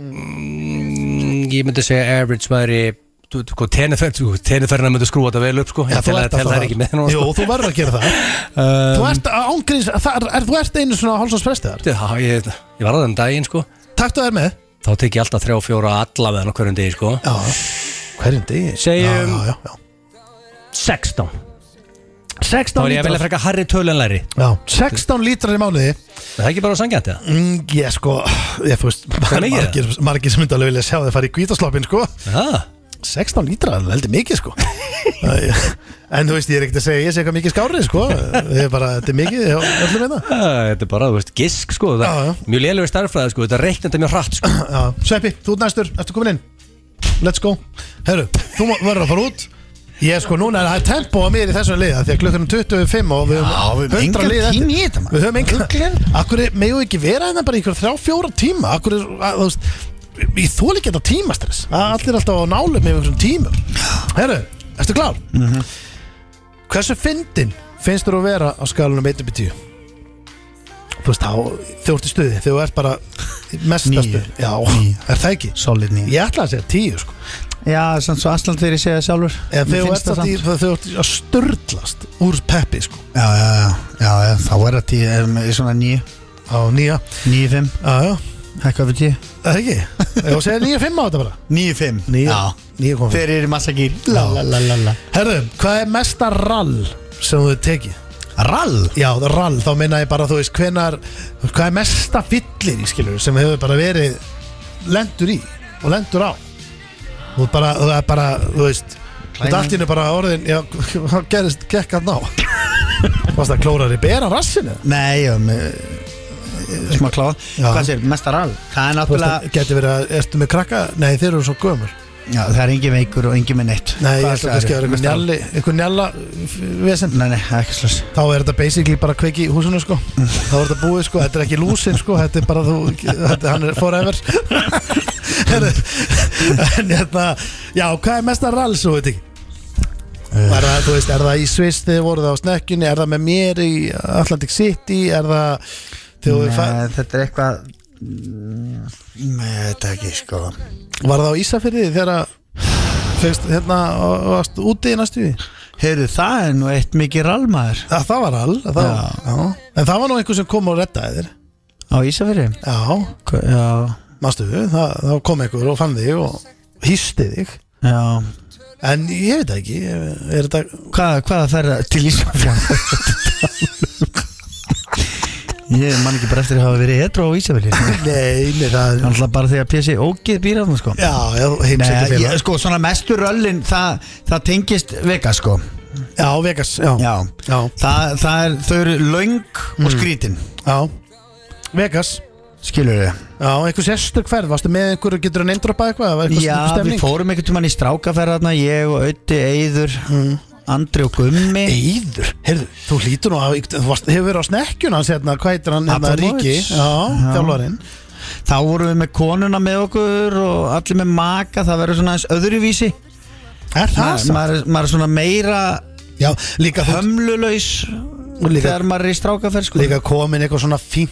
Speaker 3: mm, ég myndi segja average væri þú- þú- sko, teneferð, sko, teneferðina myndi skrúa þetta vel upp sko,
Speaker 1: Já,
Speaker 3: ég tel að tel það ekki með núna,
Speaker 1: Jú,
Speaker 3: sko. Um.
Speaker 1: þú verður að gera það Þú ert ángriðs, er, er, þú ert einu svona hálsonsprestiðar
Speaker 3: já, ég, ég var að það um daginn sko
Speaker 1: Taktu þær með
Speaker 3: þá tek ég alltaf þrjá, fjóra allavega á hverjum degi sko
Speaker 1: Já, hverjum degi
Speaker 3: Segjum-
Speaker 1: Já, já, já,
Speaker 3: 16,
Speaker 1: 16
Speaker 3: þá er ég að velja
Speaker 1: lítrar
Speaker 3: frekka harri tölu en læri
Speaker 1: Já, 16 lítrar í mánuði
Speaker 3: það er ekki bara sangjant eða?
Speaker 1: mm, Ég sko, ég þú veist
Speaker 3: er mikið?
Speaker 1: margir, margir sem myndi alveg vilja sjá þið fara í kvítasloppin sko
Speaker 3: Já,
Speaker 1: 16 lítra, það er heldur mikið sko En þú veist, ég er ekkert að segja ég sé eitthvað mikið skárið sko Það er bara, þetta er mikið, já, öllum hérna. við það
Speaker 3: Æ, þetta er bara, þú veist, gisk sko það,
Speaker 1: Já, já.
Speaker 3: mjög lélugur starffræði sko, þetta reiknir þetta mjög hratt sko
Speaker 1: Já, Sveppi, þú ert næstur, ertu komin inn Let's go Herru, þú má- verður að fara út Ég sko, núna er það tempo á mér í þessum liða Því að klukkan er 25 og við höfum 100 lið
Speaker 2: engan
Speaker 1: eftir
Speaker 2: tíma í þetta maður
Speaker 1: Við höfum engan Akkur er, megum við ekki vera hérna bara í ykkur þrjá, fjóra tíma Akkur er, að, þú veist Ég þóli ekki þetta tímastress Að Allir er alltaf á nálum með einhverjum tímum Herru, ertu klár? Hversu fyndin finnst þú að vera á skalunum 1-10? Þú veist, þá þú ert í stuði Þegar þú ert bara mestastu
Speaker 2: Níu.
Speaker 1: Já,
Speaker 2: Níu.
Speaker 1: er það ekki?
Speaker 2: Solid nýja
Speaker 1: Ég ætla að segja 10 sko
Speaker 2: Já, samt svo Aslan þegar ég segja það sjálfur
Speaker 1: En þegar
Speaker 2: Mér
Speaker 1: þú
Speaker 2: finnst
Speaker 1: ert
Speaker 2: það
Speaker 1: samt í-
Speaker 2: samt.
Speaker 1: þegar þú ert að störtlast úr peppi sko
Speaker 2: Já, já, já, já, já, þá er það tíu er, er svona nýju,
Speaker 1: Á nýja
Speaker 2: nýju fimm
Speaker 1: Já, já,
Speaker 2: Hækka fyrir tíu
Speaker 1: það ekki Ég var að segja 9-5 á þetta bara
Speaker 2: Nýju fimm
Speaker 1: Níu.
Speaker 2: Já,
Speaker 1: Níu komum
Speaker 2: þeir eru massa gýr La, la, la, la, la
Speaker 1: Herðu, hvað er mesta rall sem þú hefur tekið?
Speaker 2: Rall
Speaker 1: Já, rall, þá minna ég bara, þú veist, hvenar Hvað er mesta fyllir í skilur sem hefur bara verið lendur í og lendur á Þú ert bara, þú er bara, þú veist Þú ert allt í hennu bara orðin Já, hvað gerist, gekk að ná Varst að klórar í bera rassinu
Speaker 2: Nei, já, með Smá kláða
Speaker 1: Já.
Speaker 2: Hvað sér, mesta rall
Speaker 1: Þú
Speaker 2: Það er
Speaker 1: veist
Speaker 2: náttúrulega
Speaker 1: að geti verið að, ertu með krakka? Nei, þeir eru svo gömur
Speaker 2: Já, það er engin veikur og engin með neitt
Speaker 1: Nei, ég
Speaker 2: Hvað
Speaker 1: ætla kannski að
Speaker 2: sagðirðu?
Speaker 1: vera eitthvað njalli Eitthvað njalla vesen
Speaker 2: Nei, nei, það er ekki slags
Speaker 1: Þá er þetta basically bara kveiki í húsinu sko Þá er þetta búið sko, þetta er ekki lúsin sko Þetta er bara þú, þetta, hann er forever Herðu, En hérna, já, hvað er mesta rall svo veit ekki Er það, þú veist, er það í Sviss þegar voruð það á snekkjunni Er það með mér í Atlantic City Er það, þegar við fa-
Speaker 2: Nei, þetta er eitthvað Nei, þetta er ekki sko
Speaker 1: Var það á Ísafirði þegar að Fegst, hérna, varst úti í næstu við
Speaker 2: Heyrðu, það er nú eitt mikið rallmaður
Speaker 1: Það, það var all það,
Speaker 2: Já.
Speaker 1: já. En það var nú einhver sem kom og reddaði þér
Speaker 2: Á Ísafirði
Speaker 1: Já,
Speaker 2: Hva- Já,
Speaker 1: Mastu, það, þá kom einhver og fann þig og hýsti þig
Speaker 2: já
Speaker 1: En ég veit það ekki, er þetta
Speaker 2: Hvað, hvað það er til Ísafirði? Ég man ekki bara eftir að hafa verið etrú á Ísafirði
Speaker 1: Nei, nei, það
Speaker 2: Þannig bara þegar PC ógið býr að sko
Speaker 1: Já, já, heimsækja
Speaker 2: Nei, ég,
Speaker 1: félag
Speaker 2: sko, svona mestu röllin það, það tengist vega, sko
Speaker 1: Já, Vegas, já Já, Mm.
Speaker 2: Já, Það, það er, þau eru löng og skrítin
Speaker 1: já. Vegas,
Speaker 2: Skilur þið?
Speaker 1: já, einhver sérstök ferð Varstu með einhverju, getur hann eindropa eitthvað? Var eitthvað
Speaker 2: Já,
Speaker 1: stemning?
Speaker 2: við fórum einhvern tímann í strákaferðarna Ég og Ötti, Eyður,
Speaker 1: Mm.
Speaker 2: Andri og Gummi
Speaker 1: Eyður, heyrðu, þú hlýtur nú að Þú varst, hefur verið á snekkjuna hans hérna, hvað heitir hann hérna,
Speaker 2: Abramovich.
Speaker 1: Ríki, já,
Speaker 2: Já.
Speaker 1: þjálfarinn
Speaker 2: Þá vorum við með konuna með okkur Og allir með maka, það verður svona aðeins öðruvísi
Speaker 1: Er það
Speaker 2: Ma-
Speaker 1: satt?
Speaker 2: Maður er- maður er svona meira
Speaker 1: Já, líka þú
Speaker 2: hömlulaus
Speaker 1: líka-
Speaker 2: Þegar maður er í strákaferð, sko
Speaker 1: Líka komin eitthvað svona fínt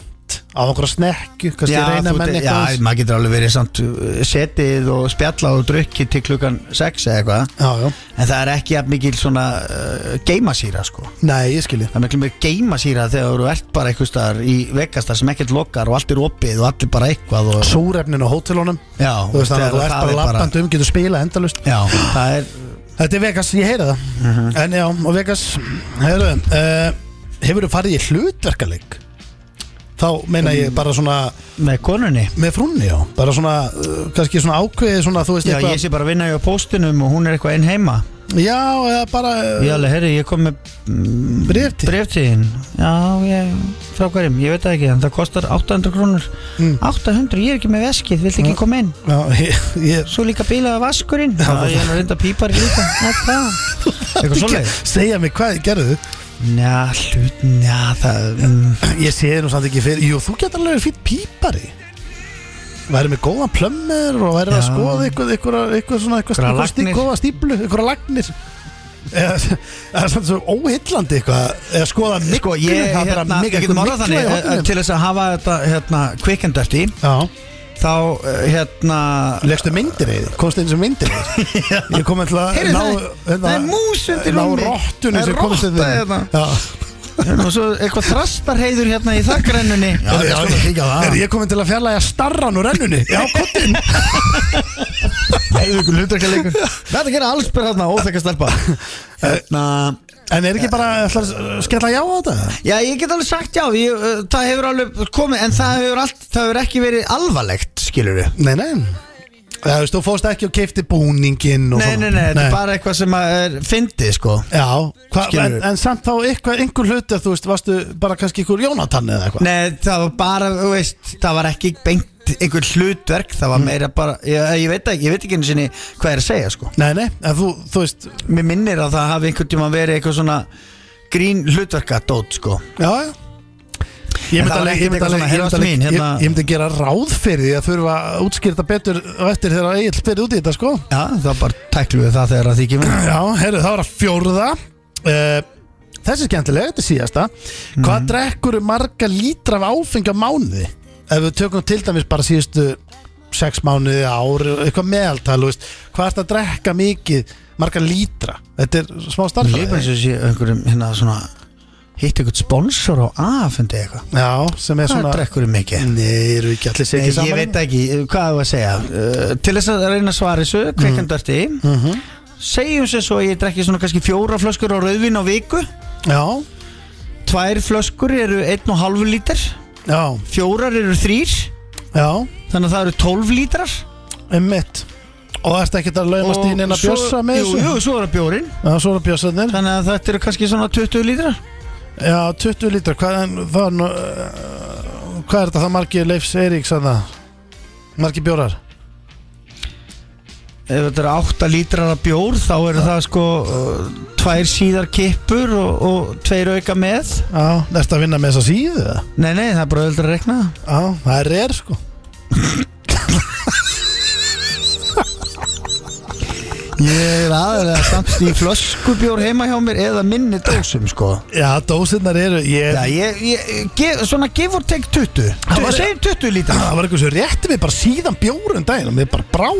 Speaker 1: Á einhverja snekju, kannski
Speaker 2: Já,
Speaker 1: reyna
Speaker 2: þú
Speaker 1: menn
Speaker 2: te- já,
Speaker 1: eitthvað aðeins.
Speaker 2: maður getur alveg verið samt uh, setið og spjallað og drukkið til klukkan 6 eða eitthvað
Speaker 1: já, já
Speaker 2: En það er ekki jafn mikil svona uh, geimasýra sko
Speaker 1: Nei, ég skilji
Speaker 2: Það er miklu mér geimasýra þegar þú ert bara eitthvað staðar í vegastar sem ekkert lokar og allt er opið og allir bara eitthvað og,
Speaker 1: Súrefnin á hótelunum
Speaker 2: Já,
Speaker 1: Þú veist þannig að þú
Speaker 2: þegar
Speaker 1: ert
Speaker 2: það
Speaker 1: bara
Speaker 2: er
Speaker 1: lappandi um, getur spila endalust
Speaker 2: Já, Mhm. það er
Speaker 1: Þetta er Vegas, ég heyra það En já, og Vegas, heyrðu uh, Hefur þú farið í hlutverkaleik? Þá meina
Speaker 2: Um.
Speaker 1: ég bara svona
Speaker 2: með konunni
Speaker 1: Með frunni, já Bara svona, uh, kannski svona ákveðið svona, þú veist
Speaker 2: Já, ég
Speaker 1: eitthvað
Speaker 2: sé bara að vinna hjá póstinum og hún er eitthvað einn heima
Speaker 1: Já, eða bara
Speaker 2: Ég
Speaker 1: uh,
Speaker 2: alveg, herri, ég kom með
Speaker 1: brefti
Speaker 2: breftíðin Já, ég, frá hverjum, ég veit það ekki en það kostar 800 krónur 800, ég er ekki með veskið, vilt ekki koma inn
Speaker 1: Já, ég, ég
Speaker 2: Svo líka bílaða vaskurinn Mm. Já, ég er nú reynda pípar líka Já, það. Eitthvað svoleið
Speaker 1: Segja mig hvað gerðu
Speaker 2: Njá, hlut, njá, það um,
Speaker 1: Ég sé þér nú samt ekki fyrir Jú, þú getur alveg fýtt pípari Væri með góðan plömmir og væri að
Speaker 2: Já.
Speaker 1: skoða eitthvað, eitthvað, eitthvað svona eitthvað,
Speaker 2: Einhverja
Speaker 1: eitthvað stík,
Speaker 2: lagnir.
Speaker 1: góða stíplu, eitthvað lagnir Eða, Það er samt svo óhillandi eitthvað eða skoða miklu
Speaker 2: Sko,
Speaker 1: það
Speaker 2: ég,
Speaker 1: er bara
Speaker 2: hérna,
Speaker 1: miklu-
Speaker 2: við getum
Speaker 1: eitthvað
Speaker 2: orðað
Speaker 1: mygla í
Speaker 2: þannig eh,
Speaker 1: horninu.
Speaker 2: Til þess að hafa þetta, hérna, quick and dirty
Speaker 1: Já,
Speaker 2: Þá, eh, hérna
Speaker 1: legstu myndir í því, komst eins og myndir í því Ég kom til að
Speaker 2: Heyrðu,
Speaker 1: ná hérna,
Speaker 2: það er- það er mús undir
Speaker 1: Ná
Speaker 2: rúmi.
Speaker 1: rottunni
Speaker 2: Það er
Speaker 1: sem komst til
Speaker 2: rotta
Speaker 1: þín.
Speaker 2: hérna.
Speaker 1: Já.
Speaker 2: Og hérna, svo eitthvað þrastarheiður hérna í þakkrennunni Já,
Speaker 1: Heyrðu,
Speaker 2: sko,
Speaker 1: ég-
Speaker 2: líka það.
Speaker 1: heyrðu, Ég kom til að fjarlæga starran úr ennunni Já, kottin
Speaker 2: Heiður ykkur hlutverkjalegur Þetta gera alls byrð hérna, óþekka stelpa Hérna
Speaker 1: En er ekki bara ætlar að skella já á þetta?
Speaker 2: Já, ég get alveg sagt já, ég, uh, það hefur alveg komið, en það hefur, allt, það hefur ekki verið alvarlegt, skilur við.
Speaker 1: Nei, nei Það veist, þú fórst ekki og keifti búningin og
Speaker 2: Nei,
Speaker 1: svona.
Speaker 2: nei, nei, þetta er bara eitthvað sem að er fyndið, sko.
Speaker 1: Já, hva, en,
Speaker 2: Skilurðu?
Speaker 1: en samt þá eitthvað, einhver hluti að þú veist, varstu bara kannski einhver Jónatan eða eitthvað
Speaker 2: Nei, það var bara, þú veist, það var ekki beint einhver hlutverk, það var meira bara, ég, ég veit ekki, ég veit ekki einu sinni hvað er að segja, sko.
Speaker 1: Nei, nei, en þú, þú veist Já,
Speaker 2: Mér minnir að það hafi einhvern tíma verið eitthvað svona grín hlutverkadót, sko.
Speaker 1: já Ég
Speaker 2: En
Speaker 1: myndi
Speaker 2: það var
Speaker 1: alveg, ég
Speaker 2: ekkert
Speaker 1: myndi
Speaker 2: eitthvað
Speaker 1: alveg,
Speaker 2: svona,
Speaker 1: ég myndi
Speaker 2: "Heyrðu, ást
Speaker 1: alveg,
Speaker 2: mín,
Speaker 1: ég,
Speaker 2: hérna-
Speaker 1: ég myndi að gera ráð fyrir því að þurfa að útskýrta betur á eftir þegar að Egil fyrir út í þetta, sko
Speaker 2: Já, það var bara tækluðu það þegar það þykir mér.
Speaker 1: Já, heyrðu, það var að fjórða uh, Þessi er skemmtilega, þetta er síðasta
Speaker 2: Mhm.
Speaker 1: Hvað drekkur marga lítra af áfengi á mánuði? Ef við tökum til dæmis bara síðustu sex mánuði, ári, eitthvað meðaltal þú veist, Hvað ertu að drekka mikið marga lítra? Þetta er smá
Speaker 2: Mér líður
Speaker 1: starfæði
Speaker 2: bara eins og sé einhverjum, hérna, svona, hitt einhvern sponsor á aðfundi eitthvað.
Speaker 1: Já, sem er
Speaker 2: Hvað
Speaker 1: svona
Speaker 2: drekkur mikið?
Speaker 1: Nei, eru ekki allir
Speaker 2: Nei,
Speaker 1: sikið
Speaker 2: ég
Speaker 1: saman
Speaker 2: veit ekki, uh, hvað þú að segja uh, Til þess að reyna að svara þessu
Speaker 1: Mhm.
Speaker 2: kveikandörti mm. mm Segjum sér svo að ég drekki svona kannski fjóra flöskur á rauðvin á viku
Speaker 1: Já,
Speaker 2: Tvær flöskur eru einn og halvu lítar
Speaker 1: já,
Speaker 2: Fjórar eru þrýr
Speaker 1: já,
Speaker 2: Þannig að það eru 12 lítrar
Speaker 1: um mitt Og ertu ekki að laumast í neina bjössa með
Speaker 2: jú,
Speaker 1: þessu?
Speaker 2: jú, svo er það bjórin
Speaker 1: Já, svo eru bjössanir
Speaker 2: Þannig að þetta eru kannski svona 20 lítrar
Speaker 1: Já, 20 lítra, hvað, en, það, er nú, uh, hvað er þetta það margir Leifs Eiríks að það? Margir bjórar?
Speaker 2: ef þetta eru 8 lítrar af bjór þá eru það sko uh, tvær síðar kippur og, og tveir auka með
Speaker 1: Já, næst að vinna með þessa síðu eða?
Speaker 2: Nei, nei, það er bara öllur að rekna
Speaker 1: Já, það er er sko
Speaker 2: Ég er aðalega samt í flöskubjór heima hjá mér eða minni dósum sko
Speaker 1: Já, dósirnar eru ég,
Speaker 2: Já, ég, ég, gef, svona give or take 20
Speaker 1: Það var-
Speaker 2: Hvað segir 20 lítrar?
Speaker 1: Það var eitthvað sem rétti mig bara síðan bjórun daginn og mér bara brá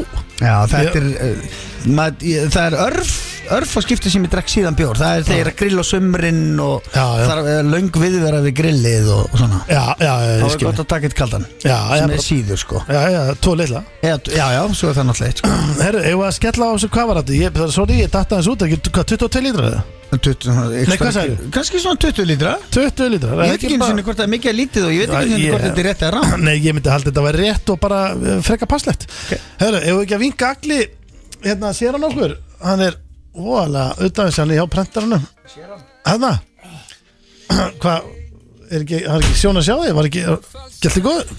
Speaker 2: Já, þetta er, uh, mað, ég, það er örf, örf að skipta sem ég drekk síðan bjór Það er þegar að grilla á sumrin og
Speaker 1: Já, já.
Speaker 2: þarf eh, löng viðvera við grillið og, og svona
Speaker 1: Já, já, já,
Speaker 2: Þá
Speaker 1: ég
Speaker 2: er
Speaker 1: skil
Speaker 2: gott að taka eitt kaldan
Speaker 1: Já, já,
Speaker 2: sem
Speaker 1: bara-
Speaker 2: er síður sko
Speaker 1: Já, já, tvo litla
Speaker 2: Eða, Já, já, svo er það náttúrulega eitt sko
Speaker 1: Herru, eigum við að skella á þessu hvað var þetta? Ég, það er sorry, ég datta þessu út, ekki, hvað, 22 lítrar eða?
Speaker 2: 20,
Speaker 1: Nei, hvað sagðirðu?
Speaker 2: Kannski svona 20 lítra
Speaker 1: 20 lítrar
Speaker 2: Ég veit ekki einu sinni hvort það er mikið að lítið og ég veit ekki einu sinni hvort þetta er rétt eða rám
Speaker 1: Nei, ég myndi haldið þetta var rétt og bara eh, frekar passlegt okay. Hörru, ef við ekki að vinka allir hérna, sér hann okkur hann er óalega auðvitað hann er hjá prentaranum hérna hvað, er ekki, hann er ekki sjón að sjá þig var ekki, gætti góður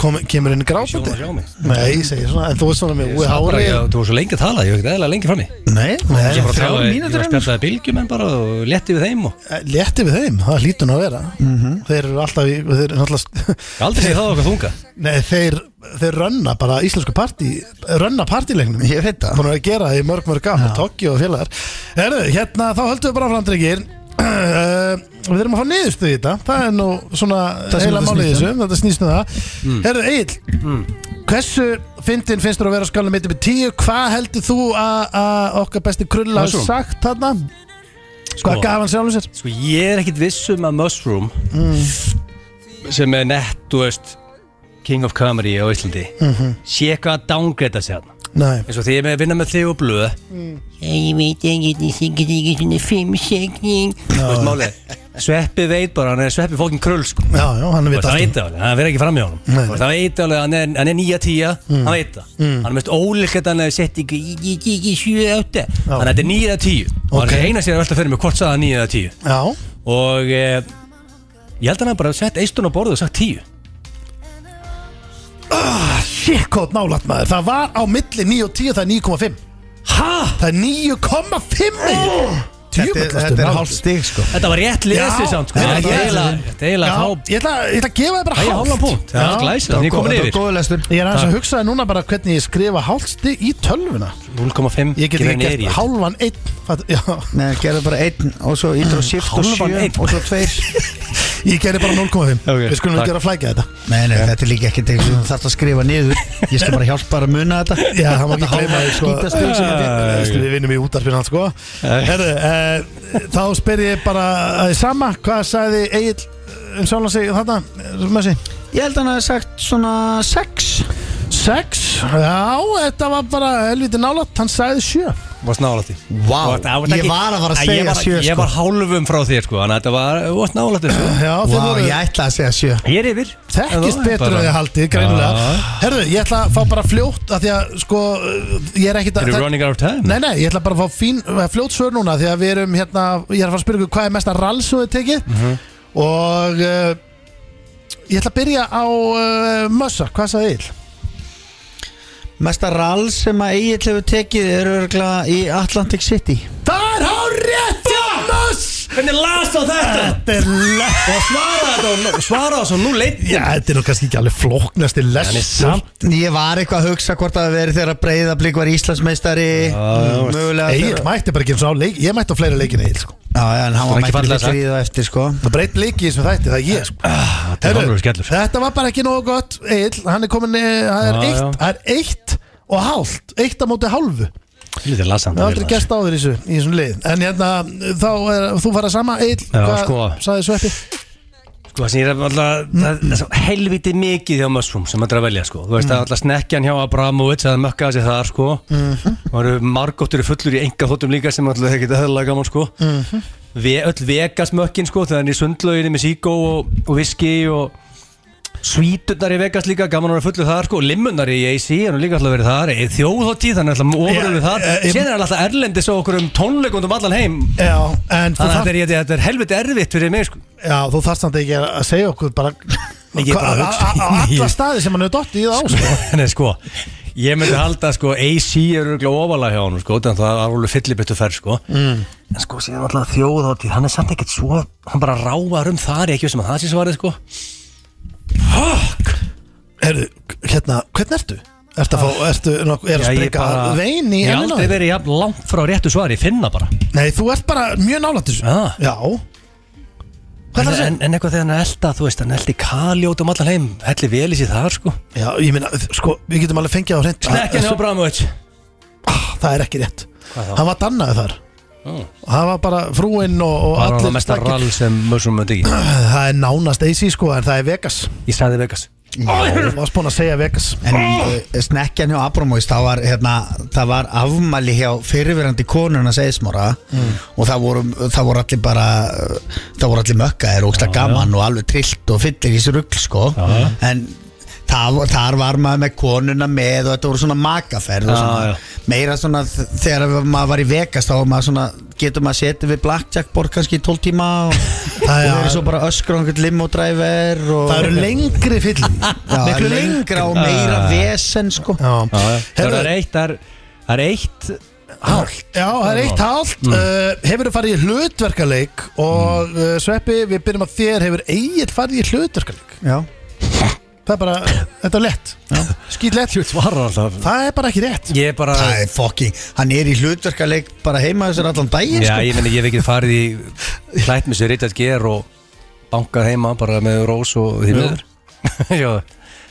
Speaker 1: Kom, kemur inn
Speaker 3: Sjón
Speaker 1: gráfandi
Speaker 3: að sjá mig.
Speaker 1: nei, ég segi svona, en þú veist svona með úi
Speaker 3: Það bara,
Speaker 1: hári
Speaker 3: ég, þú var svo lengi að tala, ég var ekkert eðla lengi frammi
Speaker 2: Nei, nei,
Speaker 3: Ég var að
Speaker 2: þrjá
Speaker 3: tala- ég var
Speaker 2: mínútur
Speaker 3: að
Speaker 2: enn
Speaker 3: spjallaði bylgjum en bara og letti við þeim og
Speaker 1: Eh, létti við þeim, það hlýtur nú að vera þeir eru alltaf, í, þeir eru alltaf
Speaker 3: Mhm. Ég aldrei segið það okkar þunga
Speaker 1: Nei, þeir, þeir rönna bara íslensku partí rönna partílegnum
Speaker 2: Ég veit það.
Speaker 1: Búin að gera það í mörg mörg gaf og Tokki og félagar Herðu, hérna þá höldum við bara fram drengir Uh, við þurfum að fá niðurstu í þetta það er nú svona
Speaker 2: sem
Speaker 1: heila
Speaker 2: þetta
Speaker 1: málið í
Speaker 2: snýst Mm.
Speaker 1: þessu þetta snýst um það Herðu, Egil, hversu fyndin finnst þú að vera á skalum 1 með 10 hvað heldur þú að að okkar besti krulla hafi
Speaker 3: Mushroom.
Speaker 1: sagt þarna hvað gaf hann sjálfum sér
Speaker 3: Sko ég er ekkit viss um að Mushroom sem er nett, þú veist King of Comedy á Íslandi sé eitthvað að downgrada sig hann
Speaker 1: Nei.
Speaker 3: eins og því ég er með að vinna með þig og blöð ég veit ekki, ég syngi ekki svona fimm segning þú veist málið, Sveppi veit bara hann er Sveppi fókin krull sko
Speaker 1: já, já, hann
Speaker 3: Þú
Speaker 1: veit
Speaker 3: veist,
Speaker 1: allt
Speaker 3: hann
Speaker 1: um-
Speaker 3: veit það alveg, hann verður ekki fram í honum Þú veist, hann veit alveg, hann er, hann er nýja tíja
Speaker 1: Mm.
Speaker 3: hann veit það, hann er mest ólíkert hann hefur sett ekki, ég, ég, ég, ég, sjö, átta þannig að þetta er nýja tíu og hann
Speaker 1: Ok.
Speaker 3: reyna sér að velta fyrir mig hvort sagði hann nýja tíu
Speaker 1: já,
Speaker 3: og eh, ég held að hann hafi bara sett eistun á borðu og sagt tíu
Speaker 1: shit, hvað nálat maður það var á milli 9 og 10, það er 9,5
Speaker 3: hæ?
Speaker 1: Það er 9,5 oh,
Speaker 2: Þetta er- þetta er hálf stig sko
Speaker 3: Þetta var rétt
Speaker 1: Já,
Speaker 3: lesið samt sko.
Speaker 1: já,
Speaker 3: Þetta
Speaker 1: já,
Speaker 3: er eiginlega- þetta er eiginlega þá
Speaker 1: Ég ætla ég ætla að gefa þér bara
Speaker 3: Það er hálfan punkt,
Speaker 1: hálft
Speaker 3: það er glæsilegt, þannig komin
Speaker 2: Þetta var
Speaker 3: yfir
Speaker 2: góður lestur
Speaker 1: Ég er aðeins að hugsa núna bara hvernig ég skrifa hálfsti í tölvuna
Speaker 3: 0,5
Speaker 1: Ég get
Speaker 3: gefur
Speaker 1: ekki
Speaker 3: niður í
Speaker 1: gert
Speaker 3: þetta.
Speaker 1: hálfan einn fatt- já.
Speaker 2: Nei, gerðu bara einn og svo ítrá shift og
Speaker 3: Mm, Hálfan
Speaker 2: sjö
Speaker 3: einn.
Speaker 2: og svo tveir
Speaker 1: Ég gerir bara 0,5
Speaker 3: Ok,
Speaker 1: Við skulum
Speaker 3: takk.
Speaker 1: ekki vera að flækja þetta
Speaker 2: Nei, nei, þetta er líka ekkert eitthvað sem þú þarft að skrifa niður Ég skal bara hjálpa þér að muna þetta
Speaker 1: Já, það má ekki gleyma því, sko.
Speaker 2: Skítastig sem að
Speaker 1: Þú veist, Við vinnum í útarpinu hans sko Herðu, eh, Þá spyr ég bara að því sama Hvað sagði Egil um sjálfan sig þarna eh, Messi?
Speaker 2: Ég held að hann að sagt svona 6
Speaker 1: 6 Já, þetta var bara helviti nálat Hann sagði 7
Speaker 3: Varst nálægt því
Speaker 2: Vá,
Speaker 3: Þú varst- þú varst
Speaker 2: ég
Speaker 3: ekki-
Speaker 2: var að fara að
Speaker 3: Æ,
Speaker 2: segja
Speaker 3: ég var-
Speaker 2: sjö,
Speaker 3: Ég
Speaker 2: sko.
Speaker 3: var hálfum frá þér sko Þannig að þetta var, þú varst nálægt þessu
Speaker 1: Já, þið
Speaker 2: Vá,
Speaker 1: voru
Speaker 2: ég ætla að segja 7
Speaker 3: Ég er yfir
Speaker 1: Þekkist
Speaker 3: En þú-
Speaker 1: betur
Speaker 3: bara-
Speaker 1: að ég haldið, greinilega
Speaker 3: Já.
Speaker 1: Herðu, ég ætla að fá bara fljótt að Því að, sko, ég er ekkit að
Speaker 3: Eru running out of time?
Speaker 1: Nei, nei, ég ætla bara að fá fín, eh, fljótt svör núna Því að við erum, hérna, ég er að fara að spyrja ykkur Hvað er mesta rall sem þið tekið Og uh, Ég ætla að byrja á uh, Mössa, hvað sagði Egil?
Speaker 2: Mesta rall sem að Egil hefur tekið er örgla í Atlantic City
Speaker 1: Það er hár rétt hjá Möss
Speaker 3: Hvernig las á þetta?
Speaker 1: Þetta er lett
Speaker 3: Og svara þetta og svara þessu og nú leitt
Speaker 1: Já, þetta er nú kannski ekki alveg flóknasti
Speaker 3: Þannig
Speaker 1: lestur
Speaker 3: samt
Speaker 2: Ég var eitthvað að hugsa hvort að verið þegar að Breiðablík var Íslandsmeistari Mögulega
Speaker 1: Egil
Speaker 2: þegar-
Speaker 1: mætti bara ekki eins og á leik Ég mætti á fleira leikin Egil, sko
Speaker 2: Já, já, en hann
Speaker 3: Var
Speaker 2: var
Speaker 3: ekki
Speaker 2: mættur
Speaker 3: fallega
Speaker 2: líka
Speaker 3: sagt.
Speaker 2: þrýð og eftir sko
Speaker 1: Það breytt leiki í þessum þætti, það er ég, sko
Speaker 3: Þetta er
Speaker 1: Heyrðu,
Speaker 3: hálfur skellur
Speaker 1: Þetta var bara ekki nógu gott Egil, hann er komin eh, Það er,
Speaker 3: Já,
Speaker 1: eitt,
Speaker 3: já.
Speaker 1: það er eitt og hálft Eitt á móti hálfu Það
Speaker 3: Lítið las hann
Speaker 1: er aldrei gest áður í þessu Í þessum liðin En hérna, þá er, þú farað sama Egil,
Speaker 3: Já, sko.
Speaker 1: sagði Sveppi?
Speaker 3: Sko það sem ég er alltaf
Speaker 1: Mm.
Speaker 3: það, það er svo helviti mikið hjá Mushroom sem maður er að velja sko Þú veist
Speaker 1: Mm.
Speaker 3: það er alltaf snekkjan hjá Abramovic að mökkaða sér þar sko
Speaker 1: Mhm.
Speaker 3: Og það eru margóttur fullur í enga þóttum líka sem alltaf hefur getið höðlega gaman sko
Speaker 1: Mhm.
Speaker 3: Ve, Öll Vegas mökkin sko þegar hann er í sundlauginni með síkó og, og viski og Svíturnar í Vegas líka, gaman að vera fullur þar sko Limmunar í AC, hann er líka alltaf verið þar Í Þjóðhóttíð, hann er alltaf ofurður við þar
Speaker 1: Ja, eh, ég-
Speaker 3: Sér er hann alltaf erlendis á okkur um tónleikundum allan heim
Speaker 1: Já, en þú,
Speaker 3: Þannig að þetta
Speaker 1: þar,
Speaker 3: er, ég- þetta er helviti erfitt fyrir mig sko
Speaker 1: já, þú þarst hann ekki að segja okkur bara
Speaker 3: Ég get bara
Speaker 1: Hva-
Speaker 3: að hugsa.
Speaker 1: á- á- á Alla staði sem hann hefur dottið í það á sko.
Speaker 3: Nei, sko, Ég myndi halda sko AC er örgulega ofalega hjá honum sko Þannig að það er alveg fyllibittu ferð sko mm. En sko síðan alltaf þjóðhátíð Hann er samt ekkert svo Hann bara rávar um þar Ég ekki sem að það sé svarið sko
Speaker 1: Herru, hérna, hvernig ertu? Ertu að fá, ertu, nok- er að
Speaker 3: Já, ég
Speaker 1: spreka
Speaker 3: bara-
Speaker 1: vein í
Speaker 3: Ég hef
Speaker 1: enninu? á
Speaker 3: aldrei
Speaker 1: þér?
Speaker 3: verið jafn langt frá réttu svari Ég finna bara
Speaker 1: Nei, þú ert bara mjög nálægt þessu
Speaker 3: Ah.
Speaker 1: Já Hvað
Speaker 3: en,
Speaker 1: er það að segja?
Speaker 3: en, en eitthvað þegar hann er elda Þú veist, hann eldi kaljót um allan heim Helli vel í sér þar sko
Speaker 1: Já, ég meina, sko, við getum alveg fengið á hreint
Speaker 3: Snekkin hjá Bramovic
Speaker 1: Það er ekki rétt
Speaker 3: Hvað þá?
Speaker 1: Hann var dannaði þar Það var bara frúinn og, og
Speaker 3: Var hann mesta
Speaker 1: snakkir.
Speaker 3: rall sem mössum möndi ekki
Speaker 1: Það er nánast AC sko, en það er Vegas
Speaker 3: Ég sagði Vegas
Speaker 1: Þú varst búin að segja Vegas
Speaker 2: En eh, snekkjan hjá Abramovis það var, hérna, það var afmæli hjá fyrirverandi konuna segismora og það voru, það voru allir bara eh, það voru allir mökkaðir og ógsta gaman og alveg trillt og fyllir í sér rugl sko. en það, var- þar var maður með konuna með og þetta voru svona makaferð og
Speaker 3: Já,
Speaker 2: svona,
Speaker 3: já.
Speaker 2: meira svona þ- þegar maður var í Vegas þá var maður svona getur maður setið við blackjack borg kannski í 12 tíma og
Speaker 1: Það
Speaker 2: það
Speaker 1: er-
Speaker 2: eru svo bara öskur og einhvern limodræver og
Speaker 1: Það eru lengri fyllir
Speaker 2: Já,
Speaker 1: Miklu
Speaker 2: lengra og meira vesen sko
Speaker 1: Já,
Speaker 3: Það er
Speaker 1: Herðu,
Speaker 3: eitt Það er- það er eitt Hálf
Speaker 1: Já, það er eitt hálft mm. Hefur farið í hlutverkaleik
Speaker 3: Mm.
Speaker 1: og uh, Sveppi, við byrjum að þér hefur eigin farið í hlutverkaleik
Speaker 2: Já
Speaker 1: Það er bara, þetta er lett Skýt lett
Speaker 3: Þú svarar alltaf
Speaker 1: Það er bara ekki rétt
Speaker 3: Ég er bara
Speaker 2: Það er fucking, hann er í hlutverkaleik bara heima þessar allan daginn
Speaker 3: Já,
Speaker 2: sko
Speaker 3: ég meni, ég hef ekki farið í hlætt með sér Richard Gere og bankað heima bara með rós og því meður Já,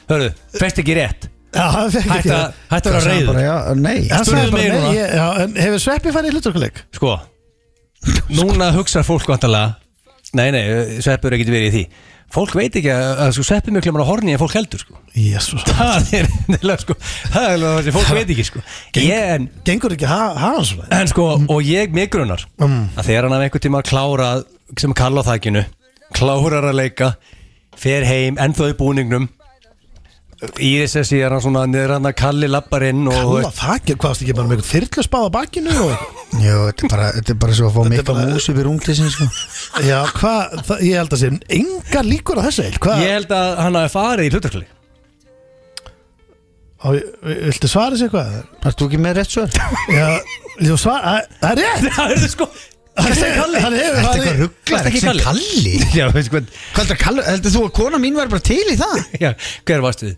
Speaker 3: hörru, fest ekki rétt
Speaker 1: Já, það fekk
Speaker 3: Hætt
Speaker 1: ekki
Speaker 3: að
Speaker 1: það
Speaker 3: hætt að
Speaker 2: Það
Speaker 3: vera
Speaker 2: sagði bara,
Speaker 3: reyður
Speaker 2: já, nei
Speaker 1: Hann
Speaker 3: Spurðu
Speaker 1: sagði bara,
Speaker 3: mig
Speaker 1: nei,
Speaker 3: núna.
Speaker 1: ég- já, en Hefur Sveppi farið í hlutverkaleik?
Speaker 3: Sko, núna hugsar fólk vantarlega Nei, nei, sveppur ekki verið í því Fólk veit ekki að, að sko, sveppi mjög klemur á horni en fólk heldur sko
Speaker 1: Jésus
Speaker 3: Það er nefnilega sko Það er nefnilega það sem fólk veit ekki sko ég, en,
Speaker 1: Gengur ekki ha- hafa hans svona
Speaker 3: en sko, og ég mig grunar að þegar hann hafði einhvern tíma klárað sem kalla á þakkinu, klárar að leika fer heim, ennþá í búningnum í þess að síðan hann svona niður hann að kalli labbarinn og þú
Speaker 1: Kalla
Speaker 3: veist,
Speaker 1: þakir, hvað varst ekki bara með einhvern þyrlusbáð á bakinu og...
Speaker 2: Jó, þetta er bara, þetta er bara svo að fá mikla
Speaker 1: bara-
Speaker 2: mús yfir unglisin sko
Speaker 1: Já, hvað, það- ég held að sé engar líkur á þessu eil Hvað,
Speaker 3: ég held að hann hafi farið í hlutarkli
Speaker 1: á, viltu svara sér hvað?
Speaker 2: Ertu ekki með rétt svör?
Speaker 1: Já, þú svara, það er rétt
Speaker 3: Það er sko, það er kalli
Speaker 1: Hann hefur
Speaker 2: Ertu
Speaker 1: farið
Speaker 2: eitthvað rugglar,
Speaker 3: Ertu ekki
Speaker 2: ekki sem kalli?
Speaker 3: Já, veistu hvað,
Speaker 2: Hvað heldur að kalli, heldur þú að kona mín var bara til í það?
Speaker 3: já, hver varstu þið?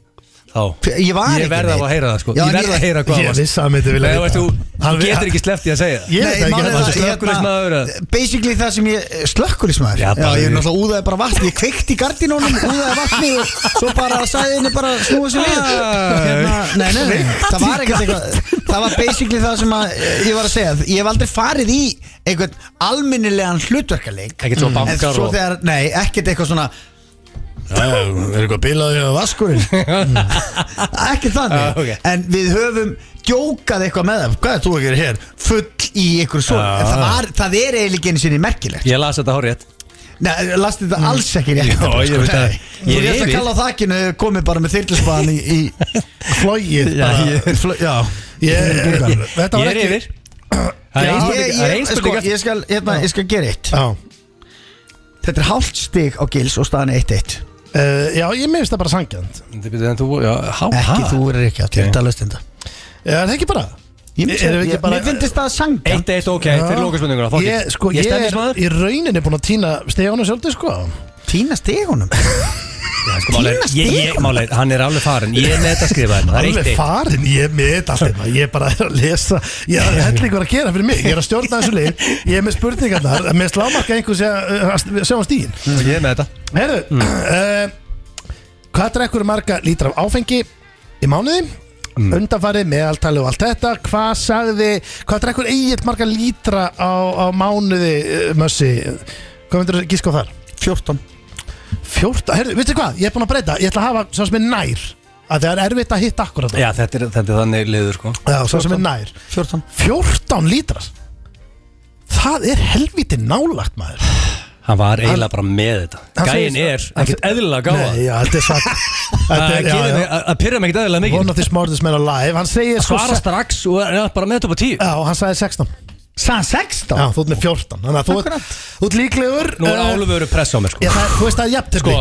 Speaker 3: Þá
Speaker 2: Ég var
Speaker 3: Ég
Speaker 2: ekki
Speaker 3: verð að
Speaker 2: neitt.
Speaker 3: heyra það sko,
Speaker 2: Já,
Speaker 3: ég
Speaker 2: en
Speaker 3: verð að heyra hvað
Speaker 1: Ég
Speaker 3: varstu
Speaker 1: vissi að hann myndi vilja
Speaker 3: Nei,
Speaker 1: vita.
Speaker 3: veistu,
Speaker 1: Hann-
Speaker 3: þú getur ekki sleppt í að segja það
Speaker 1: Ég
Speaker 2: Nei,
Speaker 1: veit
Speaker 2: málið
Speaker 1: ekki að
Speaker 2: er það,
Speaker 1: það
Speaker 3: varstu slökkviliðsmaður,
Speaker 2: hérna,
Speaker 3: eða?
Speaker 2: Basically það sem ég Slökkulismæður
Speaker 3: Já,
Speaker 2: Já,
Speaker 3: bara
Speaker 2: ég er
Speaker 3: við-
Speaker 2: náttúrulega úðaði bara vatni Ég kveikti í gardinónum, úðaði vatni og Svo bara sagði henni bara að snúa sér við
Speaker 3: Ah.
Speaker 2: hérna, Nei, nei, nei Það var ekkert eitthvað Það var basically það sem að, eh, ég var að segja Ég hef aldrei farið í einhvern alminnilegan hlutverkaleik Mm.
Speaker 3: Ekkert svo bankar
Speaker 2: En svo
Speaker 3: og-
Speaker 2: þegar, nei, ekkert eitthvað svona
Speaker 1: Já, er eitthvað bilað í vaskurinn
Speaker 2: Ekki þannig
Speaker 3: Ah, ok.
Speaker 2: En við höfum djókað eitthvað með það Hvað er þú að gera hér? Full í einhver svona
Speaker 3: Ah.
Speaker 2: En það, var, það er eiginlega einu sinni merkilegt
Speaker 3: Ég las þetta hárið
Speaker 2: Nei, lasta þetta alls ekki rétt
Speaker 3: Mm. Já, ég veit að-
Speaker 2: Þú
Speaker 3: ég
Speaker 2: rétt að
Speaker 3: rifi.
Speaker 2: kalla á þakkinu komið bara með þyrlisbaðan í, í
Speaker 1: Flóið
Speaker 3: Já,
Speaker 1: bara.
Speaker 3: ég-
Speaker 2: fl- Já
Speaker 1: Ég- Þetta var
Speaker 3: Ég er
Speaker 1: ekki
Speaker 3: yfir Það er
Speaker 2: Já, ég,
Speaker 3: ein spurning- það er ein
Speaker 2: ég, sko,
Speaker 3: spurning eftir.
Speaker 2: ég, skal, hérna, ég skal gera eitt
Speaker 1: Já,
Speaker 2: Þetta er hálft stig á gils og staðan er 1-1
Speaker 1: uh, já ég meðist það bara sangjand
Speaker 3: Þið byrjuðu en þú, já, há,
Speaker 2: Ekki þú verður ekki að þetta löst þetta
Speaker 1: Eh, Er það ekki bara?
Speaker 2: Ég
Speaker 1: Erum við ekki bara-
Speaker 2: Mér finnst það að sanga
Speaker 3: Eitt eitt, ok, þetta er lókaspurninguna, fokk
Speaker 1: Ég, sko, ég,
Speaker 3: stefnis
Speaker 1: er
Speaker 3: maður
Speaker 1: í rauninni búin að týna stegunum sjöldi sko
Speaker 2: Tína stigunum
Speaker 3: Sko, málið er-
Speaker 2: Tína
Speaker 3: ég- ég-
Speaker 2: stigunum.
Speaker 3: málið er, Hann er alveg farinn, ég er með þetta að skrifa hérna Það er eitt
Speaker 1: Alveg
Speaker 3: eitt
Speaker 1: farin, ég er með þetta allt hérna Ég er bara að lesa Ég er að hella ykkur að gera fyrir mig Ég er að stjórna þessu lið Ég er með spurningarnar Með slámarka einhver sé að sjá á stíin
Speaker 3: Ég er með þetta
Speaker 1: Herru
Speaker 3: Mm.
Speaker 1: uh, Hvað drekkur marga lítra af áfengi í mánuði? Mm. Undanfarið, meðaltali og allt þetta Hvað sagði, hvað drekkur eigið marga lítra á, á mánuði uh, Mössi, hvað myndir þú gíska á þar?
Speaker 2: 14
Speaker 1: 14, herru, veistu hvað, ég er búin að breyta Ég ætla að hafa svo sem er nær að það er erfitt að hitta akkurat
Speaker 3: Já, þetta er, þetta er þannig liður, sko
Speaker 1: Já, svo sem er nær
Speaker 2: 14
Speaker 1: 14 lítrar Það er helviti nálagt maður
Speaker 3: Hann var eiginlega bara með þetta
Speaker 1: Hann
Speaker 3: Gæin
Speaker 1: segir-
Speaker 3: er ekkert eðlilega gáða
Speaker 1: Nei, já, þetta er satt Þetta er, já, já
Speaker 3: Að pyrra mig ekkert eðlilega
Speaker 1: One
Speaker 3: mikið
Speaker 1: of the smartest men alive Hann segir
Speaker 3: Svara strax og er bara með þetta upp á tíu
Speaker 1: Já, hann sagði 16
Speaker 2: Sann 16
Speaker 1: Já, þú ert með 14 Þannig að þú ert-
Speaker 2: Akkurat.
Speaker 1: þú ert líklegur
Speaker 3: Nú er
Speaker 1: eh,
Speaker 3: álufur press á mér sko
Speaker 1: Já, það er, þú veist það er jafn
Speaker 3: Sko,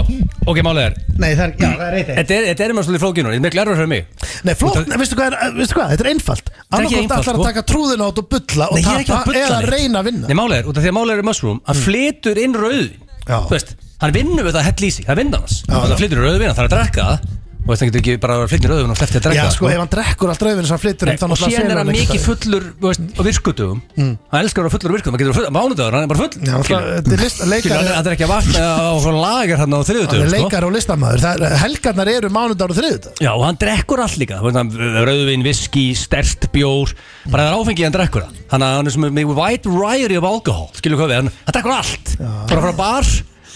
Speaker 3: ok, málið er
Speaker 2: Nei, það er, já, það er eitt eitt
Speaker 3: Þetta er, þetta er maður svolítið flókinu, þetta er miklu erfið fyrir mig
Speaker 1: Nei, flott, nei, veistu hvað, er, eh, veistu hvað, þetta er einfalt
Speaker 3: er ekki
Speaker 1: Annarkótt
Speaker 3: einfalt,
Speaker 1: allar að
Speaker 3: sko.
Speaker 1: taka trúðina át og bulla og
Speaker 3: Nei, ég er ekki að
Speaker 1: tapa
Speaker 3: bulla
Speaker 1: eða
Speaker 3: neitt.
Speaker 1: reyna að vinna
Speaker 3: Nei, málið er, út af því að málið er mushroom Hann flytur inn rauðin
Speaker 1: Mm. Já.
Speaker 3: Þú veist, hann vinnur við það hell í sig Það er vinnan hans
Speaker 1: Já, já.
Speaker 3: Þannig að hann flytur rauðin, hann þarf að drekka það Og þess að hann getur ekki bara að flytja rauðin og sleppti að drekka
Speaker 1: Já,
Speaker 3: það,
Speaker 1: sko, ef hann drekkur allt rauðinu sem hann flyttur
Speaker 3: Nei,
Speaker 1: um, þá
Speaker 3: og
Speaker 1: náttúrulega
Speaker 3: síðan
Speaker 1: selur
Speaker 3: er hann
Speaker 1: einhvers
Speaker 3: mikið
Speaker 1: staðar.
Speaker 3: fullur þú veist, á virkutum hann elskar að vera fullur á virkutum hann getur verið fullur á mánudagur, hann er bara full
Speaker 1: Já,
Speaker 3: skilur.
Speaker 1: náttúrulega, þetta er list- leikari-
Speaker 3: Skilur, hann er- hann er ekki að vakna á svona lagar hann á
Speaker 1: Hann er
Speaker 3: þriðutum sko.
Speaker 1: leikar og listamæður Það er, helgarnar eru mánudar og þriðut
Speaker 3: já, og hann drekkur allt líka þú veist, hann- eh, rauðvin, viski, stert, bjór bara það er áfengið hann drekkur það hann er- hann er sem er með white riot of alcohol skilur hvað við, hann, hann drekkur allt bara frá bar,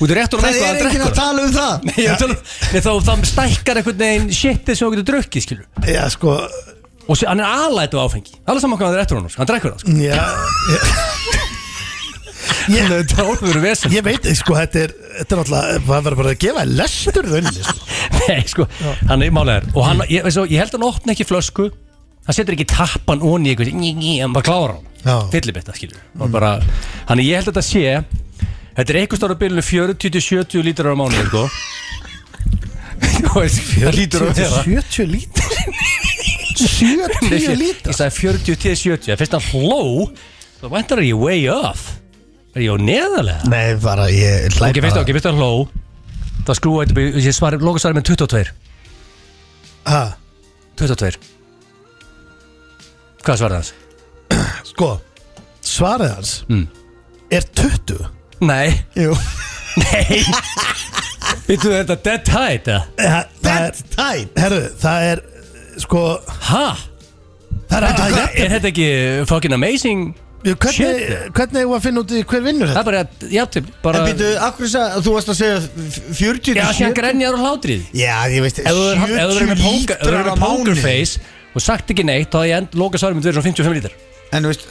Speaker 3: út í rétt og
Speaker 2: Það
Speaker 3: eitthvað
Speaker 2: er
Speaker 3: hann
Speaker 2: ekki að
Speaker 3: drekkur
Speaker 2: tala um það
Speaker 3: Nei, ég er að tala um- Nei, þá, þá stækkar einhvern veginn shitið sem hann getur drukkið skilur
Speaker 1: Já, sko,
Speaker 3: og sé- hann er alætu áfengi alveg saman hvað hann er eftir honum, sko. hann drekkur það sko.
Speaker 1: já Ég, ég,
Speaker 3: þetta er álfur vesen
Speaker 1: ég veit, sko, þetta er Þetta er náttúrulega, það verður bara að gefa lestur rauðinu sko.
Speaker 3: Nei, sko, hann er málegar Og hann, ég, svo, ég held hann opna ekki flösku Hann setur ekki tappan onni í eitthvað Ný, ný, hann bara klára
Speaker 1: Já.
Speaker 3: hann Fyllibetta, skilur mm. bara, Hann, ég held að þetta sé Þetta er eitthvað stára bylunum 40-70 lítrar á mánu, sko Þú veist, Það lítur að vera
Speaker 1: 70 lítur 70
Speaker 3: Ég
Speaker 1: lítur
Speaker 3: sagði 40-70 Það fyrst hann hló þá væntar ég way off Er ég á neðarlega?
Speaker 1: Nei, bara, ég
Speaker 3: Ok,
Speaker 1: hlæpa
Speaker 3: fyrst ok, fyrst hann hló Það skrúa þetta upp í- Ég svari, loka svari með 22 22 Hvað svarði hans?
Speaker 1: Sko, svarið hans
Speaker 3: Mm.
Speaker 1: Er 20
Speaker 3: Nei
Speaker 1: Jú
Speaker 3: Nei Vittu þetta dead tight eða?
Speaker 1: Það það er,
Speaker 2: Tæm
Speaker 1: herru, það er Sko,
Speaker 3: Ha?
Speaker 1: það er að
Speaker 3: Er þetta ekki fucking amazing?
Speaker 1: Hvernig,
Speaker 3: Shit.
Speaker 1: hvernig er að finna út í hver vinnur
Speaker 3: Það
Speaker 1: þetta?
Speaker 3: er bara, já, til bara
Speaker 2: En býtu, af hverju sagði, þú varst að segja f- 40
Speaker 3: Já,
Speaker 2: til
Speaker 3: sé hann
Speaker 2: 70?
Speaker 3: grenjaður á hlátrið
Speaker 2: Já, ég veist,
Speaker 3: Ef þú er- ef þú
Speaker 2: 70
Speaker 3: verður með póker- ef þú verður
Speaker 2: lítrar á
Speaker 3: með
Speaker 2: mánuði
Speaker 3: pokerface og sagt ekki neitt, þá ég end loka svarum verið svona 55 lítar
Speaker 2: En þú veist,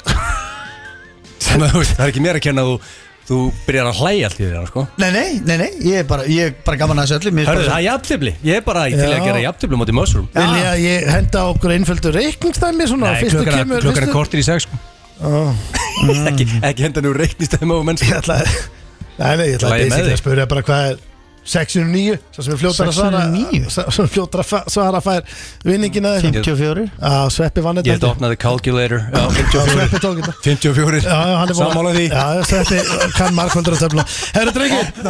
Speaker 3: Það er ekki mér að kenna að þú Þú byrjar að hlæja allt í þér, sko
Speaker 2: nei, nei, nei, nei, ég er bara, ég er bara gaman að þessu öllu mér er
Speaker 3: Hörðu,
Speaker 2: bara
Speaker 3: það er jafntefli Ég er bara, ég til í að
Speaker 1: Já.
Speaker 3: gera jafntefli mútið Mushroom
Speaker 1: Vilja að ég henda okkur einföldu reikningsdæmi svona
Speaker 3: Nei,
Speaker 1: fyrstu
Speaker 3: klukkan er-
Speaker 1: kemur
Speaker 3: klukkan er
Speaker 1: fyrstu- Ah.
Speaker 3: kortir í sex, sko Ekki ekki henda nú reiknistæmi á mennsku
Speaker 1: Ég ætla að Nei, nei, ég ætla
Speaker 3: Lagi
Speaker 1: að
Speaker 3: með
Speaker 1: basically að
Speaker 3: þig.
Speaker 1: spyrja bara hvað er 609, svo sem er fljótar að svara
Speaker 2: 609?
Speaker 1: Svo sem er fljótar að fa- svara fær vinningina
Speaker 2: 54
Speaker 1: að Sveppi vann þetta
Speaker 3: Ég held að
Speaker 1: held ég.
Speaker 3: opna the calculator Já,
Speaker 1: Já,
Speaker 3: 54
Speaker 1: Sveppi tók þetta
Speaker 3: 54
Speaker 1: Já, já, hann er búinn að-
Speaker 3: Sammála því
Speaker 1: Já, já, Sveppi kann markvöldur að töfla Herru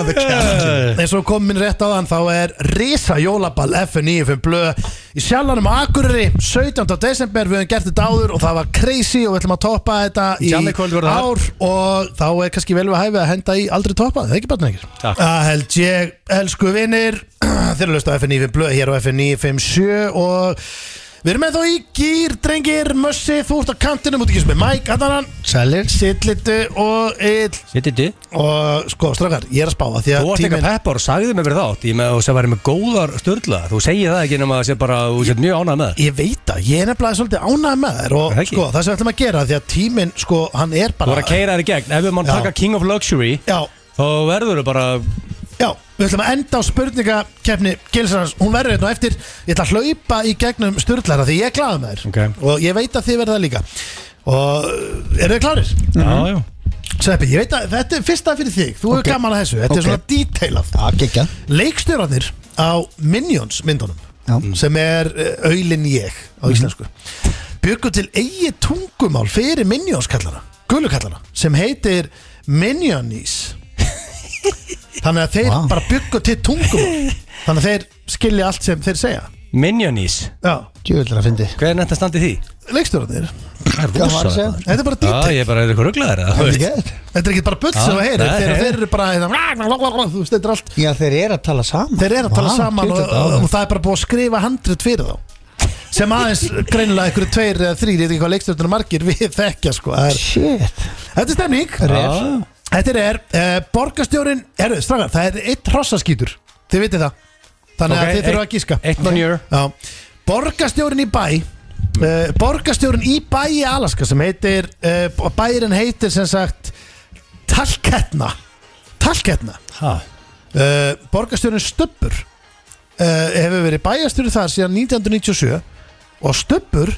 Speaker 1: drengir eins og kom minn rétt á þann þá er Risa Jólaball F95 blöð í sjallanum á Akureyri 17. desember, við höfum gert þetta áður og það var crazy og við ætlum að toppa þetta í
Speaker 3: Jammi kvöld verður það.
Speaker 1: ár og þá er kannski vel við hæfi að henda í aldrei toppa, það er ekki bara neikur
Speaker 3: Takk.
Speaker 1: Það held ég, elsku vinnir þeir eru löst á FN95 blöð hér á FN957 og Við erum ennþá í gýr, drengir, mössi, þú ert á kantinum, út ekki sem er Mike, Adanan,
Speaker 2: Sælir
Speaker 1: Sittlitu og Ill
Speaker 3: Sittir þið
Speaker 1: Og sko, strafgar, ég er að spáða Því að
Speaker 3: Þú varst eitthvað peppar og sagðið mér verið þátt Ég með og sem væri með góðar störla Þú segir það ekki nema að sé bara Þú sétt mjög ánægð með það
Speaker 1: Ég veit það, ég er nefnilega svolítið ánægð með þér Og
Speaker 3: Er það ekki?
Speaker 1: sko, það sem við ætlum að gera Því að tíminn, sko, hann er
Speaker 3: Þú
Speaker 1: bara
Speaker 3: voru að keira þér í gegn Ef við mann
Speaker 1: Já. Mhm.
Speaker 3: taka King of Luxury
Speaker 1: Já,
Speaker 3: Þá verður þau bara
Speaker 1: já, við ætlum að enda á spurningakefni Gilsarans, hún verður hérna á eftir Ég ætla að hlaupa í gegnum sturlara Því ég er glaða með þér
Speaker 3: Ok.
Speaker 1: Og ég veit að þið verða það líka Og uh, eru þið klárir?
Speaker 3: Já, já
Speaker 1: Sveppi, ég veit að þetta er fyrsta fyrir þig Þú hefur
Speaker 2: Ok.
Speaker 1: gaman að þessu, þetta
Speaker 2: Ok.
Speaker 1: er svona detailað
Speaker 2: Já, gekkja
Speaker 1: leikstjórarnir á Minions myndunum
Speaker 2: Já.
Speaker 1: sem er uh, Öylin ég á íslensku byggu til eigi tungumál fyrir Minions kallana, gulu kallana sem heitir Minionis þannig að þeir
Speaker 2: Vá.
Speaker 1: bara byggu til tungumál þannig að þeir skilja allt sem þeir segja
Speaker 3: Minionis
Speaker 1: Já,
Speaker 2: Djúvillar að fyndi
Speaker 3: Hvað er nætt að standa í því?
Speaker 1: leikstjórarnir
Speaker 3: Það
Speaker 2: Hvað
Speaker 3: er
Speaker 2: var að segja?
Speaker 3: rosa
Speaker 1: þetta er bara
Speaker 3: Já,
Speaker 1: detail,
Speaker 3: ég er bara eitthvað rugglaður
Speaker 2: Það er ekki eða
Speaker 1: þetta er ekki bara bull sem
Speaker 3: Já,
Speaker 1: það heyrir
Speaker 3: nei,
Speaker 1: þeir,
Speaker 3: nei.
Speaker 1: þeir eru bara hérna, þú veist, þetta er allt
Speaker 2: Já, þeir eru að tala saman
Speaker 1: Þeir eru að tala
Speaker 2: Vá,
Speaker 1: saman og,
Speaker 2: djöfull,
Speaker 1: og,
Speaker 2: þetta-
Speaker 1: það er bara búið að skrifa handrit fyrir þá sem aðeins greinilega einhverju tveir eða þrýr, ég veit ekki hvað leikstjórnir margir við þekkja sko, Það er,
Speaker 2: Shit
Speaker 1: þetta er stemning
Speaker 3: Já.
Speaker 1: Þetta er, uh, borgarstjórin herru, strafgar, það er eitt hrossaskítur þið vitið það, þannig
Speaker 3: Ok,
Speaker 1: að þið þurfa
Speaker 3: eitt-
Speaker 1: að gíska
Speaker 3: eitt manure.
Speaker 1: Já. Borgarstjórin í bæ uh, borgarstjórin í bæ í Alaska sem heitir, uh, bærin heitir sem sagt Talketna Talketna
Speaker 3: Ha?
Speaker 1: uh, borgarstjórun Stöbbur uh, hefur verið bæjarstjóri þar síðan 1997 og Stöbbur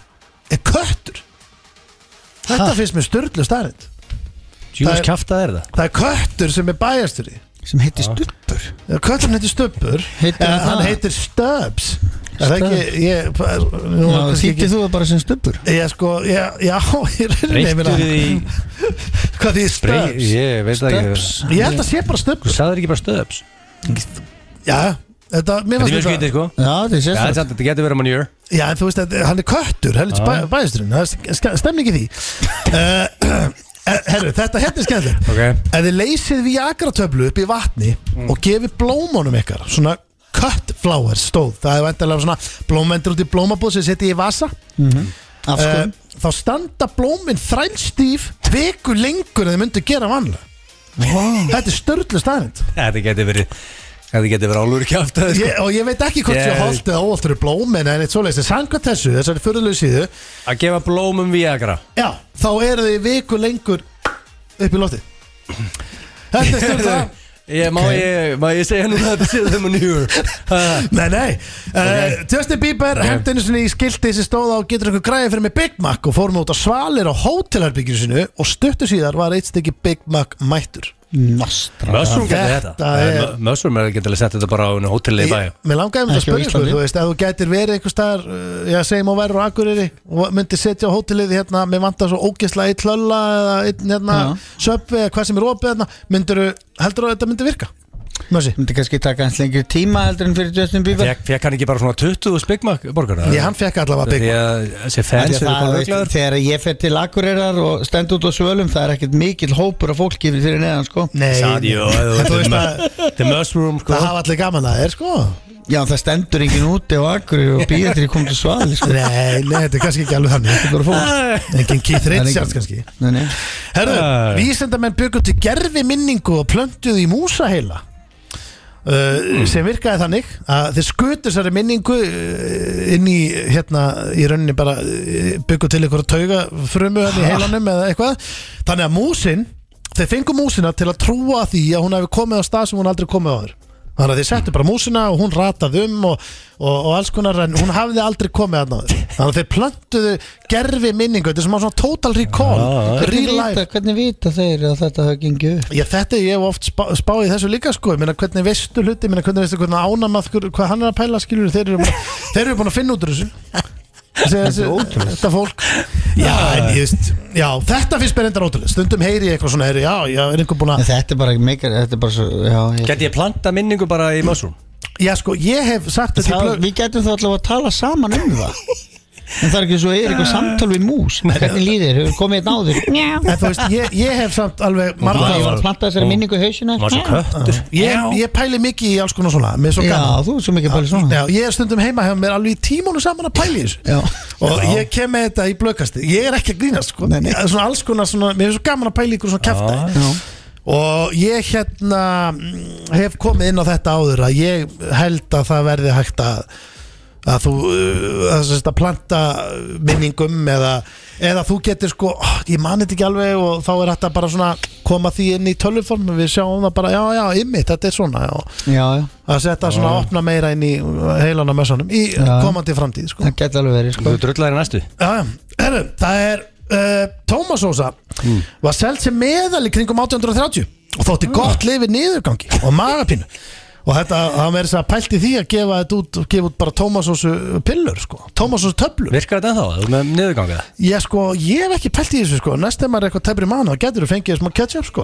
Speaker 1: er köttur Þetta finnst mér störlu starrend Það
Speaker 3: Jús
Speaker 1: er-
Speaker 3: kjafta er það
Speaker 1: Það er köttur sem er bæjastur í
Speaker 2: sem heitir Stubbur
Speaker 1: Kötturinn heitir Stubbur
Speaker 2: Heitir
Speaker 1: en
Speaker 2: hann
Speaker 1: Hann
Speaker 2: það?
Speaker 1: heitir Stubbs Er það ekki ég, nú,
Speaker 2: Já,
Speaker 1: kannski
Speaker 2: þýttir þú það bara sem Stubbur
Speaker 1: ekki- Ég sko, ég, já ég er- ég meina,
Speaker 3: Reyktu því
Speaker 1: Hvað því Stubbs?
Speaker 3: Ég veit það ekki
Speaker 1: Ég held að sé bara Stubbur
Speaker 3: Þú sagðir ekki bara stöps
Speaker 1: Já, þetta, mér
Speaker 3: Þetta er
Speaker 1: fannst
Speaker 3: mjög skvítið sko
Speaker 2: Já, þetta er
Speaker 3: Já,
Speaker 2: sérstætt
Speaker 3: þetta getur verið manjör
Speaker 1: Já, en þú veist að hann er köttur, helvits bæ, bæjasturinn, það er sk- stemning í því. Uh, herru, þetta hérna er skemmtilegt.
Speaker 3: Ok. Mm.
Speaker 1: Ef þið leysið við jagratöflu upp í vatni og gefið blómunum ykkar, svona cut flowers stóð, það er vantarlega svona blómendur út í blómabúð sem setja í vasa, uh,
Speaker 2: Afskum
Speaker 1: þá standa blómin þrælstíf viku lengur en þið myndu gera vanlega. Þetta er störlu staðind
Speaker 3: Þetta getur verið Þetta getur verið álur kjafta sko.
Speaker 1: ég, og ég veit ekki hvort
Speaker 3: Ég-
Speaker 1: ég holdi það óvalt fyrir blómin en eitt svoleiðis, en sangað þessu, þessari fyrirlegu síðu
Speaker 3: Að gefa blómum viagra
Speaker 1: Já, þá eru þið viku lengur upp í lofti Þetta er stjórnlega
Speaker 3: Ég, má, ég, má ég segja núna að þetta séð þeim að nýjur
Speaker 1: Nei, nei uh, Justin Bieber okay. hendi einu sinni í skilti sem stóð á getur eitthvað græði fyrir mig Big Mac og fórum út á svalir á hótelherbygginu sinu og stuttu síðar var eitt stykki Big Mac mættur
Speaker 2: Nostra
Speaker 3: Mössum getur
Speaker 1: Þetta
Speaker 3: þetta Nei,
Speaker 1: er-
Speaker 3: mö- Mössum er getur að setja þetta bara á einu hóteli í bæ
Speaker 1: Ég- Mér langaði um að
Speaker 2: Ekki á
Speaker 1: spyrja sko,
Speaker 2: Íslandi.
Speaker 1: þú veist, ef þú gætir verið einhver staðar, uh, já, segjum og verður á Akureyri og myndi setja á hótelið hérna, mér vantar svo ógeðslega eitt hlölla eða einn hérna, söpvi eða hvað sem er opið hérna, myndirðu, heldur þú að þetta myndi virka? Mössi?
Speaker 2: Myndi kannski taka hans lengur tíma heldur en fyrir Justin Bieber
Speaker 3: Fekk fekk hann ekki bara svona 20 spikmak borgarna?
Speaker 1: Ég, hann fekk allavega Big
Speaker 3: Því
Speaker 1: Mac
Speaker 3: að þessi
Speaker 2: Af því
Speaker 3: fans
Speaker 2: að
Speaker 3: eru
Speaker 2: það,
Speaker 3: bara
Speaker 2: veist,
Speaker 3: röglaður
Speaker 2: Þegar ég fer til Akureyrar og stend út á svölum það er ekkert mikill hópur af fólki fyrir neðan sko
Speaker 1: Nei,
Speaker 3: Sadio,
Speaker 1: en þú veist að
Speaker 3: The Mushroom sko
Speaker 1: það hafa allir gaman að þér sko
Speaker 2: Já, það stendur enginn úti á Akureyri og býður til ég kom til svali sko
Speaker 1: Nei, nei, þetta er kannski ekki alveg þannig
Speaker 2: Bara fólk.
Speaker 1: Engin Keith
Speaker 2: Það er
Speaker 1: Richards
Speaker 2: engin-
Speaker 1: kannski
Speaker 2: Nei, nei.
Speaker 1: Herðu,
Speaker 3: Æ.
Speaker 1: vísendamenn byggur til gerfi minningu og plöntuðu í músaheila uh,
Speaker 3: Mm.
Speaker 1: sem virkaði þannig að þeir skutu þessari minningu uh, inn í hérna í rauninni bara uh, byggur til einhverja tauga frumu hann í heilanum eða eitthvað þannig að músin, þeir fengu músina til að trúa því að hún hefði komið á stað sem hún aldrei komið á þér þannig að þeir settu bara músina og hún rataði um og, og, og alls konar en hún hafði aldrei komið að náður þannig að þeir plöntuðu gerfi minningu þetta er sem á svona total recall
Speaker 3: Já,
Speaker 2: Hvernig
Speaker 1: real life
Speaker 2: vita, hvernig vita þeir að þetta hafa gengið upp?
Speaker 1: Já, þetta ég hef oft spá, spáið þessu líka sko, ég meina hvernig veistu hluti, ég meina hvernig veistu hvernig ánamað, hvað hann er að pæla skilur, þeir eru, þeir eru búin að finna út úr þessu. Þessi, þessi, þetta fólk já, en, ég veist, já, þetta finnst mér endar ótrúlega stundum heyri ég eitthvað svona heyri, já, já, er einhver búin
Speaker 2: En
Speaker 1: að
Speaker 2: Þetta er bara meikar, þetta er bara svo, já, ég,
Speaker 3: Gæti ég planta minningu bara í Mushroom?
Speaker 1: já, sko, ég hef sagt þetta í
Speaker 2: það,
Speaker 1: blöð-
Speaker 2: Við getum þá allavega að tala saman um það En það er ekki svo, er eitthvað samtal við mús Hvernig líðir, hefur komið einn áður Njá,
Speaker 1: en þú veist, ég, ég hef samt alveg
Speaker 2: ég var
Speaker 1: margar,
Speaker 2: að planta þessari minningu í hausina
Speaker 3: Var svo köttur
Speaker 1: ég, ég pæli mikið í alls konar svona, með svo
Speaker 2: Já,
Speaker 1: gaman
Speaker 2: þú er svo mikið bæli svona
Speaker 1: Já, ég er stundum heima hefur mér alveg í tímónu saman að pæli þessu
Speaker 2: Já.
Speaker 1: og ég kem með þetta í blökasti ég er ekki að grínast sko
Speaker 2: Nei, nei.
Speaker 1: Ég- Svona alls konar svona, mér er svo gaman að pæli ykkur svona kæftæði
Speaker 2: Já.
Speaker 1: og ég hérna mm, hef komið inn á þetta áður að ég held að það verði hægt að að þú uh, að, að, að planta minningum eða, eða þú getur sko oh, ég mani þetta ekki alveg og þá er þetta bara svona koma því inn í tölvuform við sjáum það bara, já, já, ymmið, þetta er svona já
Speaker 2: Já, já,
Speaker 1: að setja svona að opna meira inn í heilana mössanum í
Speaker 2: Já.
Speaker 1: komandi framtíð sko.
Speaker 2: það geti alveg verið sko
Speaker 3: Þú drullar í næstu
Speaker 1: já, já. Heru, það er uh, Tómasósa var seld sem meðal í kringum 1830 og þótti gott lifi niðurgangi og magapínu og þetta, það verður þess að pælt í því að gefa þetta út og gefa út bara Tómasósu pillur sko. Tómasósu töflur
Speaker 3: Virkar þetta ennþá? Þú með niðurganga það?
Speaker 1: ég, sko, ég hef ekki pælt í þessu sko. næst þegar maður er eitthvað tefri mánu þá getur þú fengið smá ketchup sko.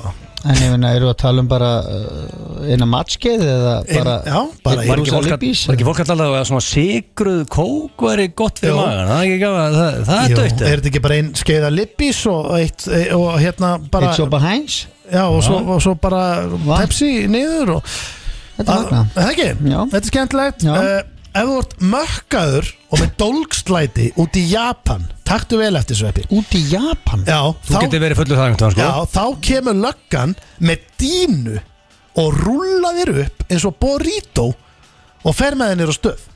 Speaker 2: En ég meina, eru að tala um bara uh, eina matskeið eða bara
Speaker 1: já, bara
Speaker 3: Var ekki
Speaker 2: Jerusalem
Speaker 3: fólk að-
Speaker 2: Beach?
Speaker 3: var ekki fólk alltaf að svona sigruð kók væri gott fyrir
Speaker 1: Jú.
Speaker 3: magan? Það er ekki gaman, það- það er
Speaker 1: Jú,
Speaker 3: dögt
Speaker 1: er þetta ekki bara einn skeiða lippis og, eitt, og hérna bara
Speaker 2: It's over Heinz
Speaker 1: Já, og svo, og svo bara
Speaker 2: Vá.
Speaker 1: Pepsi niður og
Speaker 2: Þetta er magna
Speaker 1: Ah, Er það ekki,
Speaker 2: Já.
Speaker 1: þetta er skemmtilegt
Speaker 2: Já.
Speaker 1: uh, Ef þú ert mökkaður og með dólgslæti út í Japan Taktu vel eftir sveppi
Speaker 2: Út í Japan
Speaker 1: Já,
Speaker 3: Þú
Speaker 1: þá,
Speaker 3: getur verið fullur
Speaker 1: já,
Speaker 3: þaðingtum sko
Speaker 1: þá kemur löggan með dínu og rúlla þér upp eins og burrito og fer með þér á stöð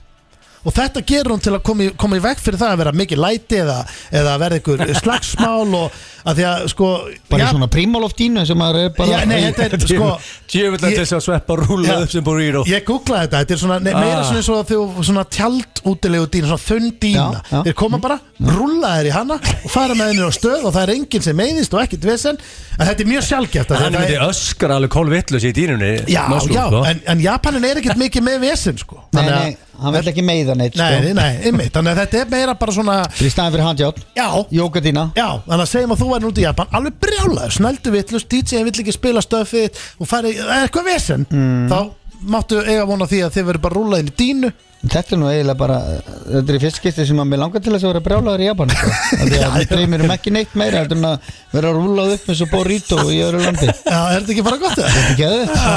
Speaker 1: og þetta gerur hún til að koma í, koma í veg fyrir það að vera mikið læti eða, eða verða ykkur slagsmál og að því að sko
Speaker 2: Bara
Speaker 1: ja,
Speaker 2: svona prímaloft dínu sem maður er bara
Speaker 1: Já, nei, þetta er sko
Speaker 3: Tjöfull að
Speaker 1: Ég-
Speaker 3: þess að sveppa rúla
Speaker 1: Já.
Speaker 3: upp sem búið í ró
Speaker 1: Ég googlaði þetta, þetta er svona, nei, meira
Speaker 3: Ah.
Speaker 1: svona eins og þjó, svona tjald útilegu dýna, svona þunn dýna
Speaker 2: Já, já. Mm.
Speaker 1: Þeir koma bara, rúlla þeir í hana og fara með henni á stöð og það er enginn sem meiðist og ekkert vesen En þetta er mjög sjálfgeft að
Speaker 3: Hann
Speaker 1: þetta
Speaker 3: myndi öskra alveg kólvittlus í dýrunni
Speaker 1: Já,
Speaker 3: Maslúr,
Speaker 1: já,
Speaker 3: sko.
Speaker 1: en, en Japanin er ekkert mikið með vesen sko
Speaker 2: Nei,
Speaker 1: Þannig að-
Speaker 2: nei, hann vill ekki meiða neitt
Speaker 1: Nei, nei,
Speaker 2: sko.
Speaker 1: nei, einmitt, þannig að þetta er meira bara svona
Speaker 2: Í staðin fyrir handjátt,
Speaker 1: Já,
Speaker 2: jóka dína
Speaker 1: já, þannig að segjum að þú væri út í Japan Alveg brjálaður, snældu vittlust, DJ-in vill ekki spila stöfið þitt Og færi eitthvað vesen
Speaker 2: Mm.
Speaker 1: Þá máttu eiga vona því að þið verður bara rúlaðin í dínu
Speaker 2: Þetta er nú eiginlega bara Þetta er í fyrst skipti sem að mér langar til þess að vera brjálaður í Japan sko. Af Því að við dreymir um ekki neitt meira heldur en að vera rúlað upp eins og Borito í öðru landi
Speaker 1: Já, er þetta ekki bara gott það?
Speaker 2: Geðveikt.
Speaker 3: Æ,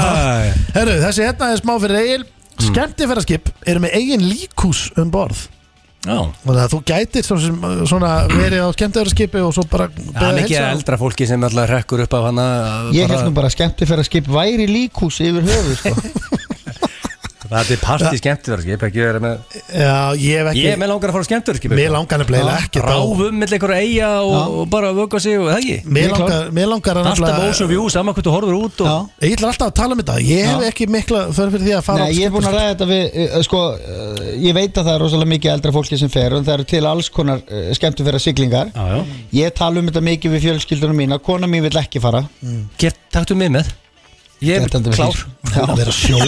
Speaker 1: Herru, þessi hérna er smá fyrir eigin mm. Skemmtifæraskip eru með eigin líkús um borð
Speaker 3: Já
Speaker 1: Þannig að þú gætir svo sem, uh, svona verið á skemmtifæraskipi og svo bara
Speaker 3: Það er mikið eldra fólki sem alltaf rekkur upp af hana
Speaker 2: Ég
Speaker 1: hérna-
Speaker 2: held nú bara skemmti fyrir að skip væri líkús yfir höfu sko.
Speaker 3: Það er partí skemmtiverðarskip ekki verið með
Speaker 1: Já, ég hef ekki
Speaker 3: Ég er með langar að fara á skemmtiverðarskip
Speaker 1: Mér langar nefnilega ekki þá
Speaker 3: Ráfum millir einhverja eiga og, og bara vöka sig og það ekki
Speaker 1: Mér
Speaker 2: Ég er klár.
Speaker 1: langar, mér langar að
Speaker 3: Alltaf ósum við úr saman hvort þú horfur út og
Speaker 2: Já.
Speaker 1: Ég ætla alltaf að tala um þetta Ég hef
Speaker 2: Já.
Speaker 1: ekki mikla þörf fyrir því að fara
Speaker 2: Nei, ég er búin að ræða þetta við, uh, uh, sko, uh, ég veit að það er rosalega mikið eldra fólki sem fer og það eru til alls konar uh, skemmtu fyrir siglingar
Speaker 3: Já, já.
Speaker 2: Ég tala um þetta mikið við fjölskyldunum mína, kona mín vil ekki fara
Speaker 3: Get, taktu mig með Ég
Speaker 2: Þetta
Speaker 3: er
Speaker 2: er
Speaker 3: klár
Speaker 2: fínt.
Speaker 1: að vera sjó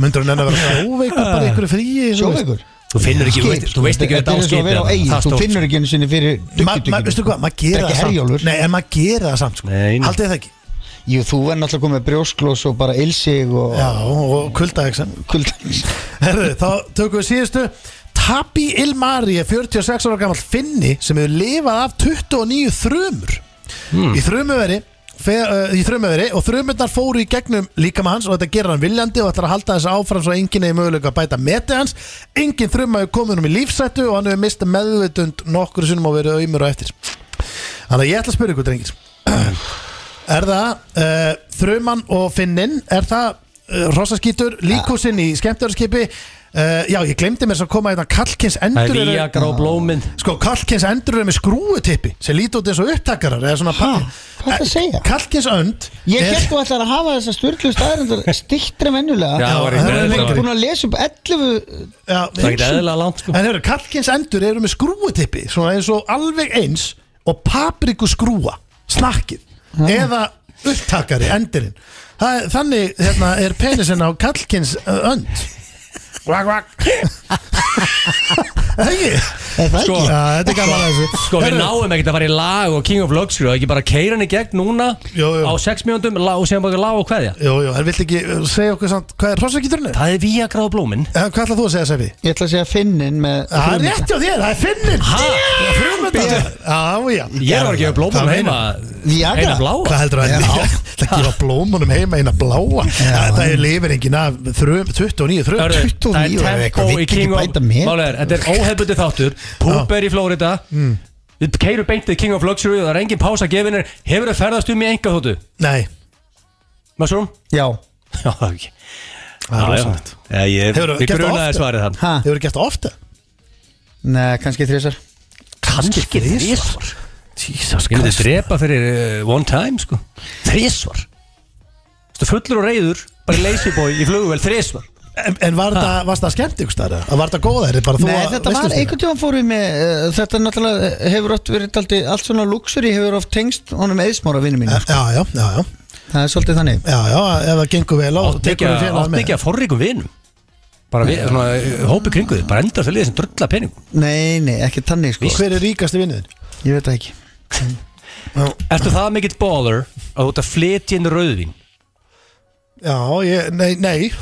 Speaker 1: Myndur hún enn að vera sjóveikur bara í einhverju fríi þú veist.
Speaker 2: Sjóveikur
Speaker 3: Þú finnur ekki, þú veist, þú veist ekki
Speaker 2: Þetta er eins og að vera á eigin,
Speaker 3: Það
Speaker 2: þú
Speaker 3: stórt.
Speaker 2: finnur ekki einu sinni fyrir
Speaker 1: Ma- ma- Veistu
Speaker 2: duggjuduggjum
Speaker 1: hvað, maður gera
Speaker 2: Þetta er
Speaker 1: það
Speaker 2: ekki
Speaker 1: samt
Speaker 2: Herjólfur.
Speaker 1: Nei, en maður gera það samt sko.
Speaker 3: Nei, nei.
Speaker 1: Haldið það ekki
Speaker 2: Jú, þú er náttúrulega komið brjósklós og bara ilsig og
Speaker 1: Já, og kuldahexan
Speaker 2: kulda
Speaker 1: Herru, þá tökum við síðustu Tabi Ilmari er 46 ára gammal finni sem hefur lifað af 29 þrumur í þrumuveri fe, uh, í þrumuveri og þrumurnar fóru í gegnum líkama hans og þetta gerir hann viljandi og ætlar að halda þessu áfram svo enginn eigi möguleika að bæta meti hans enginn þruma hefur komið um í lífsættu og hann hefur mistað meðvitund nokkur sinnum og verið auðmur á eftir Þannig að ég ætla að spyrja ykkur drengir Er það uh, þruman og finnin Er það uh, rossaskítur Líkúsinn í skemmtjörnskipi uh, Já, ég glemdi mér svo að koma hérna Kallkins
Speaker 3: Það
Speaker 1: endur
Speaker 3: er
Speaker 1: eru-
Speaker 3: Viagra og blómin
Speaker 1: Sko, Kalkins endur er með skrúutippi sem líti út eins og upptakarar eða svona
Speaker 2: Ha, hvað ertu að segja?
Speaker 1: Kalkins önd
Speaker 2: Ég
Speaker 1: er-
Speaker 2: held þú ætlar að hafa þessar styrlu staðarindur stiktri vennulega
Speaker 3: Já, það var í-
Speaker 1: það er
Speaker 3: það var í-
Speaker 2: Búin að lesa upp 11
Speaker 1: Já,
Speaker 3: Það er ekki eðlilega langt sko
Speaker 1: En hefur, Kalkins endur eru með skrúutippi svona eins og alveg eins og papriku skrúa, snakkið eða upptakari, endurinn Það, er- þannig hérna, er penisinn á Kalkins önd Kvak, kvak Það ekki?
Speaker 2: Er það
Speaker 3: Sko,
Speaker 2: ekki?
Speaker 1: Já, þetta er gaman að þessu
Speaker 3: Sko við
Speaker 1: Herru,
Speaker 3: náum ekkert að fara í lag og King of Lux og ekki bara keira hann í gegn núna
Speaker 1: Jú, jú.
Speaker 3: á 6 mínúndum og segja bara lag og kveðja
Speaker 1: Jú, jú, en vilt ekki uh, segja okkur samt hvað er hrossakíturinn er?
Speaker 3: Það er Viagra og blómin
Speaker 1: Eh, Hvað ætlað þú að segja, Sefi?
Speaker 2: Ég ætla að segja finnin með
Speaker 1: Það er
Speaker 2: þrumurnar.
Speaker 1: rétt hjá þér, það er finnin
Speaker 3: Ha?
Speaker 1: Frumundar Já, já
Speaker 3: Ég var ekki að gefa blómin
Speaker 1: Hvað
Speaker 3: heima
Speaker 2: Viagra?
Speaker 3: Eina bláa
Speaker 1: Hvað heldur það? Það gefa blómunum heima eina bláa Það er lifir enginn af þrjum- 29 þrjum
Speaker 3: Hörðu,
Speaker 2: 29
Speaker 3: Það
Speaker 2: eða
Speaker 3: er
Speaker 2: eitthvað,
Speaker 3: tempo
Speaker 2: vill
Speaker 3: í
Speaker 2: ekki
Speaker 3: King of
Speaker 2: bæta mér.
Speaker 3: Málega er, Þetta er óhefbundi þáttur Púp er í Flórida Við keirum beintið King of Luxury og það er engin pása gefinir Hefur það ferðast um í enga þóttu?
Speaker 1: Nei,
Speaker 3: Massrum?
Speaker 2: Já,
Speaker 3: Já, ekki
Speaker 1: það er rosalegt
Speaker 3: Ég
Speaker 1: Hefurðu
Speaker 3: við
Speaker 1: gert það
Speaker 3: grunaði
Speaker 1: ofta?
Speaker 3: svarið þann
Speaker 2: ha,
Speaker 1: Þið voru gert það ofta
Speaker 2: neða, kannski þrjusar
Speaker 1: Kanski
Speaker 3: þrisvar.
Speaker 1: Jesus
Speaker 3: Ég myndi
Speaker 1: Christ
Speaker 3: drepa fyrir uh, one time sko Þrísvar Þú fullur og reyður Bara í lazy boy í flugvel þrísvar
Speaker 1: En, en var það, varst það skemmt ykkur stærra? Var það góða? Er þetta bara þú
Speaker 2: Nei,
Speaker 1: að
Speaker 2: þetta
Speaker 1: veistlust
Speaker 2: var,
Speaker 1: þetta?
Speaker 2: einhvern tíðan fórum við með uh, Þetta náttúrulega eh, hefur oft verið daldi, Allt svona luxury hefur oft tengst honum eðismára vinnu mínu,
Speaker 1: Já, já, já, já,
Speaker 2: það er svolítið þannig
Speaker 1: já, já, ef það gengur vel á
Speaker 3: Átt ekki
Speaker 1: tekur við
Speaker 3: að-
Speaker 1: félagið
Speaker 3: átti
Speaker 1: með
Speaker 3: ekki að forrikum vinum Bara við, svona, eh, hópi kringu þið Bara endast að liða sem drulla peningum
Speaker 2: Nei, nei, ekki þannig sko
Speaker 1: Hver er ríkasti vinnuðin?
Speaker 2: Ég veit það ekki
Speaker 3: Ertu það mikill baller að þú ert að flytja inn rauðvín
Speaker 1: Já, ég, nei, nei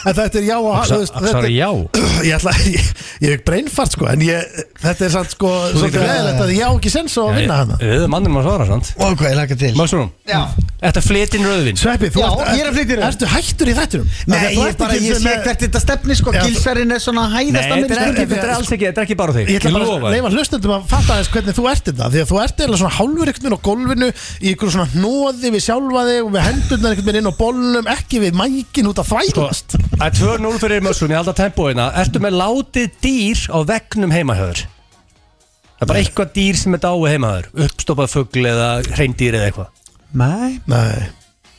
Speaker 1: En þetta er já og Ah, þú veist, þetta-
Speaker 3: Það er ah, já
Speaker 1: ég ætla ég, ég er ekki breinfart sko en ég, þetta er samt sko svolítið
Speaker 3: getur-
Speaker 1: leðilegt að ég á ekki sens á að vinna hana
Speaker 3: Við erum mannum að svara svont
Speaker 2: Ó, hvað ég laka til
Speaker 3: Massrum,
Speaker 2: Já.
Speaker 3: ertu að flytja inn rauðvín
Speaker 1: Sveppi, þú
Speaker 2: Já,
Speaker 1: ert-
Speaker 2: ég er að flytja í raun.
Speaker 1: Ertu hættur í þættinum?
Speaker 2: Nei, ég, bara, ég sé hvert þetta stefni sko
Speaker 1: Já, þú-
Speaker 2: Gilsarinn er svona sko.
Speaker 3: Nei,
Speaker 2: hæðast að
Speaker 3: þetta er
Speaker 2: mér
Speaker 3: ekki- þetta er alls ekki, þetta er ekki bara þig
Speaker 1: Ég ætla
Speaker 3: Ég
Speaker 1: bara
Speaker 3: lofa
Speaker 1: að
Speaker 3: þér.
Speaker 1: leifa hlustendum að fatta aðeins hvernig þú ert þetta Því að þú ert eða svona hálfuriknur á golfinu Í ykkur
Speaker 2: Sko-
Speaker 1: svona hnóði við sjálfa þig Og við hendurnar einhvern veginn inn á bollunum Ekki við mækin út að þvælast
Speaker 3: Það er 2-0 fyrir mössum, ég held að tempóina Ertu með látið dýr á vegnum heimahöður? Það er bara eitthvað dýr sem er dái heimahöður Uppstoppað fugl eða hreindýr eða eitthvað
Speaker 2: Nei
Speaker 1: Nei,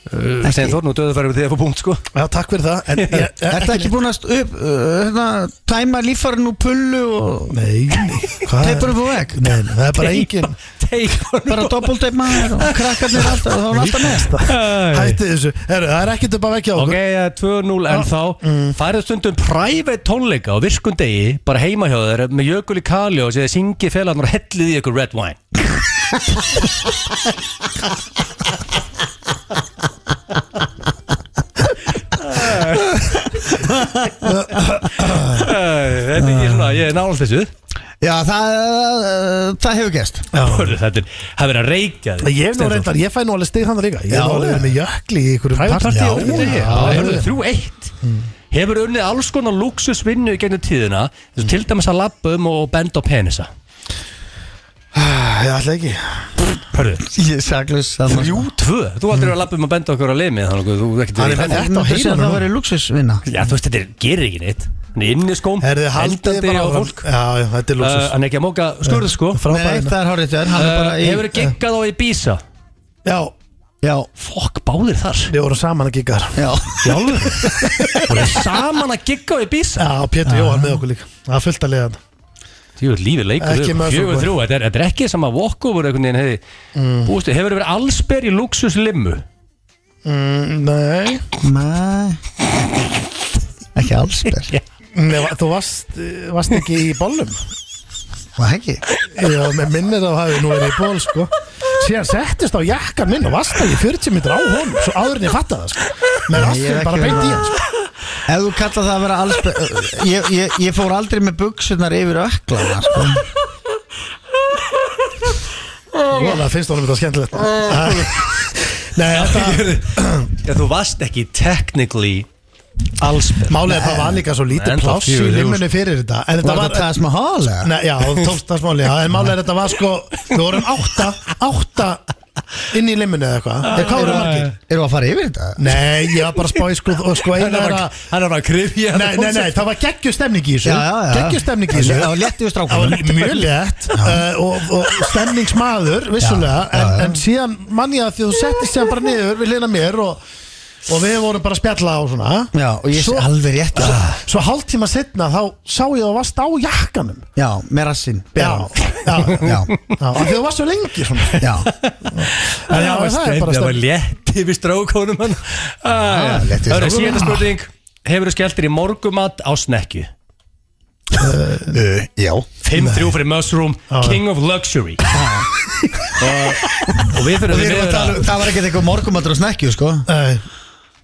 Speaker 1: Uh,
Speaker 3: Þegar þú er nú döðu fyrir því að fá punkt sko
Speaker 1: já, takk fyrir það en, ég,
Speaker 2: Er það ekki búin að st- upp, uh, hérna, tæma lífarinn úr pullu og
Speaker 1: Nei, nei, hvað
Speaker 2: Teipar upp á vegg?
Speaker 1: Nei, nei, það er bara engin
Speaker 3: Teik
Speaker 2: bara doppelteip maður og krakkarnir alltaf, þá er hann alltaf með
Speaker 1: Hætti þessu, Heru, það er ekkert upp að vekja
Speaker 3: Ok,
Speaker 1: okkur
Speaker 3: eh, 2-0
Speaker 1: Ah.
Speaker 3: en þá
Speaker 1: Mm.
Speaker 3: Færið stundum private tónleika á virkum degi bara heimahjóður með jökul í kalli og séð að syngi félagarnar og hellið í ykkur red wine Þetta er ekki svona, ég er náðast þessu
Speaker 2: Já, það, uh, það hefur gest
Speaker 3: Hörðu, Þetta er, það er verið að reykja
Speaker 1: Ég,
Speaker 3: þig,
Speaker 1: er nú
Speaker 3: Steinþór.
Speaker 1: reyndar, ég fæ nú alveg stig hann líka Ég
Speaker 3: Já,
Speaker 1: er nú alveg
Speaker 3: ja.
Speaker 1: með jökli í einhverjum
Speaker 3: Private
Speaker 1: partí.
Speaker 3: party á undir
Speaker 1: Já, Mm.
Speaker 3: þig
Speaker 1: já,
Speaker 3: Það er þrjú eitt Hefur unnið alls konar luxusvinnu í gegnum tíðina eins og til dæmis að labba um og benda á penisa
Speaker 2: Ég ætla ekki
Speaker 3: Hörðu,
Speaker 2: Ég er saklaus þarna,
Speaker 3: þrjú, tvö Þú aldrei verið að labba um og benda okkur á limi þannig að þú ekkert
Speaker 1: Hann er
Speaker 3: verið
Speaker 1: með
Speaker 3: þannig.
Speaker 1: þetta á
Speaker 2: Þetta sé að
Speaker 1: heilanum.
Speaker 2: það verið luxusvinna
Speaker 3: Já, þú veist, þetta er- gerir ekki neitt Hann er inn í skóm,
Speaker 1: Herðu, haldið
Speaker 3: eldandi
Speaker 1: bara
Speaker 3: á
Speaker 1: áfram.
Speaker 3: fólk
Speaker 1: Já, já, þetta er hérna.
Speaker 3: Uh,
Speaker 1: lúksus
Speaker 3: Hann er ekki að móka skurð, sko
Speaker 2: Nei,
Speaker 1: Frábæðina
Speaker 2: það er hárið þér Hann er
Speaker 3: Uh,
Speaker 2: bara í
Speaker 3: Hefur þið giggað á Ibiza
Speaker 1: Já,
Speaker 2: Já,
Speaker 3: Fokk, báðir þar
Speaker 1: við vorum saman að gigga þar
Speaker 2: já
Speaker 3: Jálfur Hún er saman að gigga á Ibiza
Speaker 1: Já, Pétur Jóhann með okkur líka Það er fullt að leiða þetta
Speaker 3: Jú, lífið leikur
Speaker 1: Ekki með
Speaker 3: Fjögur
Speaker 1: okkur.
Speaker 3: þrjú, þetta er, þetta er ekki sem að walkover einhvern veginn hefði mm. Bústu, hefur verið allsber í luxus limmu
Speaker 1: Mm, Nei,
Speaker 2: Nei Ekki alls ber
Speaker 1: Nei, va- þú varst, eh, varst ekki í bollum
Speaker 2: Var ekki
Speaker 1: Já, með minnir að hafi nú verið í ból sko Síðan settist á jakkan minn og varst það í 40 mitra á honum Svo áður en ég fatta það sko Með
Speaker 2: Nei, ég er
Speaker 1: rastin
Speaker 2: ekki
Speaker 1: bara beint í
Speaker 2: verið
Speaker 1: hann sko
Speaker 2: Ef þú kallar það að vera alls ber eh, ég, ég, ég fór aldrei með buksunar yfir öklana sko.
Speaker 1: Vona, finnst honum þetta skemmtilegt Nei, þetta
Speaker 3: Já, þú varst ekki technically allsber
Speaker 1: Málið er það var líka svo
Speaker 3: Nei,
Speaker 1: lítið
Speaker 3: ennþá
Speaker 1: pláss í
Speaker 3: fjögur,
Speaker 1: limmunni
Speaker 2: sko.
Speaker 1: fyrir þetta En þetta
Speaker 2: Var
Speaker 1: var
Speaker 2: það Tæs Mahal eða?
Speaker 1: Nei, já, þú tókst það smáli já, En málið er þetta var sko Við vorum átta, átta inn í limmunni eða eitthvað Eða Hvað voru margir?
Speaker 2: Erum við að fara yfir þetta?
Speaker 1: Nei, ég var bara að spá í sko og Sko
Speaker 3: Hann
Speaker 1: eina
Speaker 3: er
Speaker 1: er
Speaker 3: bara-
Speaker 1: að
Speaker 3: hann er bara að krifja
Speaker 1: Nei, nei, nei, það var geggjur stemning í þessu
Speaker 2: Já, já, já.
Speaker 1: Geggjur stemning í þessu
Speaker 2: Það var létt yfir
Speaker 1: Það
Speaker 2: strákunum
Speaker 1: var mjög létt uh, og, og stemningsmaður vissulega,
Speaker 2: Já, já, já.
Speaker 1: En, en síðan mann ég að því að þú settist síðan bara niður við hlina mér og, og við vorum bara að spjalla á svona
Speaker 2: Já, og ég sé
Speaker 1: svo, Ah.
Speaker 2: alveg Ah. rétt að
Speaker 1: svo hálftíma setna þá sá ég að þú varst á jakkanum
Speaker 2: Já, með rassinn
Speaker 1: Já, já, já,
Speaker 2: Já.
Speaker 1: já af Því þú varst svo lengi svona
Speaker 2: Já,
Speaker 1: En já, það er bara
Speaker 3: Það var
Speaker 1: stemning
Speaker 3: létt yfir strókónum hann
Speaker 2: Ah, létt
Speaker 3: Það
Speaker 2: yfir
Speaker 3: er
Speaker 2: strákunum.
Speaker 3: síðan spurning Hefur þú skellt þér í morgumat á snekju?
Speaker 1: Eh,
Speaker 2: uh, já
Speaker 3: 5-3 fyrir Mushroom, King of Luxury og, og við
Speaker 2: Og
Speaker 3: þurfum
Speaker 2: við erum að tala um, það var ekkert eitthvað morgumatur og snekkju sko
Speaker 1: Nei,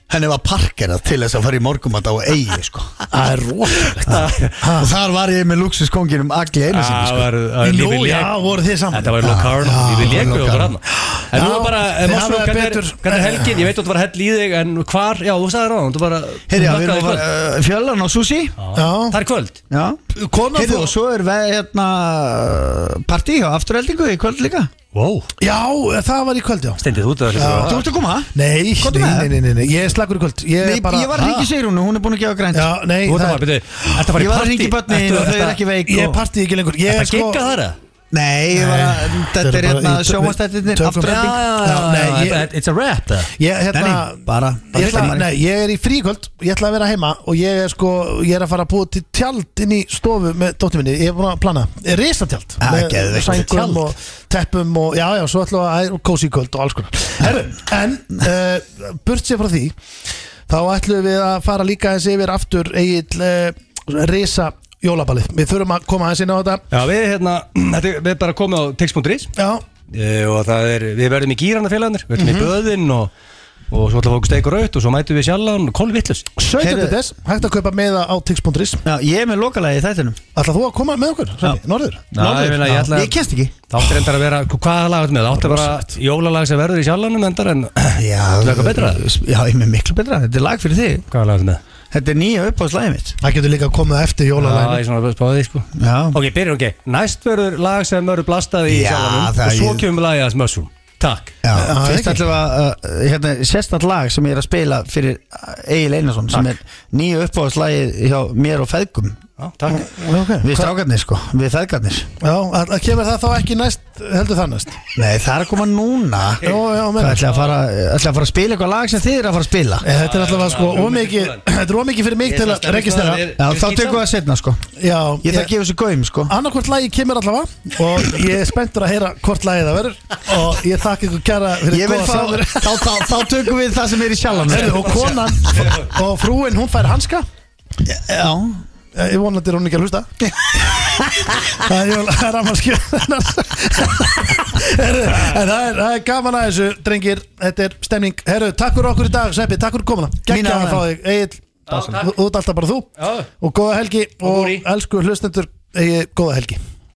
Speaker 2: Henni var parkerað til þess að fara í morgumat á eigi sko
Speaker 1: Ah,
Speaker 2: Ah,
Speaker 1: Það er rosalegt Ah,
Speaker 2: Og þar var ég með luxuskónginum allir einu sinni
Speaker 3: Það
Speaker 2: sko
Speaker 3: var
Speaker 1: Nú,
Speaker 3: lífið
Speaker 1: já,
Speaker 3: létt
Speaker 1: voru þið saman
Speaker 3: Þetta var Locarno,
Speaker 2: já,
Speaker 3: við
Speaker 2: það
Speaker 3: leikum
Speaker 2: var
Speaker 3: okkur hann
Speaker 2: Locarno.
Speaker 3: En nú
Speaker 1: Já,
Speaker 3: er bara,
Speaker 1: þið
Speaker 3: Másrum,
Speaker 1: hafa
Speaker 3: hvernig er,
Speaker 1: betur-
Speaker 3: hvernig er helgin? Ég veit að þú var hell í þig, en hvar, já, þú sagði ráðan, þú bara
Speaker 2: Herja, við
Speaker 3: hnakkaði
Speaker 2: erum að
Speaker 3: kvöld.
Speaker 2: fara uh, fjöllan á sushi
Speaker 1: Já.
Speaker 3: Það er kvöld
Speaker 2: Já
Speaker 1: Konan
Speaker 2: Herja,
Speaker 1: fór-
Speaker 2: og svo er veð, hérna, partí á afturheldingu í kvöld líka
Speaker 3: Wow
Speaker 1: Já, það var í kvöld, já
Speaker 3: Stendið út að það
Speaker 2: Þú ert að koma?
Speaker 1: Nei, nei,
Speaker 2: Komdu með.
Speaker 1: nei, nei, nei, ég er slagur í kvöld Ég,
Speaker 2: Nei,
Speaker 1: er bara,
Speaker 2: ég var að ringi Sigrúnu, hún er búin að gefa grænt
Speaker 1: Já, nei,
Speaker 3: Þú ert að
Speaker 1: það
Speaker 3: fara,
Speaker 1: er-
Speaker 3: byrju, ertu að fara í partí
Speaker 2: Ég var að hringja í börnin
Speaker 3: Ertu-
Speaker 2: og þau
Speaker 3: ertu-
Speaker 2: eru ekki veik
Speaker 1: Ég
Speaker 2: og-
Speaker 1: partí ekki lengur Ég
Speaker 3: Þetta
Speaker 1: er sko
Speaker 3: gigga þar að?
Speaker 2: Nei, ég var að, þetta er
Speaker 1: bara-
Speaker 2: hérna
Speaker 1: ég-
Speaker 2: sjómanstættirnir
Speaker 1: tökum-
Speaker 2: afturhelding
Speaker 1: Já, já, já,
Speaker 3: Nei,
Speaker 1: nei,
Speaker 3: þetta-
Speaker 1: ég-
Speaker 3: It's a rap eða?
Speaker 1: Ég, hérna,
Speaker 2: Nei, nei, bara- bara
Speaker 1: ég, ætla,
Speaker 2: slæmari.
Speaker 1: nei, ég er í fríkvöld, ég ætla að vera heima og ég er sko, ég er að fara að búa til tjald inn í stofu með dóttir minni, ég er búin að plana risatjald,
Speaker 2: Ah,
Speaker 1: með
Speaker 2: geðveikt. Tjald.
Speaker 1: sængum og teppum og já, já, svo ætla að kósi í kvöld og alls konar Heru,
Speaker 2: Ah.
Speaker 1: en, uh, burt sér frá því þá ætlum við að fara líka eins yfir aftur eigin uh, risa jólabalið, við þurfum að koma aðeins inn á þetta
Speaker 3: Já, við hérna, þetta er- við erum bara komið á text.is
Speaker 1: já,
Speaker 3: Eh, og það er, við verðum í gýrana félagarnir við verðum í böðinn og, og svo ætlum við okkur steik og raut og svo mætum við sjallan og kolvittlus
Speaker 1: 17.
Speaker 2: Heyrðu-
Speaker 1: des, hægt að kaupa meða á tix.is,
Speaker 2: Já, ég er með lokalagi í þættinum
Speaker 1: ætla þú að koma með okkur, Svenni, Norður?
Speaker 3: Ná, ég meina, ég ætla-
Speaker 2: Ég kennst ekki
Speaker 3: það átti reyndar að vera, hvaða lag ertu með? það átti bara jólalag sem verður í sjallanum endar en
Speaker 2: Já,
Speaker 3: Ætlaðu eitthvað betra?
Speaker 2: Já, ég er með miklu betra, þetta er lag fyrir þig
Speaker 3: hvaða lag ertu með?
Speaker 2: Þetta er nýja uppáðslæði mitt
Speaker 1: Það getur líka komið eftir
Speaker 3: Já,
Speaker 1: jólalæni
Speaker 3: ég svona spáði því sko
Speaker 2: Já,
Speaker 3: ok, byrjum ok, næst verður lag sem verður blastað í
Speaker 2: Já,
Speaker 3: sjallanum
Speaker 2: það-
Speaker 3: og svo kemur lagið að smössum Takk
Speaker 2: Já,
Speaker 1: Já, það
Speaker 2: fyrst
Speaker 1: er ekki.
Speaker 2: ætlum við að, uh, hérna, sérstætt lag sem ég er að spila fyrir Egil Einarsson sem er nýja uppáðslagið hjá mér og feðgum
Speaker 3: Takk
Speaker 2: Við strákarnir sko, við feðgarnir
Speaker 1: Já, að- að kemur það þá ekki næst heldur það næst
Speaker 2: Nei, það er að koma núna
Speaker 1: Já, já,
Speaker 2: Það
Speaker 1: meina
Speaker 2: ætla að fara, ætla að fara að spila eitthvað lag sem þið er að fara að spila
Speaker 1: Eh, Þetta er alltaf sko,
Speaker 3: Já, já,
Speaker 1: ómikið
Speaker 3: já.
Speaker 1: Þetta er ómikið fyrir mig til að registrera
Speaker 2: Já, þá tökum við það setna sko
Speaker 1: Já,
Speaker 2: Ég ætla að gefa þessu gaum sko
Speaker 1: annarkvort lagi kemur allavega og ég er spenntur að heyra hvort lagi það verður og ég þakka ykkur kæra fyrir
Speaker 2: Ég vil
Speaker 1: góða
Speaker 2: fá,
Speaker 1: samverð
Speaker 2: þá, þá, þá tökum við það sem er í sjalan
Speaker 1: Herðu, og konan og frúin, hún fær hanska
Speaker 2: Já,
Speaker 1: Eh, Ég vonandi er hún ekki að hlusta Það er jól, það er rammarskjör Herru, en það er, það er gaman að þessu, drengir Þetta er stemning Herru, takk fyrir okkur í dag, Sveppi, takk fyrir komuna Gekkja
Speaker 2: Mín
Speaker 1: að
Speaker 2: ánægja.
Speaker 1: fá þig, Egil
Speaker 3: takk.
Speaker 1: Þú þú ert alltaf bara þú
Speaker 3: Já.
Speaker 1: Og góða helgi og
Speaker 3: Búri.
Speaker 1: elsku hlustendur Egil, góða helgi